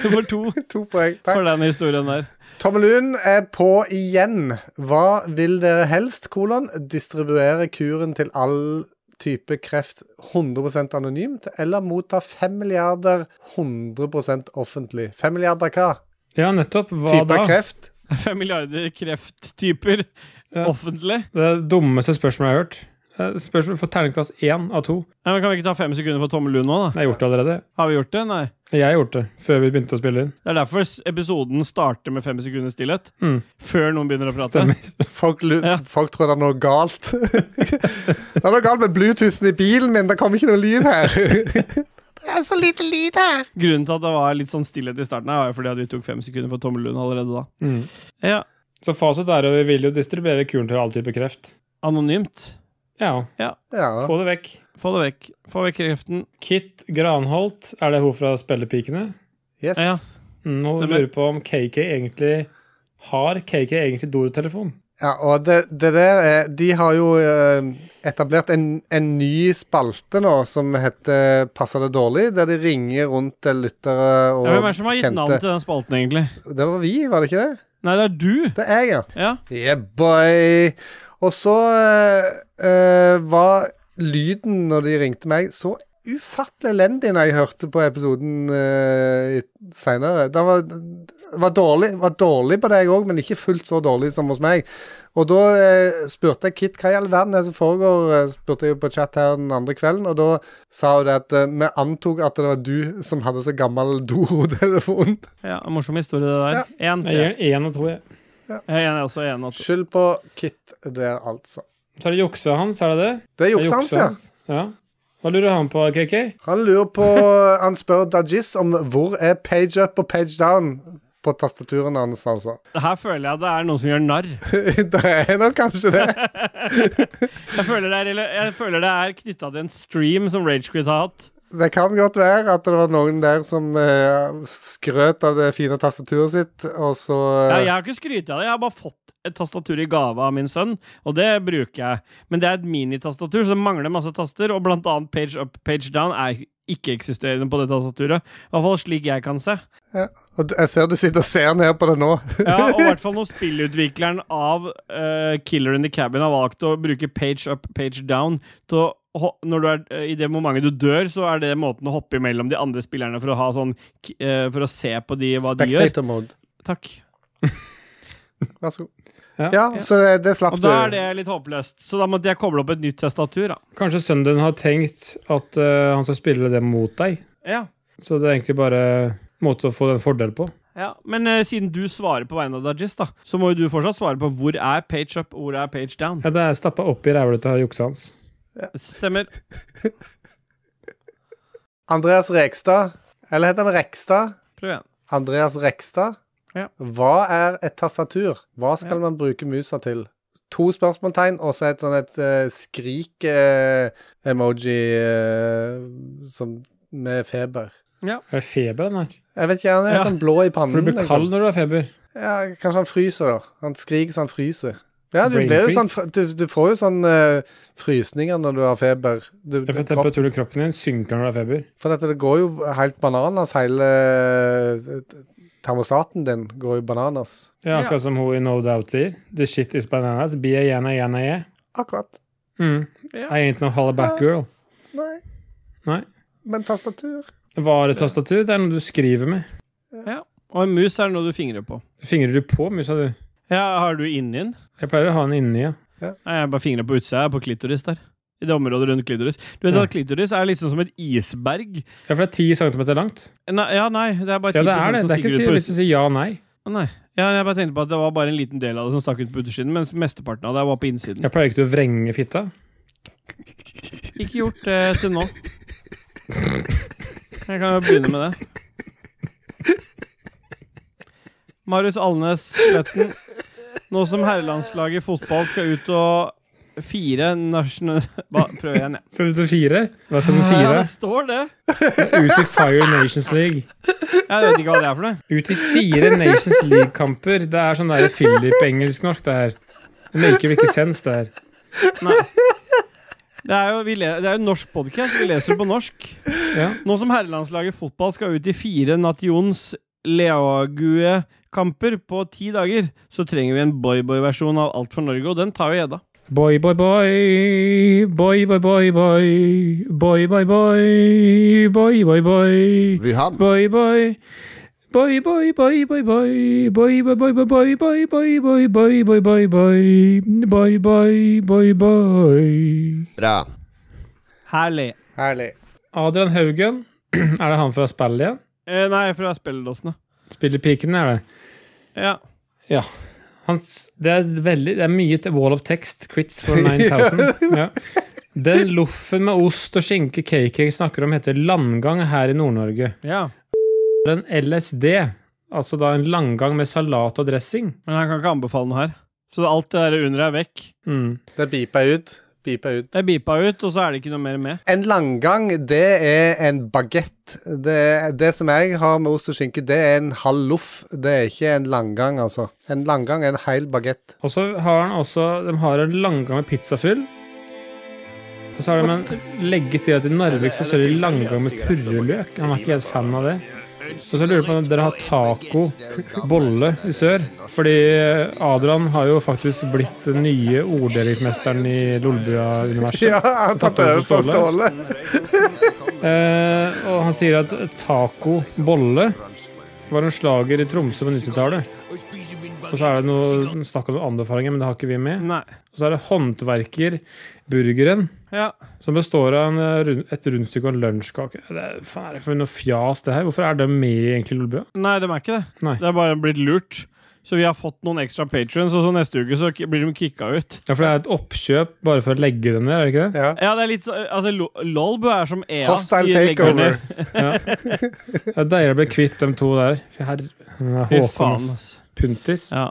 [SPEAKER 2] du får to
[SPEAKER 3] to poeng. Takk.
[SPEAKER 2] for den historien der.
[SPEAKER 3] Tommelun er på igjen. Hva vil dere helst, kolon? Distribuere kuren til all type kreft 100 anonymt, eller motta 5 milliarder 100 offentlig? 5 milliarder hva?
[SPEAKER 1] Ja, nettopp. Hva
[SPEAKER 3] Type
[SPEAKER 1] da?
[SPEAKER 3] av kreft?
[SPEAKER 2] Fem milliarder krefttyper
[SPEAKER 1] Ja.
[SPEAKER 2] offentlig.
[SPEAKER 1] Det er det dummeste spørsmålet jeg har hørt. Det er Spørsmål for terningkast én av to.
[SPEAKER 2] Nei, men Kan vi ikke ta fem sekunder for Tommel Lund nå, da?
[SPEAKER 1] Det er gjort allerede.
[SPEAKER 2] Har vi gjort det? Nei.
[SPEAKER 1] Jeg har gjort det før vi begynte å spille inn.
[SPEAKER 2] Det er derfor s- episoden starter med fem sekunders stillhet.
[SPEAKER 1] Mm.
[SPEAKER 2] Før noen begynner å prate.
[SPEAKER 1] Stemmer.
[SPEAKER 3] Folk, lu-
[SPEAKER 2] Ja.
[SPEAKER 3] folk tror det er noe galt. [LAUGHS] det er noe galt med Bluetoothen i bilen min. Det kommer ikke noe lyd her. [LAUGHS]
[SPEAKER 10] Det er så lite lyd her.
[SPEAKER 2] [LAUGHS] Grunnen til at det var litt sånn stillhet i starten, her var jo fordi at vi tok fem sekunder for Tommel Lund allerede da.
[SPEAKER 1] [LAUGHS] Mm.
[SPEAKER 2] Ja,
[SPEAKER 1] Så fasit er at vi vil jo distribuere kuren til all type kreft.
[SPEAKER 2] Anonymt.
[SPEAKER 1] Ja,
[SPEAKER 3] ja.
[SPEAKER 1] få det vekk.
[SPEAKER 2] Få det vekk. Få vekk kreften.
[SPEAKER 1] Kit Granholt, er det hun fra Spellepikene?
[SPEAKER 3] Yes.
[SPEAKER 2] Ja.
[SPEAKER 1] Mm, Nå
[SPEAKER 2] Stemmer.
[SPEAKER 1] lurer jeg på om KK egentlig har KK egentlig dorutelefon?
[SPEAKER 3] Ja, og det, det der er De har jo eh, etablert en, en ny spalte nå som heter Passer det dårlig? Der de ringer rundt til lyttere og
[SPEAKER 2] Ja, hvem er det som har gitt navn til den spalten, egentlig?
[SPEAKER 3] Det var vi, var det ikke det?
[SPEAKER 2] Nei, det er du.
[SPEAKER 3] Det er jeg, ja.
[SPEAKER 2] Ja.
[SPEAKER 3] Yeah, boy! Og så eh, eh, var lyden når de ringte meg, så ufattelig elendig når jeg hørte på episoden uh, seinere. Det var, det var, dårlig, var dårlig på deg òg, men ikke fullt så dårlig som hos meg. Og da eh, spurte jeg Kit hva i all verden er det som foregår, eh, spurte jeg jo på chat her den andre kvelden, og da sa hun det at eh, vi antok at det var du som hadde så gammel dorotelefon.
[SPEAKER 2] ja en morsom historie, det der.
[SPEAKER 1] Jeg
[SPEAKER 2] Én, sier
[SPEAKER 1] gir
[SPEAKER 2] jeg.
[SPEAKER 1] den én og to. jeg.
[SPEAKER 2] Jeg er enig, altså. jeg er enig at-
[SPEAKER 3] Skyld på Kit der, altså.
[SPEAKER 1] Så er det juksa hans, er det det?
[SPEAKER 3] Det er
[SPEAKER 1] Det er
[SPEAKER 3] juksa hans, ja.
[SPEAKER 1] ja. Hva lurer han på, KK?
[SPEAKER 3] Han lurer på [LAUGHS] Han spør Dajis om hvor er page up og page down på tastaturen hans, altså. [LAUGHS]
[SPEAKER 2] Her føler jeg det er noen som gjør narr.
[SPEAKER 3] det er nok kanskje
[SPEAKER 2] [LAUGHS]
[SPEAKER 3] det.
[SPEAKER 2] Jeg føler det er, rela- jeg føler det er knytta til en stream som Ragequit har hatt.
[SPEAKER 3] Det kan godt være at det var noen der som eh, skrøt av det fine tastaturet sitt, og så
[SPEAKER 2] Ja,
[SPEAKER 3] eh,
[SPEAKER 2] jeg har ikke skrytt av det, jeg har bare fått et tastatur i gave av min sønn, og det bruker jeg. Men det er et minitastatur som mangler masse taster, og blant annet page up, page down er ikke-eksisterende på det tastaturet. I hvert fall slik jeg kan se.
[SPEAKER 3] eh, og d- Jeg ser du sitter og ser ned på det nå.
[SPEAKER 2] Ja, Og i hvert fall når spillutvikleren av eh, Killer in the Cabin har valgt å bruke page up, page down til å ho- når du er, eh, I det momentet du dør, så er det måten å hoppe imellom de andre spillerne for å, ha sånn, k- eh, for å se på de, hva de gjør.
[SPEAKER 3] Spectator mode.
[SPEAKER 2] Takk.
[SPEAKER 3] Vær så god.
[SPEAKER 1] Ja.
[SPEAKER 3] Ja, så det, det slapp
[SPEAKER 2] Og
[SPEAKER 3] du.
[SPEAKER 2] da er det litt håpløst, så da måtte jeg koble opp et nytt testatur. da.
[SPEAKER 1] Kanskje sønnen din har tenkt at eh, han skal spille det mot deg?
[SPEAKER 2] Ja,
[SPEAKER 1] Så det er egentlig bare en måte å få den fordel på.
[SPEAKER 2] ja. Men eh, siden du svarer på vegne av Dajis, da, så må jo du fortsatt svare på hvor er page up, hvor er page down.
[SPEAKER 1] Ja, det er stappa oppi ræva til juksa hans.
[SPEAKER 2] Stemmer.
[SPEAKER 3] Andreas Rekstad. Eller heter han Rekstad?
[SPEAKER 2] Prøv igjen.
[SPEAKER 3] Andreas Rekstad.
[SPEAKER 2] Ja.
[SPEAKER 3] Hva er et tastatur? Hva skal man bruke musa til? To spørsmålstegn og så et sånn et skrik-emoji eh, som med feber.
[SPEAKER 1] Er det feber den her?
[SPEAKER 3] Jeg vet ikke, han er
[SPEAKER 2] Ja.
[SPEAKER 3] sånn blå i pannen.
[SPEAKER 1] For du blir kald
[SPEAKER 3] liksom.
[SPEAKER 1] når du har feber.
[SPEAKER 3] Ja, kanskje han fryser, da. Han skriker så han fryser. Ja, du,
[SPEAKER 1] Brain
[SPEAKER 3] blir jo
[SPEAKER 1] freeze.
[SPEAKER 3] sånn, fr- du, du får jo sånn eh, frysninger når du har feber. Du,
[SPEAKER 1] Jeg får
[SPEAKER 3] kropp-
[SPEAKER 1] temperaturen i kroppen din synker når du har feber.
[SPEAKER 3] For dette, det går jo helt bananas, hele eh, termostaten din går jo bananas.
[SPEAKER 1] Ja, akkurat som hun i No Doubt sier. The shit is bananas. Be a yana yana yeah.
[SPEAKER 3] Akkurat.
[SPEAKER 1] Mm. I ain't no hollaback girl.
[SPEAKER 3] Nei.
[SPEAKER 1] Nei.
[SPEAKER 3] Men tastatur
[SPEAKER 1] Varetastatur, det er noe du skriver med.
[SPEAKER 2] Og en mus er noe du fingrer på.
[SPEAKER 1] Fingrer du på musa, du?
[SPEAKER 2] Ja, Har du inni den?
[SPEAKER 1] Jeg pleier å ha den inni, ja.
[SPEAKER 2] Nei, jeg bare fingrer på utsida. Jeg er på klitoris der. I det området rundt klitoris. Du vet
[SPEAKER 1] Ja.
[SPEAKER 2] at klitoris er liksom som et isberg.
[SPEAKER 1] Ja, for det er ti centimeter langt.
[SPEAKER 2] Nei, ja, nei, det er bare 10
[SPEAKER 1] Ja, det er det.
[SPEAKER 2] som
[SPEAKER 1] Det er ikke
[SPEAKER 2] stikker
[SPEAKER 1] så
[SPEAKER 2] ut på
[SPEAKER 1] vits
[SPEAKER 2] utsida.
[SPEAKER 1] å si ja nei.
[SPEAKER 2] Nei. Ja, jeg bare tenkte på at det var bare en liten del av det som stakk ut på utsiden, mens mesteparten av det var på innsiden.
[SPEAKER 1] Jeg pleier ikke til å vrenge fitta.
[SPEAKER 2] Ikke gjort det til nå. Jeg kan jo begynne med det. Marius Alnes Sletten. Nå som herrelandslaget i fotball skal ut og fire nasjonal... Hva, prøv igjen, jeg.
[SPEAKER 1] Skal du til fire? Hva skal du til
[SPEAKER 2] Ja,
[SPEAKER 1] fire?
[SPEAKER 2] det står det.
[SPEAKER 1] Ut i Fire Nations League.
[SPEAKER 2] Jeg vet ikke hva det er for noe.
[SPEAKER 1] Ut i fire Nations League-kamper. Det er sånn der Philip-engelsk-norsk, det her. Det maker vel ikke sens, det her.
[SPEAKER 2] Det er jo, vi le, det er jo en norsk podkast. Vi leser det på norsk.
[SPEAKER 1] Ja.
[SPEAKER 2] Nå som herrelandslaget i fotball skal ut i fire Nations League-kamper på ti dager, så trenger vi en boy-boy-versjon av Alt for Norge, og den tar jo gjedda.
[SPEAKER 1] Boy, boy, boy. Boy, boy, boy, boy. Boy, boy, boy. Boy, boy, boy.
[SPEAKER 5] Wuhan.
[SPEAKER 1] Boy, boy. Boy, boy, boy, boy, boy. Boy, boy, boy, boy, boy, boy, boy, boy, boy, boy, boy, boy. Boy, boy, boy, boy.
[SPEAKER 5] Bra.
[SPEAKER 2] Herlig.
[SPEAKER 3] Herlig.
[SPEAKER 1] Adrian Haugen, [CLEARS THROAT] er det han fra spillet igjen?
[SPEAKER 2] Eh, nei, fra spilledåsene.
[SPEAKER 1] Spiller Pikene, er det?
[SPEAKER 2] Ja.
[SPEAKER 1] Han, s- det, er veldig, det er mye til wall of text. Crits [LAUGHS] for 9000. Ja. Den loffen med ost og skinke KK snakker om, heter landgang her i Nord-Norge.
[SPEAKER 2] ja.
[SPEAKER 1] En LSD, altså da en landgang med salat og dressing.
[SPEAKER 2] Men han kan ikke anbefale noe her. Så alt det der under er vekk.
[SPEAKER 1] Mm.
[SPEAKER 3] Det beepa ut. Beepa ut.
[SPEAKER 2] Det er beepa ut, og så er det ikke noe mer med.
[SPEAKER 3] En langgang, det er en bagett. Det, det som jeg har med ost og skinke, det er en halv loff. Det er ikke en langgang, altså. En langgang er en hel bagett.
[SPEAKER 1] Og så har han også De har en landgang med pizzafyll. Og så har de en legge til at i Narvik så ser de landgang med purreløk. Han er ikke helt fan av det. Og så lurer jeg på om dere har taco, bolle i sør. Fordi eh, Adrian har jo faktisk blitt den nye orddelingsmesteren i Lolbua-universet.
[SPEAKER 3] Ja, han har tatt over for Ståle.
[SPEAKER 1] Eh, og han sier at taco bolle var en slager i Tromsø på 90-tallet. Og så er det noe snakk om noen anbefalinger, men det har ikke vi med.
[SPEAKER 2] Nei.
[SPEAKER 1] Og så er det håndverkerburgeren,
[SPEAKER 2] Ja.
[SPEAKER 1] som består av en, eh, rund- et rundstykke og en lunsjkake. Det er, faen, er det for noe fjas, det her? Hvorfor er det med i egentlig Lolbua?
[SPEAKER 2] Nei, de er ikke det.
[SPEAKER 1] Nei.
[SPEAKER 2] Det er bare blitt lurt. Så vi har fått noen ekstra patrions, og så neste uke så k- blir de kicka ut.
[SPEAKER 1] Ja, for det er et oppkjøp bare for å legge den ned, er det ikke det?
[SPEAKER 3] Ja.
[SPEAKER 2] Ja, det er litt så, altså, Lo- Lolbu er som EA.
[SPEAKER 3] Hostile
[SPEAKER 2] de legger
[SPEAKER 3] takeover.
[SPEAKER 2] ned.
[SPEAKER 1] Det er deilig å bli kvitt de to der. Fy Herre,
[SPEAKER 2] Fy
[SPEAKER 1] Håkon
[SPEAKER 2] faen,
[SPEAKER 1] og
[SPEAKER 2] ass.
[SPEAKER 1] Puntis.
[SPEAKER 2] Ja.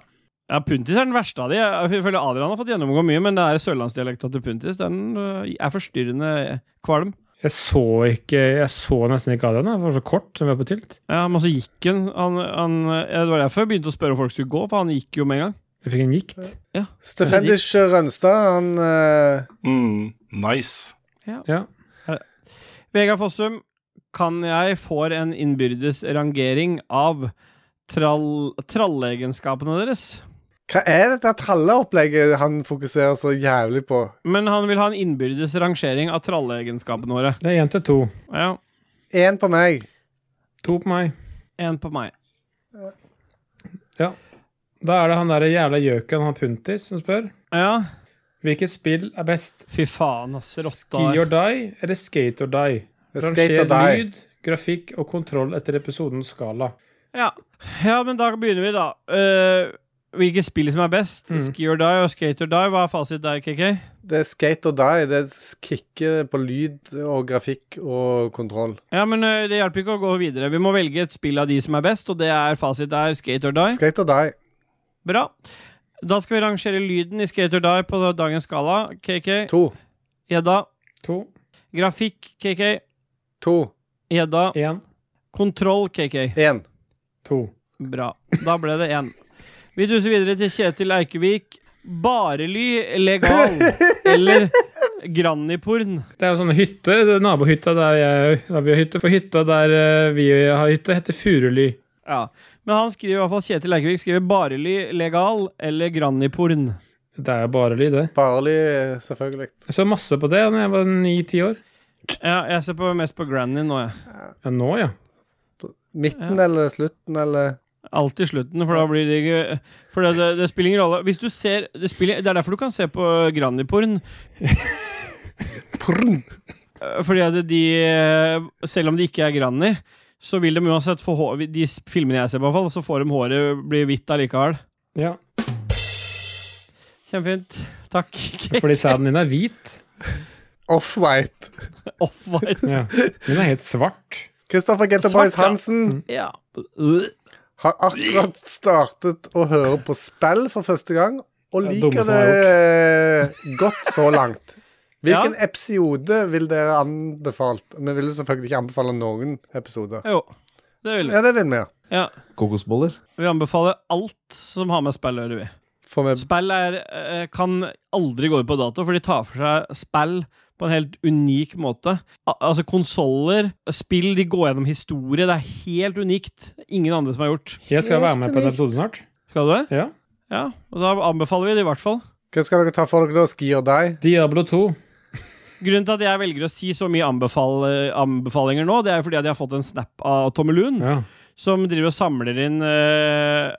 [SPEAKER 2] ja, Puntis er den verste av de. Jeg føler Adrian har fått gjennomgå mye, men det er sørlandsdialekta til Puntis. Den øh, er forstyrrende kvalm.
[SPEAKER 1] Jeg så ikke Jeg så nesten ikke Adrian, da, for det var så kort som vi var på tilt.
[SPEAKER 2] Ja, men så gikk han, han, han ja, Det var derfor jeg begynte å spørre om folk skulle gå, for han gikk jo med en gang.
[SPEAKER 1] Vi fikk en gikt.
[SPEAKER 3] Stefendish Rønstad, han eh,
[SPEAKER 7] Mm, nice.
[SPEAKER 1] Ja.
[SPEAKER 2] Vegard Fossum, kan jeg få en innbyrdes rangering av trall, tralleegenskapene deres?
[SPEAKER 3] Hva er dette tralleopplegget han fokuserer så jævlig på?
[SPEAKER 2] Men han vil ha en innbyrdes rangering av tralleegenskapene våre.
[SPEAKER 1] Det er én til to.
[SPEAKER 2] Ja,
[SPEAKER 3] Én på meg.
[SPEAKER 1] To på meg.
[SPEAKER 2] en på meg.
[SPEAKER 1] Da er det han derre jævla gjøken, han Puntis, som spør.
[SPEAKER 2] Ja,
[SPEAKER 1] Hvilket spill er best?
[SPEAKER 2] fy faen, ass. Rotta.
[SPEAKER 1] Ski or die eller skate or die?
[SPEAKER 3] Skate
[SPEAKER 1] Ranger
[SPEAKER 3] og die.
[SPEAKER 1] lyd, grafikk og kontroll etter episodens skala.
[SPEAKER 2] Ja. ja, men da begynner vi, da. Eh, Hvilket spill som er best?
[SPEAKER 1] Mm.
[SPEAKER 2] Ski or die og skate or die? Hva er fasit der, KK?
[SPEAKER 3] Det er skate og die. Det kicker på lyd og grafikk og kontroll.
[SPEAKER 2] Ja, men eh, det hjelper ikke å gå videre. Vi må velge et spill av de som er best, og det er fasit der. Skate or die.
[SPEAKER 3] Skate og die.
[SPEAKER 2] Bra. Da skal vi rangere lyden i Skate or Die på dagens skala. KK,
[SPEAKER 3] To.
[SPEAKER 2] Gjedda.
[SPEAKER 1] To,
[SPEAKER 2] Grafikk, KK.
[SPEAKER 3] To.
[SPEAKER 2] Gjedda.
[SPEAKER 1] én,
[SPEAKER 2] Kontroll, KK.
[SPEAKER 3] Én.
[SPEAKER 1] to.
[SPEAKER 2] Bra. Da ble det én. Vi duser videre til Kjetil Eikevik. Barely legal eller Granniporn.
[SPEAKER 1] Det er jo sånne hytter. det er Nabohytta der, jeg, der vi har hytte. For hytta der eh, vi har hytte, heter Furuly.
[SPEAKER 2] Ja. Men han skriver i hvert fall Kjetil Eikevik skriver barely legal eller Granniporn.
[SPEAKER 1] Det er jo bare lyd, det.
[SPEAKER 3] Barlig, selvfølgelig.
[SPEAKER 1] Jeg så masse på det da jeg var ni-ti år.
[SPEAKER 2] Ja, jeg ser på, mest på Granny nå, jeg.
[SPEAKER 1] Ja, nå, ja.
[SPEAKER 3] Midten eller slutten eller
[SPEAKER 2] Alltid slutten, for da blir det ikke For det, det, det spiller ingen rolle. Hvis du ser det, spiller, det er derfor du kan se på Granniporn.
[SPEAKER 3] Prrn.
[SPEAKER 2] Eh, Fordi at de eh, Selv om de ikke er Granny, så vil de uansett få hår De s- filmene jeg ser, på, i hvert fall, så får de håret bli hvitt allikevel.
[SPEAKER 1] ja.
[SPEAKER 2] Kjempefint. Takk.
[SPEAKER 1] Fordi sæden din er hvit.
[SPEAKER 3] Off-white.
[SPEAKER 2] [LAUGHS] Off-white.
[SPEAKER 1] Ja. Min er helt svart.
[SPEAKER 3] Kristoffer Getterboys
[SPEAKER 2] Svart, ja.
[SPEAKER 3] Hansen.
[SPEAKER 2] Ja.
[SPEAKER 3] Har akkurat startet å høre på spill for første gang, og
[SPEAKER 1] Ja,
[SPEAKER 3] liker
[SPEAKER 1] dumme som
[SPEAKER 3] det godt så langt. Hvilken episode vil dere anbefalt? Vi vil selvfølgelig ikke anbefale noen episoder.
[SPEAKER 2] Jo, det vil vi.
[SPEAKER 3] Ja, det vil vi. ja.
[SPEAKER 2] Ja.
[SPEAKER 4] Kokosboller?
[SPEAKER 2] Vi anbefaler alt som har med spill å gjøre. vi.
[SPEAKER 3] Får vi
[SPEAKER 2] Spill er, eh, kan aldri gå ut på dato, for de tar for seg spill på en helt unik måte. Al altså Konsoller, spill, de går gjennom historie. Det er helt unikt. Ingen andre som har gjort.
[SPEAKER 1] Jeg skal
[SPEAKER 3] Helt
[SPEAKER 1] være med på en
[SPEAKER 3] unikt.
[SPEAKER 1] episode snart.
[SPEAKER 2] Skal du det?
[SPEAKER 1] Ja.
[SPEAKER 2] Ja, og da anbefaler vi det i hvert fall.
[SPEAKER 3] Hva skal dere ta for dere, da? Ski or die?
[SPEAKER 1] Diablo 2.
[SPEAKER 2] Grunnen til at jeg velger å si så mye anbefal anbefalinger nå, det er fordi at jeg har fått en snap av Tommelun,
[SPEAKER 1] Ja.
[SPEAKER 2] som driver og samler inn eh,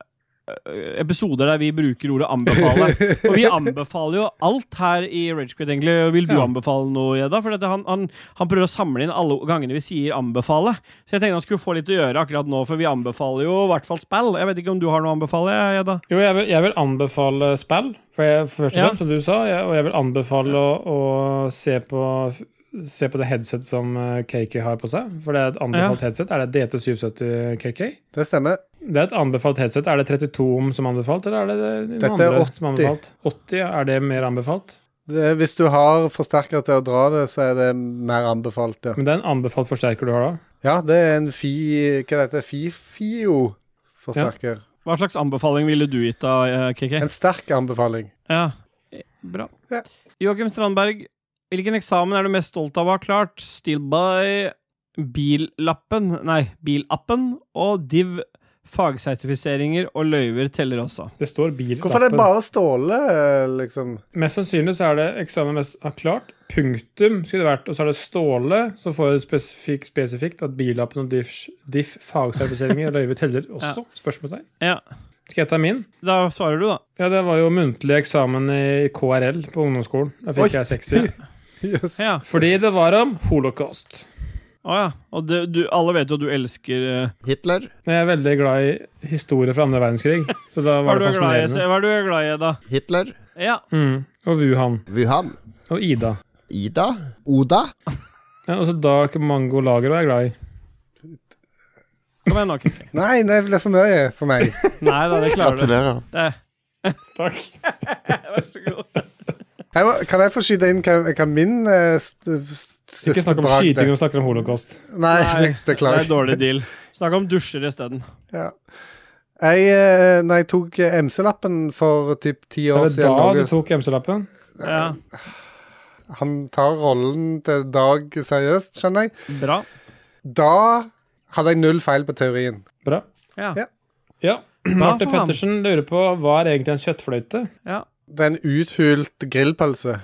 [SPEAKER 2] episoder der vi bruker ordet 'anbefale'. og vi anbefaler jo alt her i Ragequit, egentlig. Og Vil du
[SPEAKER 1] Ja.
[SPEAKER 2] anbefale noe, Jedda? For dette, han, han, han prøver å samle inn alle gangene vi sier 'anbefale'. Så jeg tenkte han skulle få litt å gjøre akkurat nå, for vi anbefaler jo i hvert fall spill. Jeg vet ikke om du har noe å anbefale, Jedda?
[SPEAKER 1] Jo, jeg vil, jeg vil anbefale spill, for jeg, for først og
[SPEAKER 2] Ja.
[SPEAKER 1] fremst, som du sa. Jeg, og jeg vil anbefale å, å se, på, se på det headset som eh, KK har på seg. For det er et anbefalt headset. Er det DT770 KK?
[SPEAKER 3] Det stemmer.
[SPEAKER 1] Det er et anbefalt headset. Er det 32 om som anbefalt, eller er det det
[SPEAKER 3] Dette er
[SPEAKER 1] andre som
[SPEAKER 3] 80.
[SPEAKER 1] anbefalt? 80, ja. Er det mer anbefalt?
[SPEAKER 3] Det, hvis du har forsterker til å dra det, så er det mer anbefalt, ja.
[SPEAKER 1] Men det er en anbefalt forsterker du har da?
[SPEAKER 3] Ja, det er en fi... Hva heter det? Fi-fio-forsterker.
[SPEAKER 2] Hva slags anbefaling ville du gitt da, eh, KK?
[SPEAKER 3] En sterk anbefaling.
[SPEAKER 2] Ja, eh, bra.
[SPEAKER 3] Ja.
[SPEAKER 2] Joakim Strandberg, hvilken eksamen er du mest stolt av å ha klart? Still by billappen, nei, bilappen og div fagsertifiseringer og løyver teller også.
[SPEAKER 1] Det står bil.
[SPEAKER 3] Hvorfor er det bare Ståle, liksom?
[SPEAKER 1] Mest sannsynlig så er det eksamen mest har klart. Punktum skulle det vært. Og så er det Ståle, som får spesifikt, spesifikt at billappen og diff, diff fagsertifiseringer og løyve
[SPEAKER 2] [LAUGHS]
[SPEAKER 1] teller også? Spørsmålstegn.
[SPEAKER 2] Ja,
[SPEAKER 1] Skal jeg ta min?
[SPEAKER 2] da svarer du, da.
[SPEAKER 1] Ja, det var jo muntlig eksamen i KRL på ungdomsskolen. Da
[SPEAKER 3] Oi.
[SPEAKER 1] fikk jeg sekser.
[SPEAKER 3] Yes.
[SPEAKER 2] Ja.
[SPEAKER 1] Fordi det var om holocaust.
[SPEAKER 2] Å ja. Og det, du, alle vet jo at du elsker eh,
[SPEAKER 5] Hitler?
[SPEAKER 1] Jeg er veldig glad i historie fra andre verdenskrig. Så da
[SPEAKER 2] Hva
[SPEAKER 1] var
[SPEAKER 2] er du
[SPEAKER 1] det
[SPEAKER 2] er glad i,
[SPEAKER 1] fascinerende.
[SPEAKER 2] hva er du er glad i, da?
[SPEAKER 5] Hitler?
[SPEAKER 2] Ja.
[SPEAKER 1] Mm. Og Wuhan.
[SPEAKER 5] Wuhan?
[SPEAKER 1] Og Ida.
[SPEAKER 5] Ida? Oda?
[SPEAKER 1] Ja, og så Dark Mango Lager var jeg glad i.
[SPEAKER 2] Kom igjen nå, Kikki.
[SPEAKER 3] Nei, det ble for mye for
[SPEAKER 1] [LAUGHS]
[SPEAKER 3] meg.
[SPEAKER 2] Nei da, det klarer du.
[SPEAKER 8] Gratulerer.
[SPEAKER 2] Det.
[SPEAKER 3] [LAUGHS]
[SPEAKER 1] Takk.
[SPEAKER 2] [LAUGHS] Vær så god.
[SPEAKER 3] Jeg må, kan jeg få skyte inn hva, hva min eh, st st-
[SPEAKER 1] Ikke
[SPEAKER 3] største
[SPEAKER 1] snakk om
[SPEAKER 3] bragd
[SPEAKER 1] skyting
[SPEAKER 3] er?
[SPEAKER 1] og snakker om holocaust.
[SPEAKER 3] Nei, be-
[SPEAKER 2] Det er
[SPEAKER 3] [LAUGHS] beklager.
[SPEAKER 2] dårlig deal. Snakk om dusjer isteden.
[SPEAKER 3] Ja. Jeg, eh, når jeg tok eh, MC-lappen for typ ti
[SPEAKER 1] Er det
[SPEAKER 3] år
[SPEAKER 1] da
[SPEAKER 3] siden
[SPEAKER 1] du
[SPEAKER 3] Norge,
[SPEAKER 1] tok MC-lappen?
[SPEAKER 2] Ja.
[SPEAKER 3] Han tar rollen til Dag seriøst, skjønner jeg.
[SPEAKER 2] Bra.
[SPEAKER 3] Da hadde jeg null feil på teorien.
[SPEAKER 1] Bra.
[SPEAKER 2] Ja.
[SPEAKER 3] Ja.
[SPEAKER 2] [CLEARS THROAT]
[SPEAKER 1] Ja. Marte
[SPEAKER 2] faen.
[SPEAKER 1] Pettersen lurer på hva er egentlig en kjøttfløyte?
[SPEAKER 3] Det er en uthult grillpølse.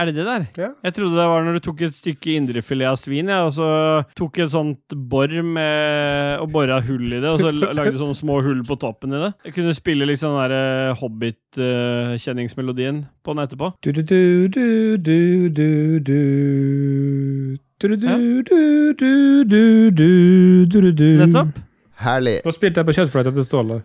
[SPEAKER 2] Er det det der?
[SPEAKER 3] Ja.
[SPEAKER 2] Jeg trodde det var når du tok et stykke indrefilet av svin, ja, og så tok et sånt bor med og bora hull i det, og så la- lagde du sånne små hull på toppen i det. Jeg kunne spille liksom den der Hobbit-kjenningsmelodien på den etterpå.
[SPEAKER 1] Du, du, du, du, du, du, du. Du, du, du, du, du, du, du, du, du.
[SPEAKER 2] Nettopp.
[SPEAKER 5] Herlig.
[SPEAKER 1] Nå spilte jeg på kjøttfløyta til Ståle.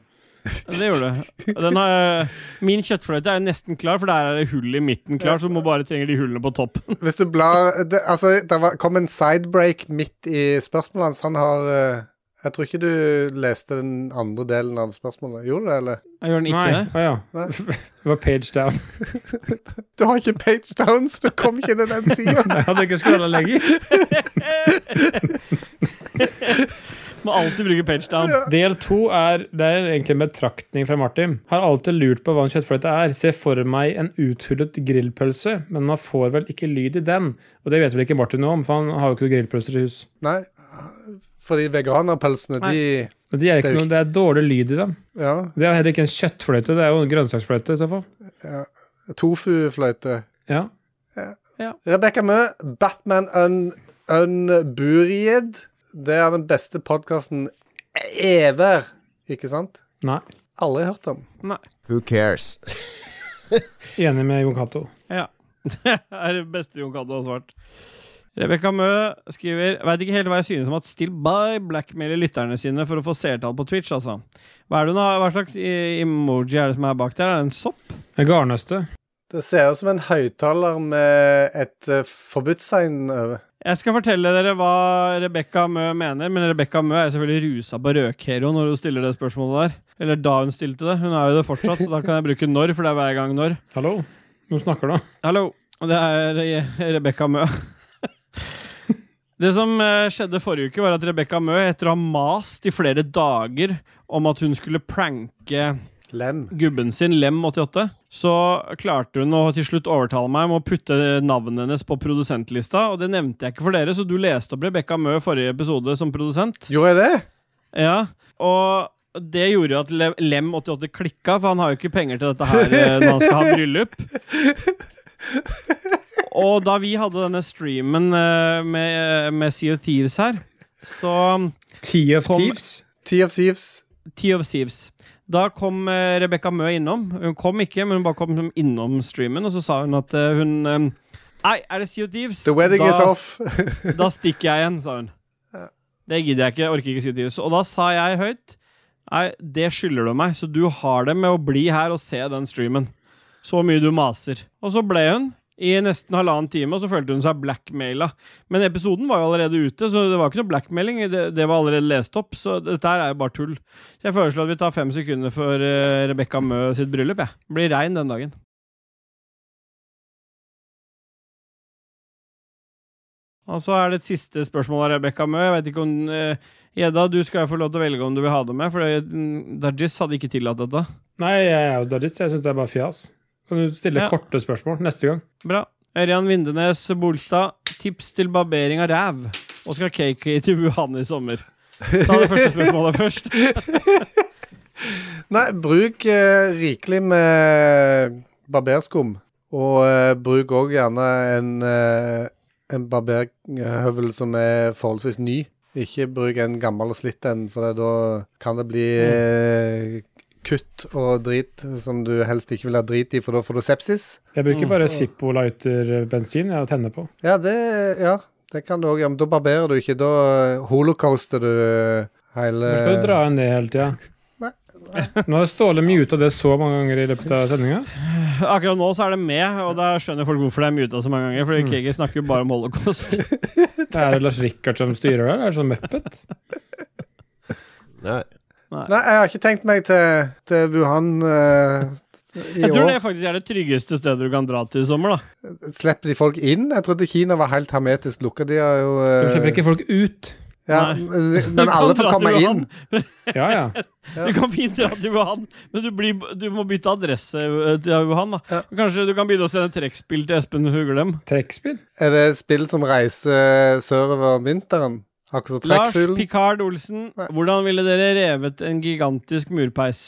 [SPEAKER 2] Det gjorde du. Og Den har, min kjøttfløyte er nesten klar, for der er det hull i midten klar, så du må bare trenger de hullene på toppen.
[SPEAKER 3] Hvis du blar det, Altså, det var, kom en sidebreak midt i spørsmålet hans. Han har eh, Jeg tror ikke du leste den andre delen av spørsmålet. Gjorde du det, eller?
[SPEAKER 2] Jeg gjør den ikke
[SPEAKER 1] Nei.
[SPEAKER 2] det.
[SPEAKER 1] Å ja.
[SPEAKER 3] Nei.
[SPEAKER 1] [LAUGHS] Det var page down.
[SPEAKER 3] Du har ikke page down, så du kom ikke til den sida.
[SPEAKER 1] Jeg hadde ikke skrolla lenger.
[SPEAKER 2] Må alltid bruke page down.
[SPEAKER 1] Del to er Det er egentlig en betraktning fra Martin. Har alltid lurt på hva en kjøttfløyte er. Ser for meg en uthullet grillpølse, men man får vel ikke lyd i den. Og det vet vel ikke Martin noe om, for han har jo ikke noen grillpølser i hus.
[SPEAKER 3] Nei, fordi veganerpølsene, de
[SPEAKER 1] Men de er
[SPEAKER 3] Det
[SPEAKER 1] ikke
[SPEAKER 3] er jo
[SPEAKER 1] noe, det er dårlig lyd i dem.
[SPEAKER 3] Ja.
[SPEAKER 1] Det er heller ikke en kjøttfløyte, det er jo en grønnsaksfløyte i så fall.
[SPEAKER 3] Tofufløyte.
[SPEAKER 1] Ja.
[SPEAKER 3] Rebekka Mø, Batman Un Unburied. Det er den beste podkasten ever, ikke sant?
[SPEAKER 1] Nei.
[SPEAKER 3] Aldri hørt om.
[SPEAKER 5] Who cares? [LAUGHS]
[SPEAKER 1] Enig med Jon Cato.
[SPEAKER 2] Det [LAUGHS] er det beste Jon Kadde har svart. Rebekka Mø skriver Veit ikke helt hva jeg synes om at Still By blackmailer lytterne sine for å få seertall på Twitch, altså. Hva, er det, hun har- hva slags eh, emoji er det som er bak der? Er det en sopp?
[SPEAKER 1] Garnnøste.
[SPEAKER 3] Det ser ut som en høyttaler med et eh, forbudstegn over.
[SPEAKER 2] Jeg skal fortelle dere hva Rebekka Mø mener, men Rebekka Mø er selvfølgelig rusa på røkhero når hun stiller det spørsmålet der. Eller da hun stilte det. Hun er jo det fortsatt, så da kan jeg bruke når, for det er hver gang når.
[SPEAKER 1] Hallo? Hvem snakker du?
[SPEAKER 2] Hallo, og det er Re- Rebekka Mø. Det som eh, skjedde forrige uke, var at Rebekka Mø, etter å ha mast i flere dager om at hun skulle pranke
[SPEAKER 3] Lem.
[SPEAKER 2] gubben sin, Lem88, så klarte hun å til slutt overtale meg om å putte navnet hennes på produsentlista, og det nevnte jeg ikke for dere, så du leste opp Rebekka Mø forrige episode som produsent.
[SPEAKER 3] Gjorde jeg det?
[SPEAKER 2] Ja, og det gjorde jo at Le- Lem88 klikka, for han har jo ikke penger til dette her eh, når han skal ha bryllup. Og da vi hadde denne streamen eh, med, med Sea of Thieves her, så
[SPEAKER 1] Tea of
[SPEAKER 2] Kom-
[SPEAKER 1] Thieves?
[SPEAKER 3] Tea of Thieves.
[SPEAKER 2] Tea of Thieves. Da kom eh, Rebekka Mø innom. Hun kom ikke, men hun bare kom innom streamen, og så sa hun at eh, hun eh, Nei, er det Sea of Thieves?
[SPEAKER 3] The wedding
[SPEAKER 2] da,
[SPEAKER 3] is off. [LAUGHS]
[SPEAKER 2] [LAUGHS] Da stikker jeg igjen, sa hun. Det gidder jeg ikke. Jeg orker ikke si det. Og da sa jeg høyt Nei, det skylder du meg, så du har det med å bli her og se den streamen. Så mye du maser. Og så ble hun i nesten halvannen time, og så følte hun seg blackmaila. Men episoden var jo allerede ute, så det var ikke noe blackmailing. Det, det var allerede lest opp, så dette her er jo bare tull. Så jeg foreslår at vi tar fem sekunder for uh, Rebekka Mø sitt bryllup, jeg. Blir rein den dagen. Og så er det et siste spørsmål av Rebekka Mø. Jeg vet ikke om eh, Gjedda, du skal jo få lov til å velge om du vil ha det med, for det- mm, Dajis hadde ikke tillatt dette.
[SPEAKER 1] Nei, jeg er jo dadist. Jeg syns det er bare fjas. Kan du stille
[SPEAKER 2] Ja.
[SPEAKER 1] korte spørsmål neste gang?
[SPEAKER 2] Bra. Ørjan Vindenes Bolstad, tips til barbering av ræv. Og skal KK til Wuhan i sommer? Ta det første spørsmålet først.
[SPEAKER 3] [LAUGHS] Nei, bruk eh, rikelig med barberskum. Og eh, bruk òg gjerne en, eh, en barberhøvel som er forholdsvis ny. Ikke bruk en gammel og slitt en, for det- da kan det bli eh, kutt og drit som du helst ikke vil ha drit i, for da får du sepsis.
[SPEAKER 1] Jeg
[SPEAKER 3] Mm.
[SPEAKER 1] bruker bare Zippo-lighter-bensin jeg tenner på.
[SPEAKER 3] Ja, det, ja, det kan du òg gjøre. Men da barberer du ikke. Da eh, holocauster du eh, hele
[SPEAKER 1] Hvorfor skal du dra henne ned hele tida?
[SPEAKER 3] Nei,
[SPEAKER 1] Nå har Ståle muta det så mange ganger i løpet av sendinga.
[SPEAKER 2] Akkurat nå så er det med, og da skjønner folk hvorfor det er muta så mange ganger. Fordi
[SPEAKER 1] Mm.
[SPEAKER 2] KK snakker jo bare om
[SPEAKER 3] [LAUGHS]
[SPEAKER 2] holocaust.
[SPEAKER 1] Er det Lars Rikard som styrer der? Er det sånn muppet?
[SPEAKER 5] Nei.
[SPEAKER 3] Nei, jeg har ikke tenkt meg til, til Wuhan eh, i
[SPEAKER 2] Jeg tror det
[SPEAKER 3] år.
[SPEAKER 2] faktisk er det tryggeste stedet du kan dra til i sommer, da.
[SPEAKER 3] Slipper de folk inn? Jeg trodde Kina var helt hermetisk lukka. De har jo eh,
[SPEAKER 1] De slipper ikke folk ut.
[SPEAKER 3] ja,
[SPEAKER 2] Nei.
[SPEAKER 3] men,
[SPEAKER 2] Du [LAUGHS]
[SPEAKER 3] men
[SPEAKER 2] kan
[SPEAKER 3] alle får
[SPEAKER 2] dra til
[SPEAKER 3] komme
[SPEAKER 2] Wuhan.
[SPEAKER 3] inn.
[SPEAKER 1] Ja, ja.
[SPEAKER 3] Ja.
[SPEAKER 2] Du kan fint dra til Wuhan, men du, blir, du må bytte adresse eh, til Wuhan. da
[SPEAKER 3] Ja.
[SPEAKER 2] Kanskje du kan begynne å sende trekkspill til Espen Huglem?
[SPEAKER 1] Trekkspill.
[SPEAKER 3] Er det spill som reiser eh, sørover om vinteren? Akkurat som
[SPEAKER 2] Lars
[SPEAKER 3] trekkfuglen?
[SPEAKER 2] Picard Olsen,
[SPEAKER 3] Nei.
[SPEAKER 2] hvordan ville dere revet en gigantisk murpeis?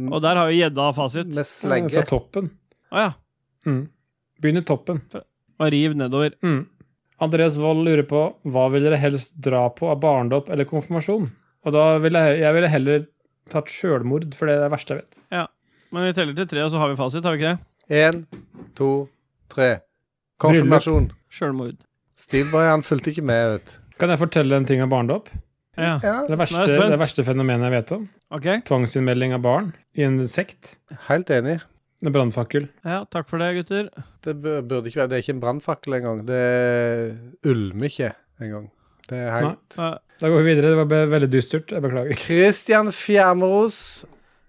[SPEAKER 3] Mm.
[SPEAKER 2] Og der har jo gjedda fasit.
[SPEAKER 3] Med
[SPEAKER 1] Fra
[SPEAKER 3] slegge.
[SPEAKER 1] toppen.
[SPEAKER 2] Å ja.
[SPEAKER 1] Mm. Begynner toppen.
[SPEAKER 2] Og riv nedover.
[SPEAKER 1] Mm. Andreas Wold lurer på hva vil dere helst dra på av barndom eller konfirmasjon? Og da ville jeg, jeg ville heller tatt sjølmord, for det er det verste jeg vet.
[SPEAKER 2] Men vi teller til tre, og så har vi fasit, har vi ikke det?
[SPEAKER 3] Én, to, tre. Konfirmasjon.
[SPEAKER 2] Sjølmord.
[SPEAKER 3] Steve-boy, han fulgte ikke med, vet du.
[SPEAKER 1] Kan jeg fortelle en ting om barndom?
[SPEAKER 2] Ja.
[SPEAKER 3] Ja,
[SPEAKER 1] Det verste,
[SPEAKER 2] Nå er jeg spent.
[SPEAKER 1] det verste fenomenet jeg vet om.
[SPEAKER 2] OK.
[SPEAKER 1] Tvangsinnmelding av barn i en sekt.
[SPEAKER 3] helt enig.
[SPEAKER 1] Med brannfakkel.
[SPEAKER 2] Ja, takk for det, gutter.
[SPEAKER 3] Det bu- burde ikke være Det er ikke en brannfakkel engang. Det ulmer ikke engang. Det er helt
[SPEAKER 2] Eh,
[SPEAKER 1] Da går vi videre. Det var be- veldig dystert. Jeg beklager.
[SPEAKER 3] Christian Fjermeros.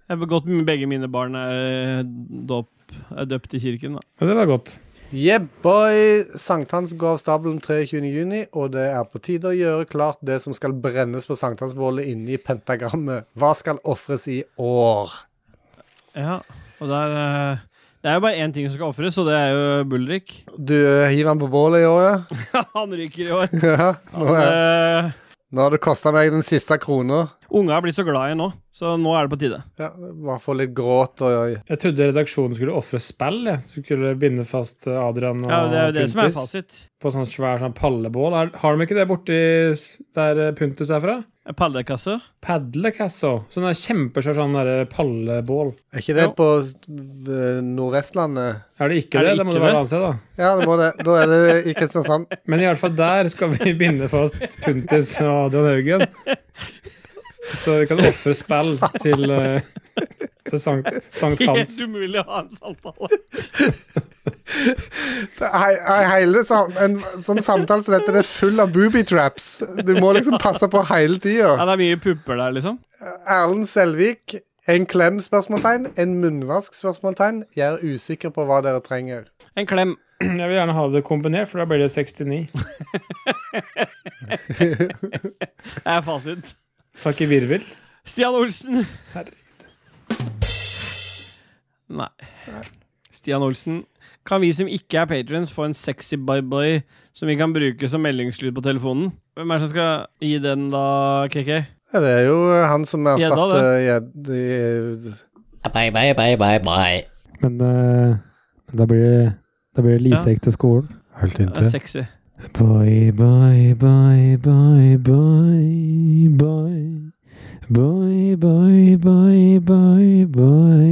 [SPEAKER 2] Jeg har begått begge mine barn er eh, dåp, er døpt i kirken, da.
[SPEAKER 1] Men det var godt.
[SPEAKER 3] Yeah, boy! Sankthans går av stabelen 23. juni, og det er på tide å gjøre klart det som skal brennes på sankthansbålet inne i pentagrammet. Hva skal ofres i år?
[SPEAKER 2] Ja, og der eh, Det er jo bare én ting som skal ofres, og det er jo Bulrik.
[SPEAKER 3] Du eh, hiver den på bålet i år, ja?
[SPEAKER 2] [LAUGHS]
[SPEAKER 3] [LAUGHS]
[SPEAKER 2] Han ryker i år.
[SPEAKER 3] ja nå, er,
[SPEAKER 2] Eh,
[SPEAKER 3] nå har det kosta meg den siste krona.
[SPEAKER 2] Unga er blitt så glad i nå, så nå er det på tide.
[SPEAKER 3] Ja, bare få litt gråt og
[SPEAKER 1] Jeg trodde redaksjonen skulle ofre spill. jeg. Skulle binde fast Adrian og
[SPEAKER 2] Ja, det er jo det som er
[SPEAKER 1] Puntis
[SPEAKER 2] fasit.
[SPEAKER 1] på sånn svær sånn pallebål. Har, har de ikke det borti s- der eh, Puntis er fra?
[SPEAKER 2] Pallekasse.
[SPEAKER 1] Padlecasso. Sånn der kjempesvær sånn der pallebål.
[SPEAKER 3] Er ikke det
[SPEAKER 2] Jo.
[SPEAKER 3] på eh, Nordvestlandet?
[SPEAKER 1] Er det ikke
[SPEAKER 2] Er
[SPEAKER 1] det?
[SPEAKER 2] det
[SPEAKER 1] Da må
[SPEAKER 2] ikke
[SPEAKER 1] det være
[SPEAKER 2] det?
[SPEAKER 1] annet sted, da.
[SPEAKER 3] Ja, det må det. Da er det i Kristiansand.
[SPEAKER 1] Men i alle fall der skal
[SPEAKER 2] [LAUGHS]
[SPEAKER 1] vi binde fast Puntis og Adrian Haugen. Så vi kan ofre
[SPEAKER 2] [LAUGHS]
[SPEAKER 1] spill til, eh, til Sankt, Sankt
[SPEAKER 2] altså. Helt
[SPEAKER 1] Hans.
[SPEAKER 2] umulig å ha en samtale.
[SPEAKER 3] Det er- er hele sam en sånn samtale som dette det er full av booby traps. Du må liksom passe på hele
[SPEAKER 2] Ja,
[SPEAKER 3] tida.
[SPEAKER 2] det er mye pupper der, liksom.
[SPEAKER 3] Erlend Selvik. En klem? spørsmålstegn En munnvask? spørsmålstegn Jeg er usikker på hva dere trenger.
[SPEAKER 2] En klem.
[SPEAKER 1] Jeg vil gjerne ha det kombinert, for da blir det 69.
[SPEAKER 2] Det er fasit.
[SPEAKER 1] Fuck i virvel.
[SPEAKER 2] Stian Olsen.
[SPEAKER 1] Herregud.
[SPEAKER 2] Nei. Stian Olsen. Kan vi som ikke er patrons, få en sexy bye-bye som vi kan bruke som meldingslyd på telefonen? Hvem er det som skal gi den, da, KK?
[SPEAKER 3] Ja, Det er jo han som
[SPEAKER 2] Gjedda,
[SPEAKER 3] erstatter Gjed...
[SPEAKER 10] Bye, bye, bye, bye, bye.
[SPEAKER 1] Men eh, da blir det da blir det Lisek til skolen.
[SPEAKER 9] Helt
[SPEAKER 2] Det er
[SPEAKER 9] inntil.
[SPEAKER 2] sexy.
[SPEAKER 1] Bye, bye, bye, bye, bye, bye. Bye, bye, bye, bye, bye.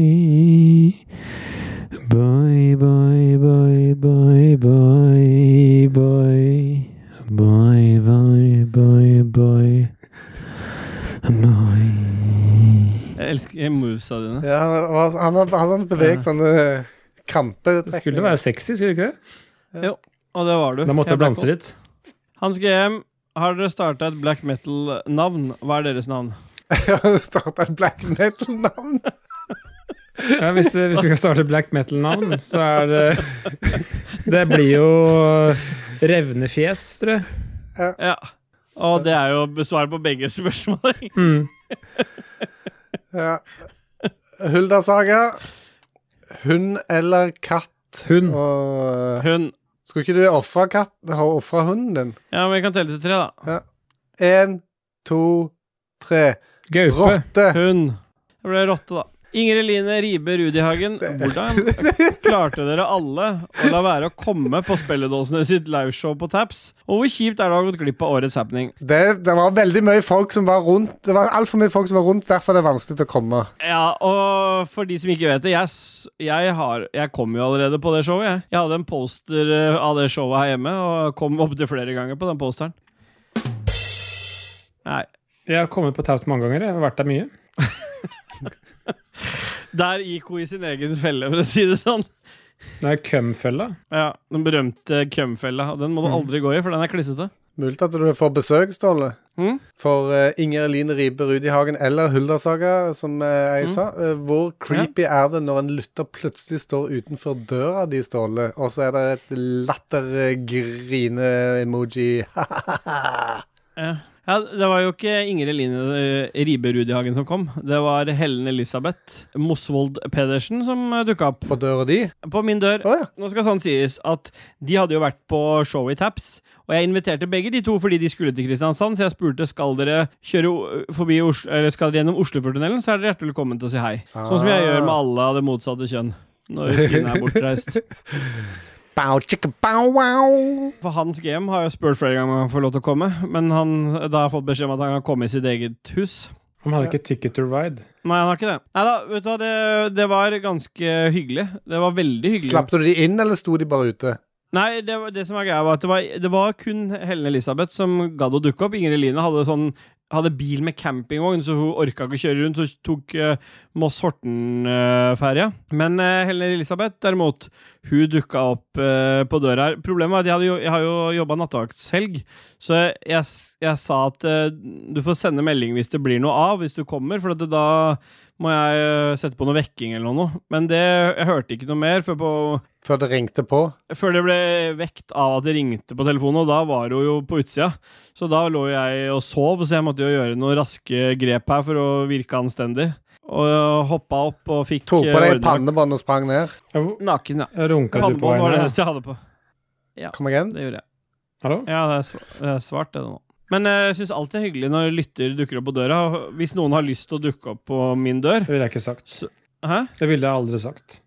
[SPEAKER 1] Bye, bye, bye, bye, bye, bye. Bye, bye, bye, bye. Bye.
[SPEAKER 2] Jeg elsker movesa dine.
[SPEAKER 3] Ja, han, var- han hadde han hadde beveget sånne
[SPEAKER 1] Det skulle
[SPEAKER 3] [LAUGHS] krampetrekninger.
[SPEAKER 1] være sexy, skulle det ikke det?
[SPEAKER 2] Og det var du.
[SPEAKER 1] Da måtte jeg
[SPEAKER 2] ble
[SPEAKER 1] blanse
[SPEAKER 2] kåt.
[SPEAKER 1] litt.
[SPEAKER 2] Hans GM, har dere starta et black metal-navn? Hva er deres navn?
[SPEAKER 3] Starta et black metal-navn.
[SPEAKER 1] Ja, hvis, det, hvis vi skal starte black metal-navn, så er det
[SPEAKER 2] [LAUGHS]
[SPEAKER 1] Det blir jo Revnefjes, tror jeg.
[SPEAKER 2] Ja. Og det er jo besvar på begge spørsmål.
[SPEAKER 1] Mm.
[SPEAKER 3] Ja. Hulda-saga. Hund eller katt?
[SPEAKER 1] Hund.
[SPEAKER 3] Og
[SPEAKER 2] [LAUGHS]
[SPEAKER 3] eh,
[SPEAKER 2] Hun.
[SPEAKER 3] Skulle ikke du ofre katt... Ha ofra hunden din?
[SPEAKER 2] Ja, men jeg kan telle til tre, da.
[SPEAKER 3] Én, to, tre.
[SPEAKER 1] Gaupe.
[SPEAKER 3] Rotte.
[SPEAKER 2] Hun. Jeg ble rotte, da. Ingrid Line Ribe Rudihagen, hvordan klarte dere alle å la være å komme på Spelledåsene sitt liveshow på Taps? Og hvor kjipt er det å ha gått glipp av årets happening?
[SPEAKER 3] Det, det var veldig mye folk som var rundt. Det var altfor mye folk som var rundt, derfor er det vanskelig å komme.
[SPEAKER 2] Ja, og for de som ikke vet det, jeg, s- jeg, har, jeg kom jo allerede på det showet, jeg. Jeg hadde en poster eh, av det showet her hjemme, og kom opptil flere ganger på den posteren. Nei.
[SPEAKER 1] Jeg har kommet på Taus mange ganger. Jeg har vært der mye.
[SPEAKER 2] Der gikk hun i sin egen felle, for å si det sånn.
[SPEAKER 1] Det er Kømfella.
[SPEAKER 2] Ja, Den berømte kømfella. Og den må du aldri gå i, for den er klissete.
[SPEAKER 3] Mulig at du får besøk, Ståle.
[SPEAKER 2] Mm.
[SPEAKER 3] For eh, Inger Eline Ribe Rudihagen eller Huldersaga, som eh,
[SPEAKER 2] Hm?
[SPEAKER 3] jeg sa. eh, hvor creepy er det når en lytter plutselig står utenfor døra di, Ståle, og så er det et eh, latter-grine-emoji?
[SPEAKER 2] Ja. ja, det var jo ikke Ingrid Line eh, Ribe Rudihagen som kom. Det var Helen Elisabeth Mosvold Pedersen som dukka opp
[SPEAKER 3] På døra di?
[SPEAKER 2] på min dør.
[SPEAKER 3] Å ja.
[SPEAKER 2] Nå skal sånn sies at de hadde jo vært på show i Taps, og jeg inviterte begge de to fordi de skulle til Kristiansand, så jeg spurte skal dere kjøre o- forbi Oslo, eller skal dere gjennom Oslofjordtunnelen, så er dere hjertelig velkommen til å si hei. Sånn som jeg gjør med alle av det motsatte kjønn. Når Stine er bortreist.
[SPEAKER 3] Bow, chicka, bow, wow.
[SPEAKER 2] For Hans GM har jo spurt flere ganger om han får lov til å komme, men han, da har jeg fått beskjed om at han kan komme i sitt eget hus.
[SPEAKER 1] Han hadde ikke ticket to ride.
[SPEAKER 2] Nei, han har ikke det. Nei da, vet du hva, det, det var ganske hyggelig. Det var veldig hyggelig.
[SPEAKER 3] Slapp du de inn, eller sto de bare ute?
[SPEAKER 2] Nei, det, var- det som var greia, var at det var, det var kun Helen Elisabeth som gadd å dukke opp. Ingrid Line hadde sånn hadde bil med campingvogn, så hun orka ikke å kjøre rundt. Så hun tok eh, Moss-Horten-ferja. Men eh, Helen Elisabeth, derimot, hun dukka opp eh, på døra her. Problemet var at jeg, hadde jo, jeg har jo jobba nattevaktshelg, så jeg, jeg, s- jeg sa at eh, du får sende melding hvis det blir noe av, hvis du kommer, for at det, da må jeg eh, sette på noe vekking eller noe. Men det, jeg hørte ikke noe mer før på
[SPEAKER 3] Før det ringte på?
[SPEAKER 2] før det ble vekt av at det ringte på telefonen, og da var hun jo på utsida. Så da lå jeg og sov, så jeg måtte jo gjøre noen raske grep her for å virke anstendig. Og hoppa opp og fikk
[SPEAKER 3] Tok
[SPEAKER 2] eh,
[SPEAKER 3] på deg
[SPEAKER 2] ordnet meg
[SPEAKER 3] pannebånd og sprang ned?
[SPEAKER 1] Ja, hvor-
[SPEAKER 2] Naken, ja.
[SPEAKER 1] ja, Runka du på
[SPEAKER 2] Pannebånd var det
[SPEAKER 1] veien? her?
[SPEAKER 2] eneste jeg hadde på.
[SPEAKER 3] Kom igjen?
[SPEAKER 2] Det gjorde jeg.
[SPEAKER 1] Hallo?
[SPEAKER 2] Ja, det er sva- det er svart, det nå. Men eh, jeg syns alltid det er hyggelig når lytter dukker opp på døra. og Hvis noen har lyst til å dukke opp på min dør
[SPEAKER 1] Det ville jeg ikke sagt.
[SPEAKER 2] Hæ?
[SPEAKER 1] Det ville jeg aldri sagt.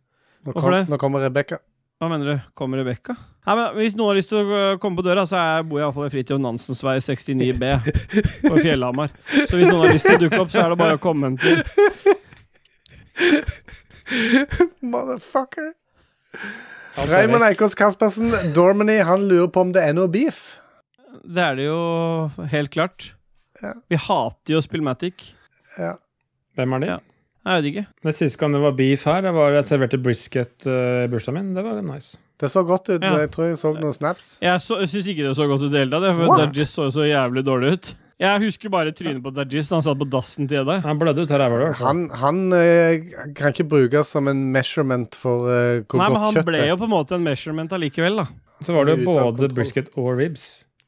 [SPEAKER 3] Nå,
[SPEAKER 2] Hvorfor
[SPEAKER 3] kom,
[SPEAKER 2] det?
[SPEAKER 3] nå kommer Rebekka.
[SPEAKER 2] Hva mener du? Kommer Rebekka? Nei, men Hvis noen har lyst til å øh, komme på døra, så er, bor jeg iallfall i Fridtjof Nansens vei 69B på Fjellhamar. Så hvis noen har lyst til å dukke opp, så er det bare å komme en tur.
[SPEAKER 3] [LAUGHS] Motherfucker. Raymond Eikås Caspersen, Dormany, han lurer på om det er noe beef.
[SPEAKER 2] Det er det jo helt klart.
[SPEAKER 3] Ja.
[SPEAKER 2] Vi hater jo Spillmatic.
[SPEAKER 1] Hvem er de?
[SPEAKER 2] Ja. Jeg vet ikke.
[SPEAKER 1] Men Sist gang det var beef her, det var jeg serverte brisket eh, i bursdagen min. Det var nice.
[SPEAKER 3] Det så godt
[SPEAKER 2] Ja.
[SPEAKER 3] ut. men Jeg tror jeg så noen snaps.
[SPEAKER 2] Jeg, så- jeg syns ikke det så godt ut i det hele tatt, jeg, for
[SPEAKER 3] What?
[SPEAKER 2] Dajis så så jævlig dårlig ut. Jeg husker bare trynet på Dajis da han satt på dassen til deg.
[SPEAKER 1] Han blødde ut her, ræva di.
[SPEAKER 3] Han, han eh, kan ikke brukes som en measurement for eh, hvor
[SPEAKER 2] Nei, men
[SPEAKER 3] godt
[SPEAKER 2] han
[SPEAKER 3] kjøttet
[SPEAKER 2] ble jo på en måte en measurement allikevel, da.
[SPEAKER 1] Så var det
[SPEAKER 3] Ute av
[SPEAKER 1] både
[SPEAKER 3] kontroll.
[SPEAKER 1] brisket og ribs.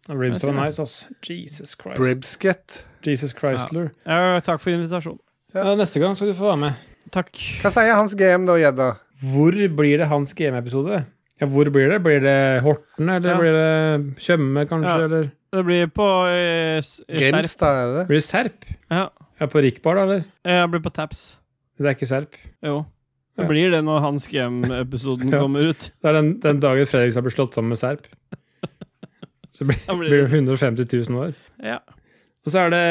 [SPEAKER 1] Og Ribs
[SPEAKER 2] Jeg
[SPEAKER 1] var
[SPEAKER 2] ser det.
[SPEAKER 1] nice, ass. Jesus Christ.
[SPEAKER 3] Bribsket.
[SPEAKER 1] Jesus Chrysler.
[SPEAKER 2] Ja, takk for invitasjonen.
[SPEAKER 1] Ja. Neste gang skal du få være med.
[SPEAKER 2] Takk.
[SPEAKER 3] Hva sier hans GM da, gjedda?
[SPEAKER 1] Hvor blir det hans GM-episode? Ja, hvor blir det? Blir det Horten, eller
[SPEAKER 2] Ja.
[SPEAKER 1] blir det Tjøme, kanskje?
[SPEAKER 2] Ja.
[SPEAKER 1] Eller
[SPEAKER 2] Det blir på eh, s- Serp.
[SPEAKER 3] Grimstad, er det?
[SPEAKER 1] blir det Serp?
[SPEAKER 2] Ja.
[SPEAKER 1] Ja, på Rikbar, da, eller?
[SPEAKER 2] Jeg blir på Taps.
[SPEAKER 1] Det er ikke Serp.
[SPEAKER 2] Jo.
[SPEAKER 1] Ja.
[SPEAKER 2] Det blir det når Hans GM-episoden
[SPEAKER 1] Ja.
[SPEAKER 2] kommer ut.
[SPEAKER 1] Det er den, den dagen Fredrikstad blir slått sammen med Serp. Så blir,
[SPEAKER 2] Da blir
[SPEAKER 1] blir det 150 000 år.
[SPEAKER 2] Ja.
[SPEAKER 1] Og så er det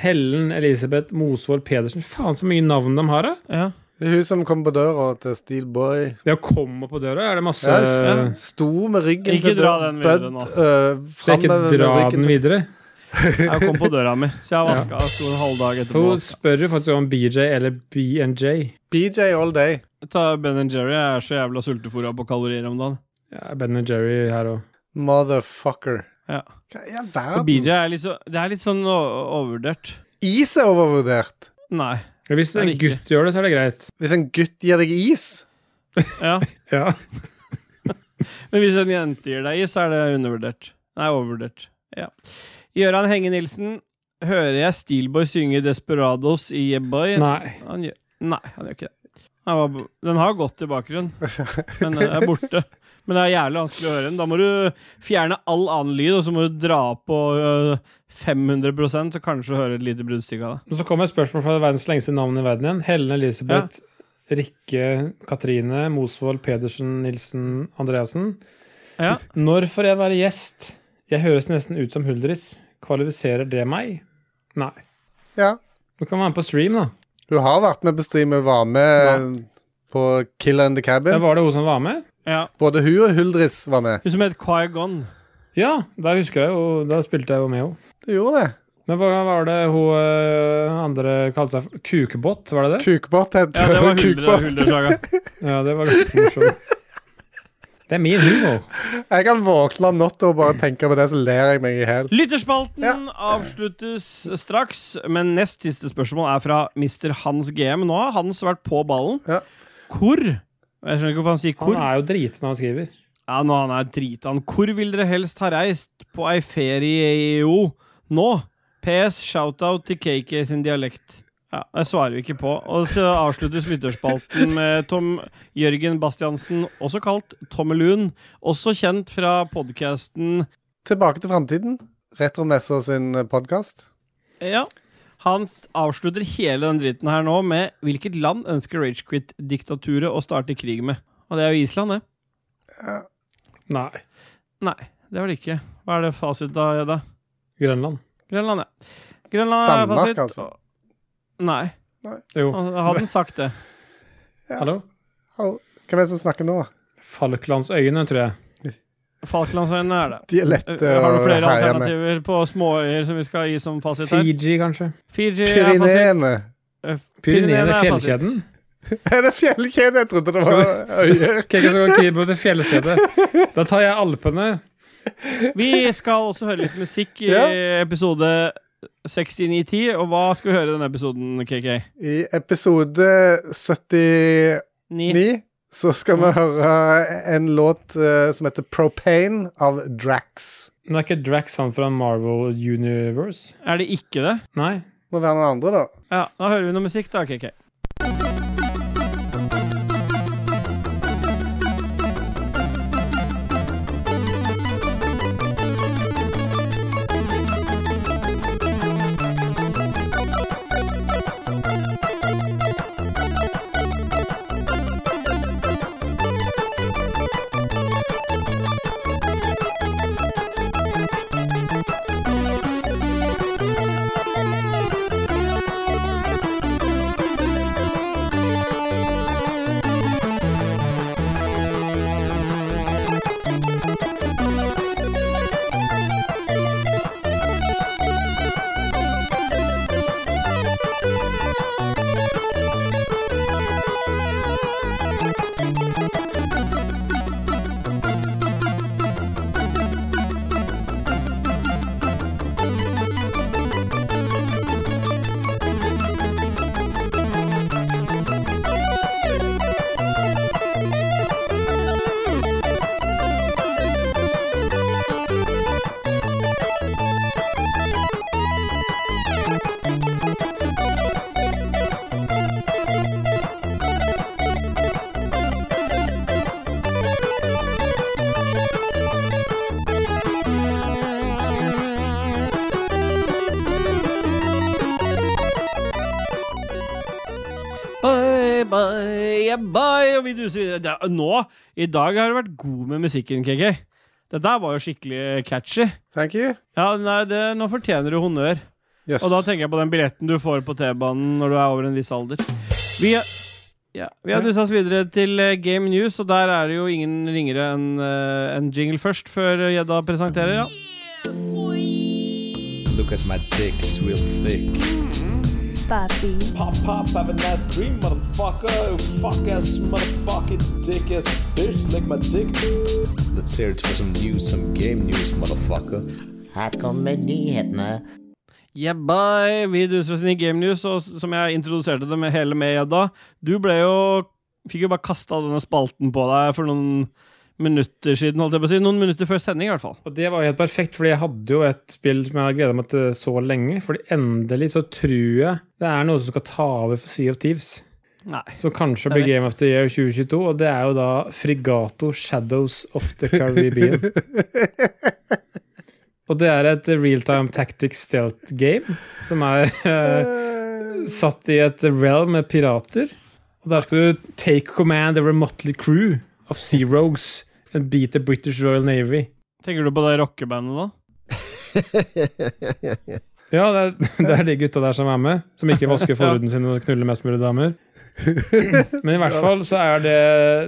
[SPEAKER 1] Hellen Elisabeth Mosvold Pedersen. Faen, så mye navn de har, da!
[SPEAKER 2] Ja.
[SPEAKER 3] Det er hun som kom på døra til Steel Boy.
[SPEAKER 1] Det å komme på døra, er det masse
[SPEAKER 3] Ja, s- sto med ryggen
[SPEAKER 2] Ikke
[SPEAKER 3] til
[SPEAKER 2] dra
[SPEAKER 3] døra.
[SPEAKER 2] den videre
[SPEAKER 3] Bødd,
[SPEAKER 2] nå.
[SPEAKER 3] øh,
[SPEAKER 1] Skal jeg
[SPEAKER 3] framover
[SPEAKER 1] ikke
[SPEAKER 3] med
[SPEAKER 1] dra
[SPEAKER 3] ryggen
[SPEAKER 1] den
[SPEAKER 3] til-
[SPEAKER 1] videre?
[SPEAKER 2] Jeg kom på døra mi, så jeg vaska ja. en halv dag etterpå.
[SPEAKER 1] Hun spør jo faktisk om BJ eller BNJ.
[SPEAKER 3] BJ all day.
[SPEAKER 2] Ta Ben Jerry. Jeg er så jævla sultefòra på kalorier om dagen.
[SPEAKER 1] Ja, Ben Jerry her òg.
[SPEAKER 3] Motherfucker.
[SPEAKER 2] Ja.
[SPEAKER 3] Hva i all
[SPEAKER 2] Og
[SPEAKER 3] verden?
[SPEAKER 2] BJ er litt, så, det er litt sånn o- overvurdert.
[SPEAKER 3] Is er overvurdert.
[SPEAKER 2] Nei.
[SPEAKER 1] Hvis
[SPEAKER 2] Er
[SPEAKER 1] en
[SPEAKER 2] det ikke?
[SPEAKER 1] gutt gjør det, så er det greit.
[SPEAKER 3] Hvis en gutt gir deg is
[SPEAKER 2] Ja.
[SPEAKER 1] Ja.
[SPEAKER 2] Men hvis en jente gir deg is, så er det undervurdert. Nei, overvurdert. Ja. Gøran Henge Nilsen. Hører jeg Steelboy synge Desperados i Yeboy?
[SPEAKER 1] Nei.
[SPEAKER 2] Han gjør, nei, han gjør ikke det. Han var, bo- den har gått i bakgrunnen, men den er borte. Men det er jævlig vanskelig å høre den. Da må du fjerne all annen lyd, og så må du dra på øh, 500 så kanskje du hører et lite bruddstykke av det.
[SPEAKER 1] Men så kommer et spørsmål fra verdens lengste navn i verden igjen. Helen Elisabeth Rikke Katrine Mosvold Pedersen Nilsen Andreassen.
[SPEAKER 2] Ja.
[SPEAKER 1] Når får jeg være gjest? Jeg høres nesten ut som Huldris. Kvalifiserer det meg? Nei.
[SPEAKER 3] Ja.
[SPEAKER 1] Du kan være med på stream, da.
[SPEAKER 3] Hun har vært med på stream, hun var med på Killer in the
[SPEAKER 1] Der
[SPEAKER 3] Cabin.
[SPEAKER 1] var det hun som var med?
[SPEAKER 2] Ja.
[SPEAKER 3] Både hun og Huldris var med.
[SPEAKER 2] Hun som het Quaigon.
[SPEAKER 1] Ja, da husker jeg jo, da spilte jeg jo med henne.
[SPEAKER 3] Du gjorde det.
[SPEAKER 1] Men hva var det hun øh, andre kalte seg? for? Kukebåt, var det det?
[SPEAKER 3] Kukbot het [LAUGHS]
[SPEAKER 2] Ja, det var Huldre-
[SPEAKER 3] Kukbot.
[SPEAKER 2] Huldresaga.
[SPEAKER 3] [LAUGHS]
[SPEAKER 1] Ja, det var ganske morsomt. Det er min humor.
[SPEAKER 3] Jeg kan våkne om natta og bare tenke på det, så ler jeg meg i hjel.
[SPEAKER 2] Lytterspalten
[SPEAKER 3] Ja.
[SPEAKER 2] avsluttes straks, men nest siste spørsmål er fra Mr. Hans GM. Nå har Hans vært på ballen.
[SPEAKER 3] Ja.
[SPEAKER 2] Hvor? Jeg skjønner ikke hvorfor han sier hvor.
[SPEAKER 1] Han er jo driten når han skriver.
[SPEAKER 2] Ja, nå han er drita. han. Hvor vil dere helst ha reist på ei ferie i EU nå? PS, shout-out til KK sin dialekt. Ja, Det svarer vi ikke på. Og så avsluttes lytterspalten med Tom Jørgen Bastiansen, også kalt Tommelun, også kjent fra podkasten
[SPEAKER 3] Tilbake til framtiden. Retromessa sin podkast.
[SPEAKER 2] Ja. Han s- avslutter hele den dritten her nå med hvilket land ønsker Ragequit-diktaturet å starte krig med? Og det er jo Island, det.
[SPEAKER 1] Nei.
[SPEAKER 2] Nei, det var det ikke. Hva er det fasit da, Jedda?
[SPEAKER 1] Grønland.
[SPEAKER 2] Grønland, ja. Grønland er
[SPEAKER 3] Danmark,
[SPEAKER 2] fasit.
[SPEAKER 3] altså.
[SPEAKER 2] Nei,
[SPEAKER 1] Jo.
[SPEAKER 2] han- hadde han sagt det.
[SPEAKER 1] Hallo?
[SPEAKER 3] Hvem er det som snakker nå?
[SPEAKER 1] Falklandsøyene, tror jeg.
[SPEAKER 2] Falklandsøyene er det.
[SPEAKER 3] De er lette
[SPEAKER 2] Eh, Har du
[SPEAKER 3] å
[SPEAKER 2] flere
[SPEAKER 3] herje med.
[SPEAKER 2] alternativer på småøyer som vi skal gi som fasit her?
[SPEAKER 1] Fiji, kanskje.
[SPEAKER 2] Fiji er fasit.
[SPEAKER 3] Pyreneene. [LAUGHS]
[SPEAKER 2] Eh,
[SPEAKER 1] Pyreneene,
[SPEAKER 2] er fasit.
[SPEAKER 1] fjellkjeden.
[SPEAKER 3] Er det fjellkjede? Jeg trodde det var øyer.
[SPEAKER 1] Skal jeg ikke gå til fjellkjede? Da tar jeg Alpene.
[SPEAKER 2] Vi skal også høre litt musikk i episode 6910. Og hva skal vi høre i denne episoden, KK?
[SPEAKER 3] I episode 79
[SPEAKER 2] Ni.
[SPEAKER 3] så skal vi høre en låt eh, som heter Propane av Drax.
[SPEAKER 1] Men er ikke Drax han fra Marvel Universe?
[SPEAKER 2] Er det ikke det?
[SPEAKER 1] Nei.
[SPEAKER 3] Må være noen andre, da.
[SPEAKER 2] Ja, da hører vi noe musikk, da, KK.
[SPEAKER 10] Thank
[SPEAKER 2] bye, bye, yeah, bye, og vi duser videre. Det, er- nå, i dag har du vært god med musikken, KK. Det der var jo skikkelig catchy.
[SPEAKER 3] Thank you.
[SPEAKER 2] Ja, nei, det, nå fortjener du honnør.
[SPEAKER 3] Yes.
[SPEAKER 2] Og da tenker jeg på den billetten du får på T-banen når du er over en viss alder. Vi er ja, Vi har dussa oss videre til eh, Game News, og der er det jo ingen ringere enn eh, en jingle først, før eh, gjedda presenterer. ja.
[SPEAKER 11] Look at my dick, it's real thick.
[SPEAKER 12] Papi.
[SPEAKER 11] Pop, pop, have a nice dream, motherfucker. Fuck ass, motherfucking dick ass bitch, lick my dick. Let's hear it for some news, some game news, motherfucker. Her kommer [LAUGHS] nyhetene.
[SPEAKER 2] Yeah, bye. Vi duser oss inn i Game News, og s- som jeg introduserte det med hele med gjedda. Du ble jo Fikk jo bare kasta denne spalten på deg for noen minutter siden, holdt jeg på å si. Noen minutter før sending, i hvert fall.
[SPEAKER 1] Og det var jo helt perfekt, fordi jeg hadde jo et spill som jeg har gleda meg til så lenge. Fordi endelig så tror jeg det er noe som skal ta over for Sea of Thieves.
[SPEAKER 2] Nei.
[SPEAKER 1] Så kanskje
[SPEAKER 2] Jeg
[SPEAKER 1] blir
[SPEAKER 2] vet.
[SPEAKER 1] Game of the Year 2022, og det er jo da Frigato Shadows of the Caribbean.
[SPEAKER 2] [LAUGHS]
[SPEAKER 1] og det er et real-time tactics stealth game som er eh, satt i et realm med pirater. Og der skal du take command over a motley crew of sea rogues and beat the British Royal Navy.
[SPEAKER 2] Tenker du på det rockebandet, da?
[SPEAKER 1] Ja, det er, [LAUGHS] det er de gutta der som er med, som ikke
[SPEAKER 2] [LAUGHS]
[SPEAKER 1] vasker forhuden sin og knuller mest mulig damer. Men i hvert fall så er det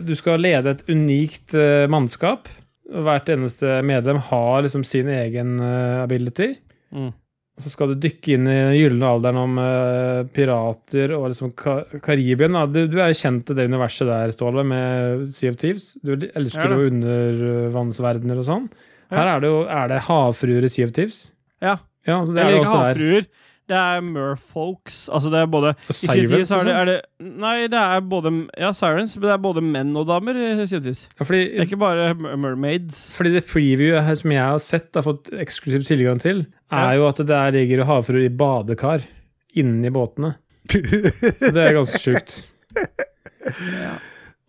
[SPEAKER 1] Du skal lede et unikt eh, mannskap. og Hvert eneste medlem har liksom sin egen eh, ability.
[SPEAKER 2] Mm.
[SPEAKER 1] Og så skal du dykke inn i den gylne alderen om eh, pirater og liksom Ka Karibien. Da. Du, du er jo kjent i det universet der, Ståle, med Sea of Thieves. Du
[SPEAKER 2] Ja
[SPEAKER 1] elsker
[SPEAKER 2] da.
[SPEAKER 1] jo undervannsverdener og sånn. Her er det jo er det havfruer i Sea of Thieves.
[SPEAKER 2] Ja.
[SPEAKER 1] Ja, så det er
[SPEAKER 2] Eller
[SPEAKER 1] det
[SPEAKER 2] ikke
[SPEAKER 1] også her.
[SPEAKER 2] havfruer. Det er merfolks. Altså, det er både I sin
[SPEAKER 1] sirens,
[SPEAKER 2] tid så er det,
[SPEAKER 1] liksom?
[SPEAKER 2] er det Nei, det er både Ja, sirens, men det er både menn og damer i sin tid.
[SPEAKER 1] fordi-
[SPEAKER 2] det er ikke bare mer- mermaids.
[SPEAKER 1] Fordi det previewet her som jeg har sett, har fått eksklusiv tilgang til, er jo at det der ligger havfruer i badekar inni båtene. Det er ganske sjukt.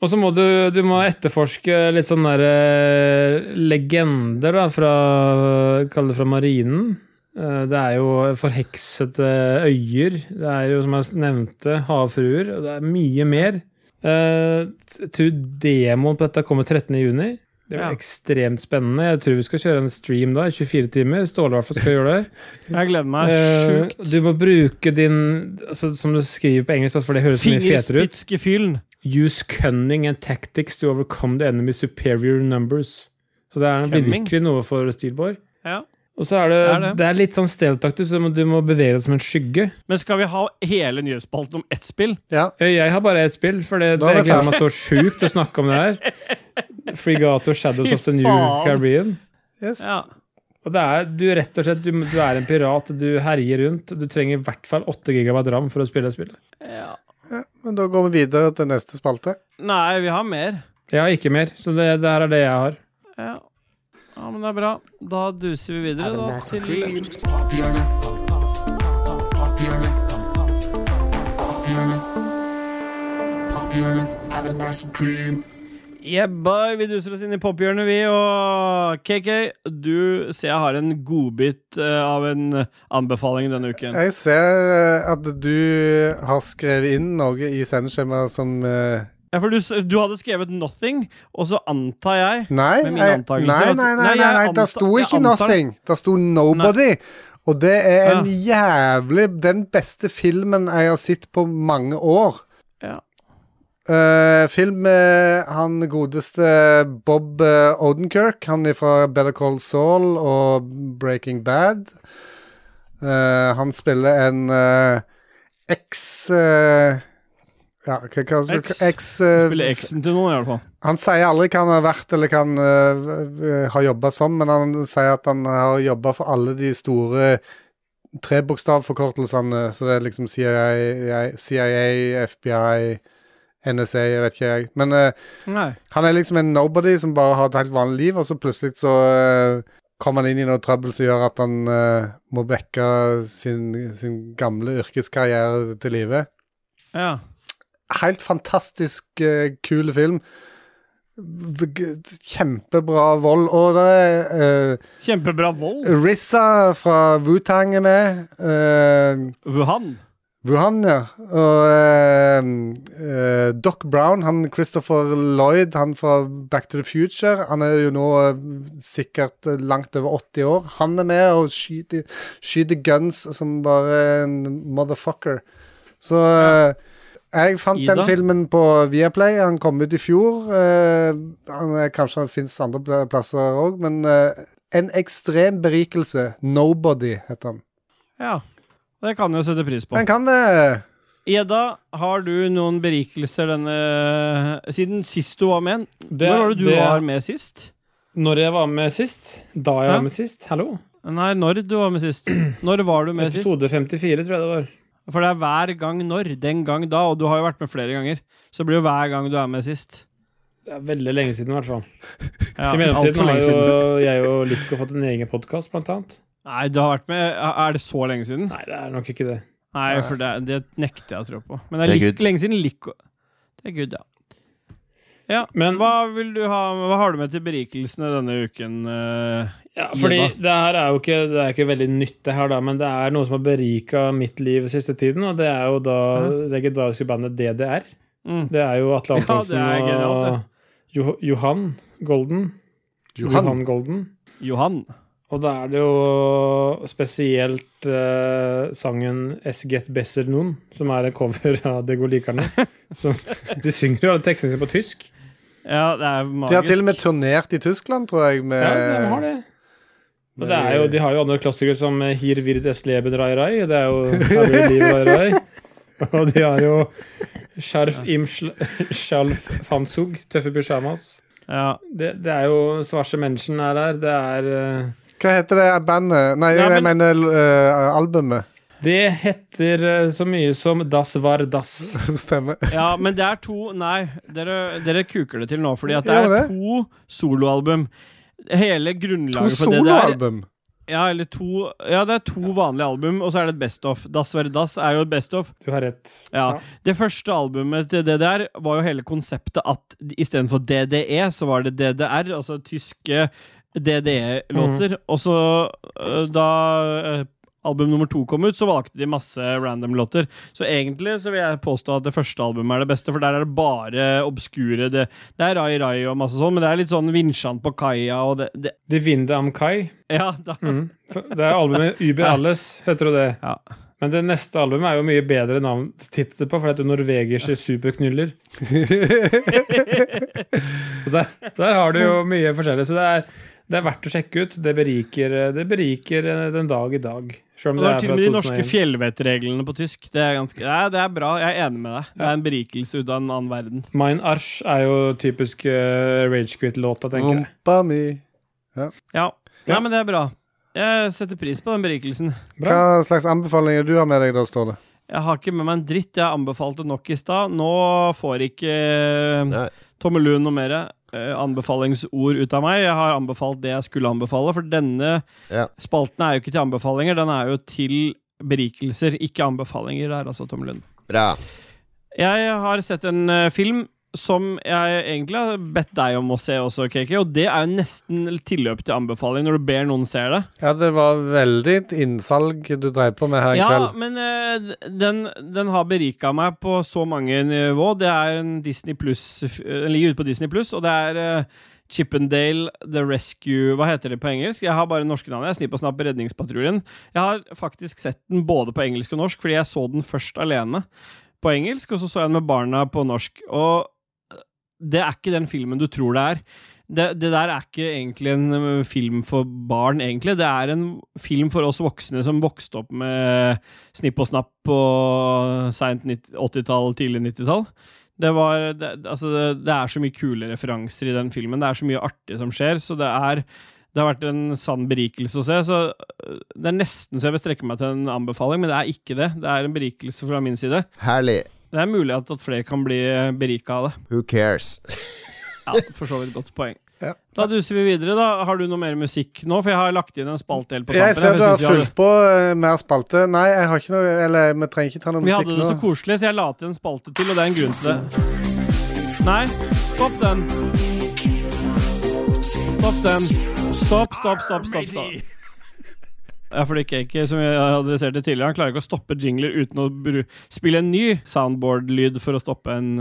[SPEAKER 1] Og så må du, du må etterforske litt sånne der, eh, legender da, fra, kall det fra marinen. Eh, Det er jo forheksete øyer, det er jo som jeg nevnte, havfruer, og det er mye mer. Eh, Jeg tror demoen på dette kommer 13. juni. Det blir
[SPEAKER 2] Ja.
[SPEAKER 1] ekstremt spennende. Jeg tror vi skal kjøre en stream da, i 24 timer. Ståle i hvert fall skal gjøre
[SPEAKER 2] [LAUGHS]
[SPEAKER 1] det.
[SPEAKER 2] Jeg gleder meg
[SPEAKER 1] Eh,
[SPEAKER 2] sjukt.
[SPEAKER 1] Du må bruke din altså, Som du skriver på engelsk, da, for det høres så mye fetere ut.
[SPEAKER 2] Fingerspitzgefühlen.
[SPEAKER 1] Use cunning and tactics to overcome the enemy's superior numbers. Så det er
[SPEAKER 2] Cunning.
[SPEAKER 1] virkelig noe for Steelboy.
[SPEAKER 2] Ja.
[SPEAKER 1] Og så er det,
[SPEAKER 2] Det
[SPEAKER 1] det,
[SPEAKER 2] er det.
[SPEAKER 1] er litt sånn stealth-aktig, så du må, du må bevege deg som en skygge.
[SPEAKER 2] Men skal vi ha hele nyhetsspalten om ett spill?
[SPEAKER 1] Eh, Jeg har bare ett spill, for det,
[SPEAKER 2] Da er
[SPEAKER 1] det
[SPEAKER 2] vi
[SPEAKER 1] gleder
[SPEAKER 2] ferdig.
[SPEAKER 1] meg så sjukt å snakke om det her.
[SPEAKER 2] [LAUGHS]
[SPEAKER 1] Frigato Shadows of the New
[SPEAKER 2] faen.
[SPEAKER 1] Caribbean.
[SPEAKER 3] Yes.
[SPEAKER 2] Ja.
[SPEAKER 1] Og det er, du rett og slett, du, du er en pirat, du herjer rundt. Du trenger i hvert fall 8 gigabyte ram for å spille spillet.
[SPEAKER 3] Men da går vi videre til neste spalte.
[SPEAKER 2] Nei, vi har mer.
[SPEAKER 1] Jeg har ikke mer, så det, det her er det jeg har.
[SPEAKER 2] Ja. ja, men det er bra. Da duser vi videre, da. Til Yeah, boy. Vi duser oss inn i pophjørnet, vi. Og KK, du ser jeg har en godbit eh, av en anbefaling denne uken.
[SPEAKER 3] Jeg ser eh, at du har skrevet inn noe i sendeskjemaet som eh,
[SPEAKER 2] Ja, for du, s- du hadde skrevet 'nothing', og så antar jeg med
[SPEAKER 3] Nei, jeg,
[SPEAKER 2] mine
[SPEAKER 3] nei, nei,
[SPEAKER 2] antakelser
[SPEAKER 3] nei,
[SPEAKER 2] at-
[SPEAKER 3] nei,
[SPEAKER 2] jeg
[SPEAKER 3] nei, nei
[SPEAKER 2] anta-
[SPEAKER 3] det sto
[SPEAKER 2] jeg
[SPEAKER 3] ikke
[SPEAKER 2] antar-
[SPEAKER 3] 'nothing'. Det sto 'nobody'. Og det er en jævlig Den beste filmen jeg har sett på mange år.
[SPEAKER 2] Ja.
[SPEAKER 3] Eh, film med han godeste Bob eh, Odenkirk. Han er fra Better Call Saul og Breaking Bad. Eh, han spiller en eh, eks eh, Ja, hva, hva,
[SPEAKER 2] Eks.
[SPEAKER 3] eks eh,
[SPEAKER 2] Spiller X-en til noen, i hvert fall.
[SPEAKER 3] han sier aldri hva han har vært eller hva han øh, øh, har jobba som, men han sier at han har jobba for alle de store trebokstavforkortelsene. Så det er liksom CIA, CIA FBI, NSA, jeg vet ikke jeg. Men øh,
[SPEAKER 2] Nei.
[SPEAKER 3] han er liksom en nobody som bare har et helt vanlig liv, og så plutselig så øh, kommer han inn i noe trøbbel som gjør at han øh, må vekke sin, sin gamle yrkeskarriere til live
[SPEAKER 2] Ja.
[SPEAKER 3] helt fantastisk eh, kul film. V- g- Kjempebra vold. Og det er eh,
[SPEAKER 2] Kjempebra vold.
[SPEAKER 3] Rissa fra Wutang er med. eh,
[SPEAKER 2] Wuhan.
[SPEAKER 3] Wuhan, ja. Og eh, eh, Doc Brown, han Christopher Lloyd, han fra Back to the Future, han er jo nå eh, sikkert eh, langt over 80 år. Han er med og skyter, skyter guns som bare en motherfucker. Så eh, jeg fant
[SPEAKER 2] Ida?
[SPEAKER 3] den filmen på Viaplay. Han kom ut i fjor. Eh, han er, kanskje han fins andre pla- plasser òg, men eh, en ekstrem berikelse. Nobody, heter han.
[SPEAKER 2] Ja. Det kan jeg jo sette pris på.
[SPEAKER 3] Den kan eh, det.
[SPEAKER 2] Eda, har du noen berikelser denne Siden sist du var med?
[SPEAKER 1] Det-
[SPEAKER 2] Når var det du
[SPEAKER 1] det-
[SPEAKER 2] var med sist?
[SPEAKER 1] Når jeg var med sist? Da jeg
[SPEAKER 2] Hæ?
[SPEAKER 1] var med sist? Hallo?
[SPEAKER 2] Nei, når du var med
[SPEAKER 1] [CLEARS THROAT]
[SPEAKER 2] sist. Når var du med sist?
[SPEAKER 1] Episode 54, tror jeg det var.
[SPEAKER 2] For det er hver gang når. Den gang da. Og du har jo vært med flere ganger. Så det blir jo hver gang du er med sist.
[SPEAKER 1] Det er veldig lenge siden, i hvert fall. I
[SPEAKER 2] Ja, alt for
[SPEAKER 1] mellomtiden har
[SPEAKER 2] lenge
[SPEAKER 1] jo
[SPEAKER 2] siden. [LAUGHS]
[SPEAKER 1] jeg og Lykke fått en egen podkast, blant annet.
[SPEAKER 2] Nei, du har vært med Er det så lenge siden?
[SPEAKER 1] Nei, det er nok ikke det.
[SPEAKER 2] Nei, for det, det nekter jeg å tro på. Men det er,
[SPEAKER 1] Det er
[SPEAKER 2] lik- lenge siden Lico Det er good, ja. Ja, Men hva, vil du ha, hva har du med til berikelsene denne uken? eh,
[SPEAKER 1] Ja, fordi
[SPEAKER 2] Ida?
[SPEAKER 1] det her er jo ikke, det er ikke veldig nytt, det her, da, men det er noe som har berika mitt liv siste tiden, og det er jo da det legendariske bandet DDR.
[SPEAKER 2] Mm.
[SPEAKER 1] Det er jo Atle
[SPEAKER 2] Ja, det er
[SPEAKER 1] Antonsen
[SPEAKER 2] genialt,
[SPEAKER 1] og jo Johan Golden.
[SPEAKER 2] Johan.
[SPEAKER 1] Golden.
[SPEAKER 2] Johan.
[SPEAKER 1] Og da er det jo spesielt eh, sangen 'Es get besser nun', som er en cover [LAUGHS] av Det går likerne. Som- De synger jo alle tekstene sine på tysk.
[SPEAKER 2] Ja, det er
[SPEAKER 3] De har til og med turnert i Tyskland, tror jeg. Med,
[SPEAKER 1] Ja, de har det. Og det er jo, de har jo andre klassikere som eh, 'Hier wird es leben rai rai'. Det er jo her vil livet være rai. Og de har jo 'Scharf im schl- [LAUGHS] schalf fanzug', tøffe pysjamas. Det, det er jo svarte mennesken er her. Det er eh,
[SPEAKER 3] Hva heter det bandet? Nei,
[SPEAKER 1] Nei,
[SPEAKER 3] jeg mener eh, albumet. [LAUGHS]
[SPEAKER 1] Det heter eh, så mye som Das var das.
[SPEAKER 3] Stemmer.
[SPEAKER 2] Ja, men det er to Nei, dere, dere kuker det til nå, fordi at det
[SPEAKER 1] Gjør
[SPEAKER 2] er
[SPEAKER 1] det?
[SPEAKER 2] to soloalbum. Hele grunnlaget
[SPEAKER 3] To
[SPEAKER 2] for det det er-
[SPEAKER 3] soloalbum?
[SPEAKER 2] Ja, eller to Ja, det er to vanlige album, og så er det et best of. Das Være Das er jo et best of.
[SPEAKER 1] Du har rett.
[SPEAKER 2] Ja.
[SPEAKER 1] Ja.
[SPEAKER 2] Det første albumet til DDR var jo hele konseptet at istedenfor DDE, E, så var det DDR, altså tyske DDE-låter. Og så, øh, da øh, album nummer to kom ut, så valgte de masse random låter. Så egentlig så vil jeg påstå at det første albumet er det beste, for der er det bare obskure Det, det er Rai Rai og masse sånn, men det er litt sånn Vinsjan på kaia og det, det
[SPEAKER 1] De Winde am Kai.
[SPEAKER 2] Ja, da.
[SPEAKER 1] Mm. For Det er albumet Uber Alles, heter jo det. Men det neste albumet er jo mye bedre navn tittel på, for det heter Norvegiske superknuller. Og der, der har du jo mye forskjellig, så det er, det er verdt å sjekke ut. Det beriker, eh, det beriker den dag i dag. Selv om
[SPEAKER 2] Og det
[SPEAKER 1] det
[SPEAKER 2] var
[SPEAKER 1] er
[SPEAKER 2] til og
[SPEAKER 1] fra
[SPEAKER 2] med de norske
[SPEAKER 1] 2001.
[SPEAKER 2] fjellvettreglene på tysk. Det er, ganske, nei, det er bra. Jeg er enig med deg. Det er en berikelse ut av en annen verden.
[SPEAKER 1] Mein Arsch er jo typisk uh, Ragequit-låta, tenker jeg. [LAUGHS]
[SPEAKER 3] Rumpa mi. Ja.
[SPEAKER 2] Ja. Nei, men det er bra. Jeg setter pris på den berikelsen.
[SPEAKER 3] Hva slags anbefalinger du har med deg, da, står det?
[SPEAKER 2] Jeg har ikke med meg en dritt. Jeg anbefalte nok i stad. Nå får ikke Tommelun noe mer eh, anbefalingsord ut av meg. Jeg har anbefalt det jeg skulle anbefale, for denne spalten er jo ikke til anbefalinger. Den er jo til berikelser, ikke anbefalinger der, altså, Tommelun.
[SPEAKER 5] Bra.
[SPEAKER 2] Jeg har sett en eh, film som jeg egentlig har bedt deg om å se også, KK, og det er jo nesten tilløp til anbefaling når du ber noen se det.
[SPEAKER 3] Ja, det var veldig innsalg du drev på med her i
[SPEAKER 2] Ja,
[SPEAKER 3] kveld.
[SPEAKER 2] men eh, den, den har berika meg på så mange nivå. Det er en Disney Plus, eh, Den ligger ute på Disney Pluss, og det er eh, Chippendale The Rescue Hva heter det på engelsk? Jeg har bare norske navn. Jeg Snipp og snapp Redningspatruljen. Jeg har faktisk sett den både på engelsk og norsk, fordi jeg så den først alene på engelsk, og så så jeg den med barna på norsk. Og eh, det er ikke den filmen du tror det er. Det, det der er ikke egentlig en ø, film for barn, egentlig. Det er en film for oss voksne som vokste opp med snipp og snapp på seint 80-tall, tidlig 90-tall. Det, var, det, altså det, det er så mye kule referanser i den filmen. Det er så mye artig som skjer, så det er det har vært en sann berikelse å se. Så ø, det er nesten så jeg vil strekke meg til en anbefaling, men det er ikke det. Det er en berikelse fra min side.
[SPEAKER 5] Herlig.
[SPEAKER 2] Det er mulig at, at flere kan bli berika av det.
[SPEAKER 5] Who cares?
[SPEAKER 2] Ja, for så vidt godt
[SPEAKER 3] [LAUGHS]
[SPEAKER 2] poeng. Da duser vi videre. da Har du noe mer musikk nå? For jeg har lagt inn en spaltdel på tampen.
[SPEAKER 3] Jeg
[SPEAKER 2] her,
[SPEAKER 3] ser du
[SPEAKER 2] for jeg
[SPEAKER 3] har
[SPEAKER 2] synes
[SPEAKER 3] fulgt på eh, mer spalte. Nei, jeg har ikke noe Eller vi trenger ikke ta noe
[SPEAKER 2] vi hadde, vi
[SPEAKER 3] musikk
[SPEAKER 2] hadde det
[SPEAKER 3] nå.
[SPEAKER 2] så koselig, så jeg la til en spalte til, og det er en grunn til det. Nei, stopp den. Stopp den. Stopp, stopp, stopp, stopp. stopp. Ja, fordi Kake, som jeg adresserte tidligere, han klarer ikke å stoppe jingler uten å bru spille en ny soundboard-lyd for å stoppe en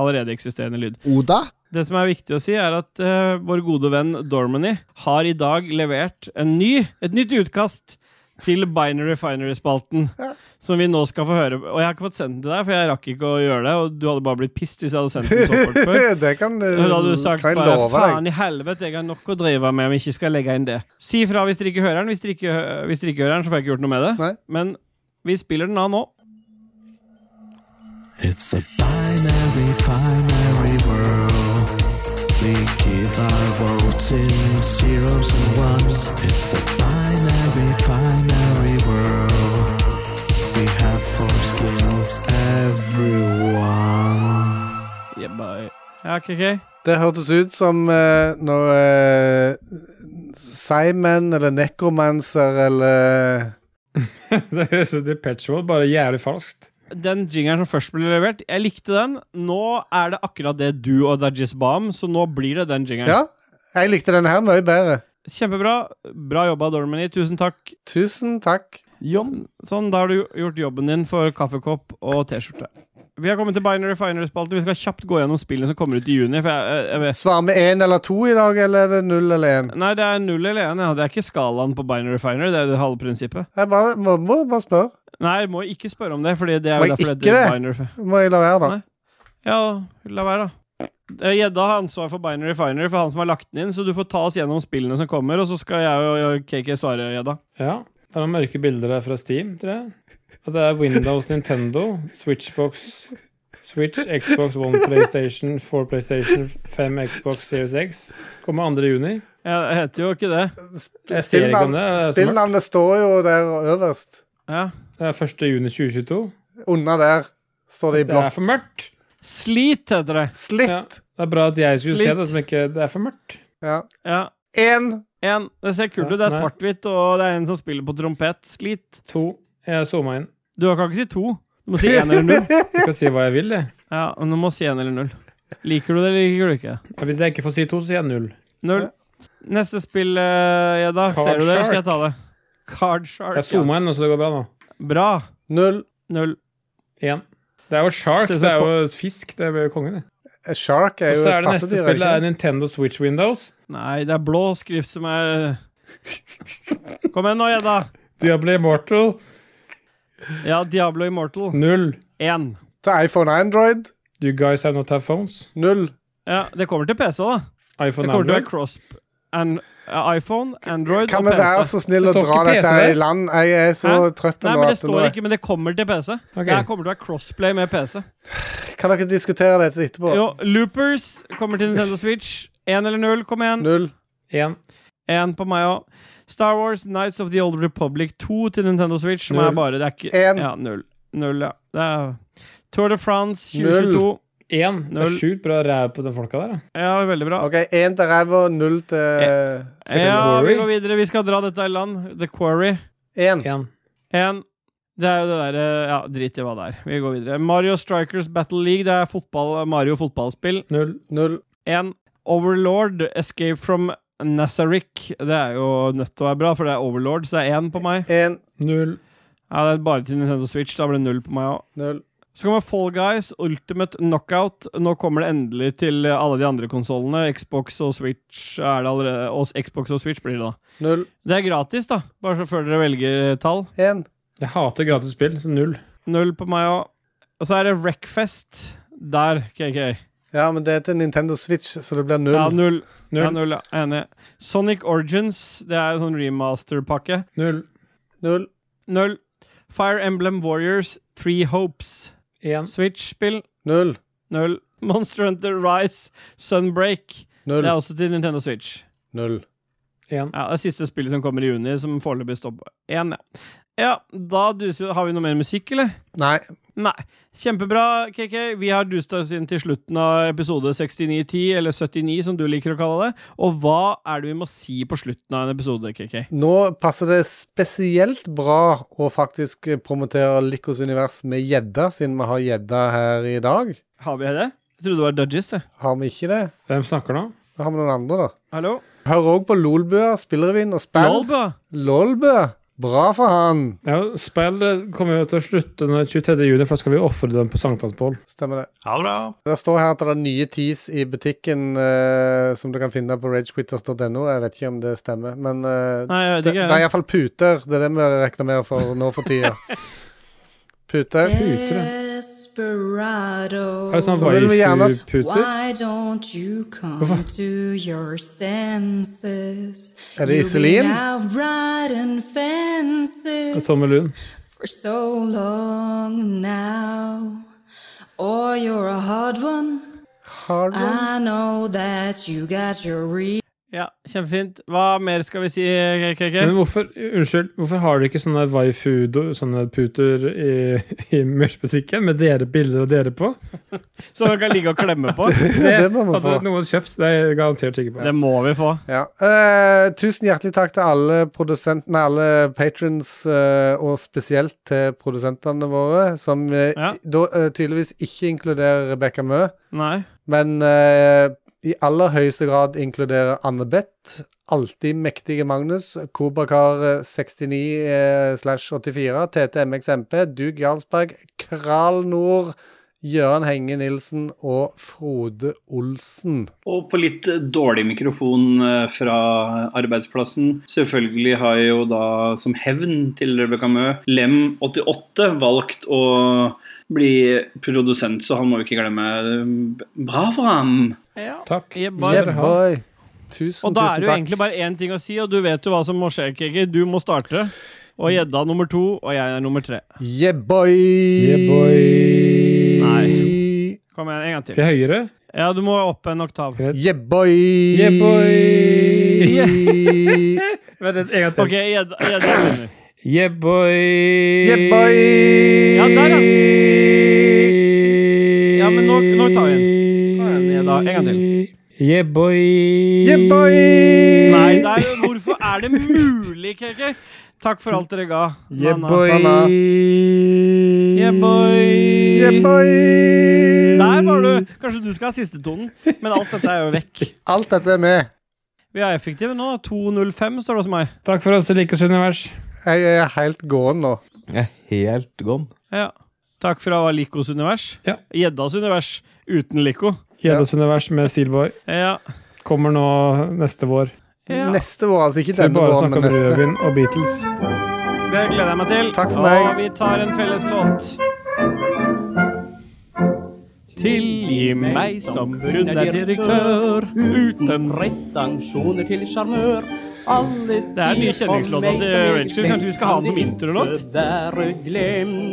[SPEAKER 2] allerede eksisterende lyd.
[SPEAKER 5] Oda?
[SPEAKER 2] Det som er viktig å si, er at eh, vår gode venn Dormany har i dag levert en ny, et nytt utkast til Binary Finery-spalten, som vi nå skal få høre. Og jeg har ikke fått sendt den til deg, for jeg rakk ikke å gjøre det, og du hadde bare blitt pissed hvis jeg hadde sendt den så fort
[SPEAKER 3] [LAUGHS]
[SPEAKER 2] før.
[SPEAKER 3] det kan, eh,
[SPEAKER 2] Da hadde du sagt
[SPEAKER 3] kan jeg
[SPEAKER 2] bare
[SPEAKER 3] love deg.
[SPEAKER 2] faen i helvete, jeg har nok å drive med om jeg ikke skal legge inn det. Si fra hvis dere ikke hører den. Hvis dere ikke, hø- hvis dere ikke hører den, så får jeg ikke gjort noe med det. Men vi spiller den av nå.
[SPEAKER 7] It's a binary, binary world. We give our votes in zeros and ones. It's a binary, binary world. We have foreskin everyone.
[SPEAKER 2] Jebba. Ja, ok, ok.
[SPEAKER 3] Det hørtes ut som eh, når eh, Simon eller Necromancer eller
[SPEAKER 1] det høres ut som Patch Mode, bare jævlig falskt.
[SPEAKER 2] Den jingeren som først ble levert, jeg likte den. Nå er det akkurat det du og Dajis ba om, så nå blir det den jingeren.
[SPEAKER 3] Ja, jeg likte denne her mye bedre.
[SPEAKER 2] Kjempebra. Bra jobba, Dormany. Tusen takk.
[SPEAKER 3] Tusen takk.
[SPEAKER 2] John. Sånn, da har du gjort jobben din for kaffekopp og T-skjorte. Vi har kommet til Binary Finery-spalten. Vi skal kjapt gå gjennom spillene som kommer ut i juni. For jeg, jeg vet.
[SPEAKER 3] Svar med én eller to i dag, eller er det null eller én?
[SPEAKER 2] Nei, det er null eller én. Ja. Det er ikke skalaen på Binary Finery. Det er det halve prinsippet.
[SPEAKER 3] Jeg bare, må, må bare spørre.
[SPEAKER 2] Nei, jeg må ikke spørre om det, Fordi det er
[SPEAKER 3] Må
[SPEAKER 2] jo
[SPEAKER 3] jeg
[SPEAKER 2] derfor
[SPEAKER 3] ikke
[SPEAKER 2] heter
[SPEAKER 3] det?
[SPEAKER 2] Binary Fi-
[SPEAKER 3] Må jeg la være, da?
[SPEAKER 2] Ja, la være, da. Eh, Gjedda har ansvar for Binary Finery, for han som har lagt den inn. Så du får ta oss gjennom spillene som kommer, og så skal jeg og- og KK svare, Gjedda.
[SPEAKER 1] Ja. Det er noen mørke bilder der fra Steam, tror jeg. Og det er Windows, Nintendo, Switchbox, Switch, Xbox One, PlayStation, 4 PlayStation, 5 Xbox Series X. Kommer 2. juni.
[SPEAKER 2] Ja, det heter jo ikke det.
[SPEAKER 1] Jeg ser ikke om det. det er smart.
[SPEAKER 3] Spillnavnet står jo der øverst.
[SPEAKER 1] Det er 1. juni 2022.
[SPEAKER 3] Under der står det i
[SPEAKER 1] Det er
[SPEAKER 3] blått.
[SPEAKER 1] for mørkt.
[SPEAKER 2] Slit heter det.
[SPEAKER 3] Slitt.
[SPEAKER 1] Det er bra at jeg skulle
[SPEAKER 2] Slitt.
[SPEAKER 1] se det, som ikke Det er for mørkt.
[SPEAKER 3] Ja.
[SPEAKER 2] Ja.
[SPEAKER 3] Én.
[SPEAKER 2] Det ser kult ut. Det
[SPEAKER 1] Ja,
[SPEAKER 2] er
[SPEAKER 1] nei.
[SPEAKER 2] svart-hvitt, og det er en som spiller på trompet. Slit.
[SPEAKER 1] To. Jeg zooma inn.
[SPEAKER 2] Du kan ikke si to. Du må si én
[SPEAKER 1] [LAUGHS]
[SPEAKER 2] eller null.
[SPEAKER 1] Jeg kan si hva jeg vil, jeg.
[SPEAKER 2] Ja, men du må si én eller null. Liker du det, eller liker du ikke?
[SPEAKER 1] Ja, Hvis jeg ikke får si to, så sier jeg null.
[SPEAKER 2] Null. Neste spill, eh, Gjedda.
[SPEAKER 1] Card
[SPEAKER 2] Ser du det, eller skal
[SPEAKER 1] Shark.
[SPEAKER 2] jeg ta det? Card Shark.
[SPEAKER 1] Jeg zooma inn, nå, så det går bra nå.
[SPEAKER 2] Bra.
[SPEAKER 3] Null.
[SPEAKER 2] Null.
[SPEAKER 1] Én. Det er jo shark,
[SPEAKER 2] Ser ut som
[SPEAKER 1] det er
[SPEAKER 2] et
[SPEAKER 1] jo fisk. Det blir jo kongen, det.
[SPEAKER 3] Eh, Shark er
[SPEAKER 1] Og
[SPEAKER 3] jo
[SPEAKER 1] så er
[SPEAKER 3] et
[SPEAKER 1] det neste
[SPEAKER 3] pattedyr.
[SPEAKER 1] spillet
[SPEAKER 3] ikke
[SPEAKER 1] er
[SPEAKER 3] det?
[SPEAKER 1] Nintendo Switch Windows.
[SPEAKER 2] Nei, det er blå skrift som er Kom igjen nå, Gjedda.
[SPEAKER 1] Diablo Immortal
[SPEAKER 2] Ja, Diablo Immortal.
[SPEAKER 1] null.
[SPEAKER 2] Én.
[SPEAKER 3] Til iPhone og Android
[SPEAKER 1] Do you guys have not have phones?
[SPEAKER 3] null.
[SPEAKER 2] Ja, det kommer til PC, da. Det
[SPEAKER 1] iPhone
[SPEAKER 2] kommer til å
[SPEAKER 1] Android.
[SPEAKER 2] være cross... An iPhone, Android
[SPEAKER 3] Kan
[SPEAKER 2] og
[SPEAKER 3] vi
[SPEAKER 2] PC.
[SPEAKER 3] være så snill
[SPEAKER 1] Det
[SPEAKER 3] å
[SPEAKER 1] står
[SPEAKER 3] dra
[SPEAKER 1] ikke PC
[SPEAKER 3] dette her
[SPEAKER 1] der.
[SPEAKER 3] i land? Jeg er så
[SPEAKER 2] Hæ?
[SPEAKER 3] trøtt
[SPEAKER 2] Nei, men
[SPEAKER 3] nå
[SPEAKER 2] det
[SPEAKER 3] at nå
[SPEAKER 2] står ikke, men det kommer til PC.
[SPEAKER 1] Ok.
[SPEAKER 2] Det her kommer til å være crossplay med PC.
[SPEAKER 3] Kan dere diskutere dette etterpå?
[SPEAKER 2] Jo, Loopers kommer til Nintendo Switch. Én eller null, kom igjen.
[SPEAKER 3] Null.
[SPEAKER 1] Én.
[SPEAKER 2] Én på meg òg. Star Wars Nights of the Old Republic 2 til Nintendo Switch, som
[SPEAKER 1] Null.
[SPEAKER 2] er bare Det er ikke
[SPEAKER 3] En.
[SPEAKER 2] Ja, null. Null, ja. Det er Tour de France
[SPEAKER 3] Null.
[SPEAKER 2] 2022.
[SPEAKER 1] Én. Det er
[SPEAKER 2] Null.
[SPEAKER 1] sjukt bra ræv på de folka der. da.
[SPEAKER 2] Ja, veldig bra.
[SPEAKER 3] OK, én til ræva, null til
[SPEAKER 2] Ja,
[SPEAKER 1] Quarry.
[SPEAKER 2] vi går videre. Vi skal dra dette i land. The Quarry.
[SPEAKER 3] én.
[SPEAKER 1] Én.
[SPEAKER 2] En. Det er jo det derre Ja, drit i hva det er. Vi går videre. Mario Strikers Battle League. Det er fotball, Mario fotballspill.
[SPEAKER 1] Null.
[SPEAKER 3] Null.
[SPEAKER 2] En. Overlord Escape from Nazarick. Det er jo nødt til å være bra, for det er Overlord, så det er én på meg.
[SPEAKER 3] Én.
[SPEAKER 1] Null.
[SPEAKER 2] Ja, det er bare til Nintendo Switch. Da blir det null på meg òg.
[SPEAKER 3] Null.
[SPEAKER 2] Så kommer Fall Guys, Ultimate Knockout. Nå kommer det endelig til alle de andre konsollene. Xbox og Switch er det allerede. Og Xbox og Switch blir det, da.
[SPEAKER 3] Null.
[SPEAKER 2] Det er gratis, da. Bare så før dere velger tall.
[SPEAKER 3] Én.
[SPEAKER 1] Jeg hater gratis spill, så null.
[SPEAKER 2] Null på meg òg. Og så er det Wreckfest. Der, KK.
[SPEAKER 3] Ja, men det er til Nintendo Switch, så det blir null.
[SPEAKER 2] Ja, null.
[SPEAKER 1] Null.
[SPEAKER 2] Ja, null, ja. Enig. Sonic Origins. Det er en sånn remaster-pakke.
[SPEAKER 1] Null.
[SPEAKER 3] Null.
[SPEAKER 2] Null. Fire Emblem Warriors Three Hopes.
[SPEAKER 1] Én.
[SPEAKER 2] Switch-spill.
[SPEAKER 3] Null.
[SPEAKER 2] Null. Monster Hunter Rise Sunbreak.
[SPEAKER 3] Null.
[SPEAKER 2] Det er også til Nintendo Switch.
[SPEAKER 3] Null.
[SPEAKER 1] Én.
[SPEAKER 2] Ja, Det er siste spillet som kommer i juni, som foreløpig står på én. Ja. ja, da duser vi Har vi noe mer musikk, eller?
[SPEAKER 3] Nei.
[SPEAKER 2] Nei. Kjempebra, KK. Vi har dust oss inn til slutten av episode 6910, eller 79, som du liker å kalle det. Og hva er det vi må si på slutten av en episode, KK?
[SPEAKER 3] Nå passer det spesielt bra å faktisk promotere Lykkos univers med gjedda, siden vi har gjedda her i dag.
[SPEAKER 2] Har vi det? Jeg trodde det var Dudgies, jeg.
[SPEAKER 3] Har vi ikke det?
[SPEAKER 1] Hvem snakker nå?
[SPEAKER 3] Da har vi noen andre, da.
[SPEAKER 2] Hallo?
[SPEAKER 3] Hør òg på Lolbua, Spillrevyen og Spill.
[SPEAKER 2] Lolbø?
[SPEAKER 3] Lolbua. Bra for han.
[SPEAKER 1] Ja, Spillet kommer jo til å slutte den 23. juni, for da skal vi ofre den på sankthansbål.
[SPEAKER 3] Stemmer det.
[SPEAKER 13] Ha det bra.
[SPEAKER 3] Det står her at det er nye tees i butikken eh, som du kan finne på ragequitters.no. Jeg vet ikke om det stemmer, men eh,
[SPEAKER 2] Nei, jeg vet
[SPEAKER 3] det,
[SPEAKER 2] ikke.
[SPEAKER 3] det er iallfall puter. Det er det vi reklamerer for nå for tida. Puter.
[SPEAKER 14] Desperado.
[SPEAKER 3] Er det sånn Så vil vi gjerne- waifu-puter?
[SPEAKER 14] Why don't you come to your senses?
[SPEAKER 1] Er det
[SPEAKER 14] You've
[SPEAKER 1] Iselin?
[SPEAKER 14] been out riding fences
[SPEAKER 1] Og Tommy Lund.
[SPEAKER 14] for so long now. Or you're a hard one.
[SPEAKER 3] Hard
[SPEAKER 2] one?
[SPEAKER 14] I know that you got your re...
[SPEAKER 2] Ja, kjempefint. Hva mer skal vi si, KK?
[SPEAKER 1] Men hvorfor, unnskyld, hvorfor har dere ikke sånne waifu, sånne puter i, i merch-butikken med dere bilder og dere
[SPEAKER 3] [LAUGHS]
[SPEAKER 1] på?
[SPEAKER 2] Så dere kan ligge og klemme på? [LAUGHS]
[SPEAKER 1] Det,
[SPEAKER 3] må vi
[SPEAKER 1] hadde
[SPEAKER 3] få.
[SPEAKER 1] noen kjøpt, det er jeg garantert sikker på.
[SPEAKER 2] Det må vi få.
[SPEAKER 3] Ja. Eh, tusen hjertelig takk til alle produsentene, alle patrons, eh, og spesielt til produsentene våre, som eh, da eh, tydeligvis ikke inkluderer Rebekka Mø,
[SPEAKER 2] Nei.
[SPEAKER 3] men eh, i aller høyeste grad inkluderer Anne Beth, alltid mektige Magnus, Kobrakar69 eh, slash 84, TTMXMP, Dug Jarlsberg, Kral Nord, Jøran Henge Nilsen og Frode Olsen.
[SPEAKER 15] Og på litt dårlig mikrofon eh, fra arbeidsplassen. Selvfølgelig har jeg jo da som hevn til Rebekka Mø, Lem88, valgt å bli produsent, så han må vi ikke glemme. Bra for ham!
[SPEAKER 1] Takk.
[SPEAKER 3] Yeah, boy. Tusen,
[SPEAKER 2] og da er
[SPEAKER 3] tusen
[SPEAKER 2] det jo
[SPEAKER 3] takk.
[SPEAKER 2] egentlig bare én ting å si, og du vet jo hva som må skje, KK. Du må starte. Og gjedda nummer to, og jeg er nummer tre.
[SPEAKER 3] Yeah, boy!
[SPEAKER 2] Nei. Kom igjen, en gang til.
[SPEAKER 1] Til høyre?
[SPEAKER 2] Ja, du må opp en oktav.
[SPEAKER 3] Yeah, boy!
[SPEAKER 1] Yeah, boy!
[SPEAKER 2] Vent
[SPEAKER 1] litt, en gang til.
[SPEAKER 2] Ok, gjedda gjedda begynner.
[SPEAKER 1] Yeah, boy!
[SPEAKER 2] Yeah, boy! Ja, der, ja. Ja, men nå, nå tar vi den. Ta den gjedda. En gang til.
[SPEAKER 1] Yeah, boy!
[SPEAKER 3] Yeah, boy!
[SPEAKER 2] Nei, der, hvorfor er det mulig, KK? Takk for alt dere ga.
[SPEAKER 1] Yeah,
[SPEAKER 2] Nanna.
[SPEAKER 1] boy!
[SPEAKER 2] Yeah, boy!
[SPEAKER 1] Yeah,
[SPEAKER 2] Der var du! Kanskje du skal ha siste tonen, men alt dette er jo vekk.
[SPEAKER 3] Alt dette er med.
[SPEAKER 2] Vi er effektive nå. 2.05 står det hos meg.
[SPEAKER 1] Takk for oss i Likes univers.
[SPEAKER 3] Jeg er helt gåen nå.
[SPEAKER 4] Jeg er helt gone.
[SPEAKER 2] Ja. Takk fra Likos univers. Gjeddas univers uten Liko.
[SPEAKER 1] Gjeddas univers med Steelboy.
[SPEAKER 2] Ja.
[SPEAKER 1] Kommer nå neste vår.
[SPEAKER 2] Ja.
[SPEAKER 3] Neste vår, altså. Ikke
[SPEAKER 1] Så vi
[SPEAKER 3] denne
[SPEAKER 1] bare
[SPEAKER 3] våren, men
[SPEAKER 1] snakker om
[SPEAKER 3] neste.
[SPEAKER 1] rødvin og Beatles.
[SPEAKER 2] Det gleder jeg meg til.
[SPEAKER 1] Takk for meg.
[SPEAKER 2] Og vi tar en felles låt. Tilgi meg som hun er direktør uten
[SPEAKER 16] Retensjoner til sjarmør. Alle
[SPEAKER 2] Det er en ny kjenningslåta til Ragequiz. Kanskje vi skal ha den som [LAUGHS] introlåt?
[SPEAKER 16] Være glemt.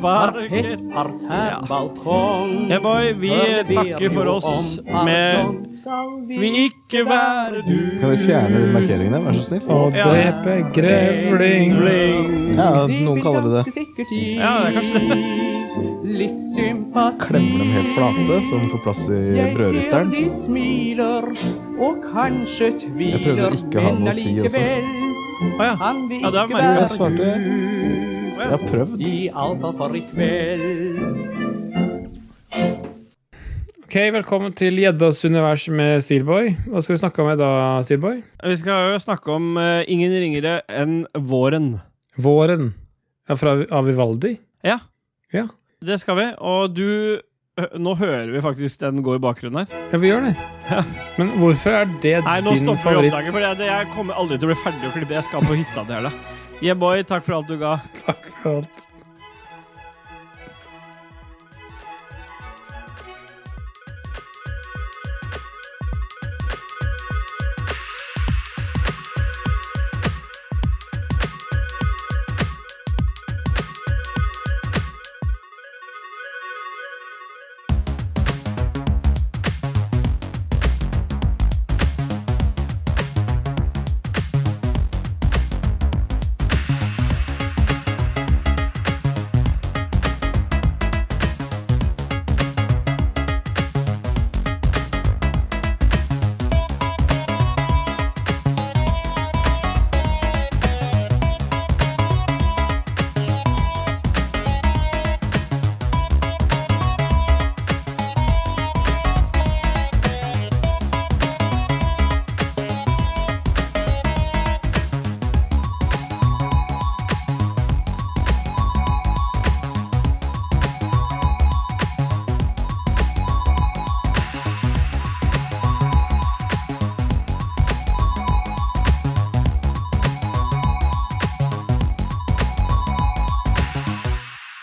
[SPEAKER 16] Parkett, parterre, balkong.
[SPEAKER 2] Hey boy, vi takker for oss med Vi ikke være du
[SPEAKER 4] Kan dere fjerne den markeringen der, vær så snill?
[SPEAKER 1] Å drepe grevling.
[SPEAKER 4] Ja, noen kaller det det.
[SPEAKER 2] Ja, det er kanskje det.
[SPEAKER 16] Litt sympati.
[SPEAKER 4] Klemmer dem helt flate, så de får plass i brødristeren.
[SPEAKER 16] de smiler, og kanskje tviler.
[SPEAKER 4] Jeg prøvde å ikke ha noe å si også.
[SPEAKER 2] Å ja. Ja, det er merkelig.
[SPEAKER 4] Jeg svarte Jeg har prøvd.
[SPEAKER 16] I alt fall for i kveld.
[SPEAKER 1] Ok, Velkommen til Gjeddas univers med Steelboy. Hva skal vi snakke om i dag, Steelboy?
[SPEAKER 2] Vi skal jo snakke om eh, ingen ringere enn våren.
[SPEAKER 1] Våren. Ja, fra Avivaldi?
[SPEAKER 2] Ja.
[SPEAKER 1] Ja.
[SPEAKER 2] Det skal vi. Og du hø- Nå hører vi faktisk den gå i bakgrunnen her.
[SPEAKER 1] Ja, vi gjør det. Men hvorfor er det
[SPEAKER 2] Nei, nå
[SPEAKER 1] din
[SPEAKER 2] stopper vi
[SPEAKER 1] favoritt?
[SPEAKER 2] opptaket, for jeg, jeg kommer aldri til å bli ferdig å klippe. Jeg skal på hytta til helga. Yeah, boy, takk for alt du ga.
[SPEAKER 1] Takk for alt.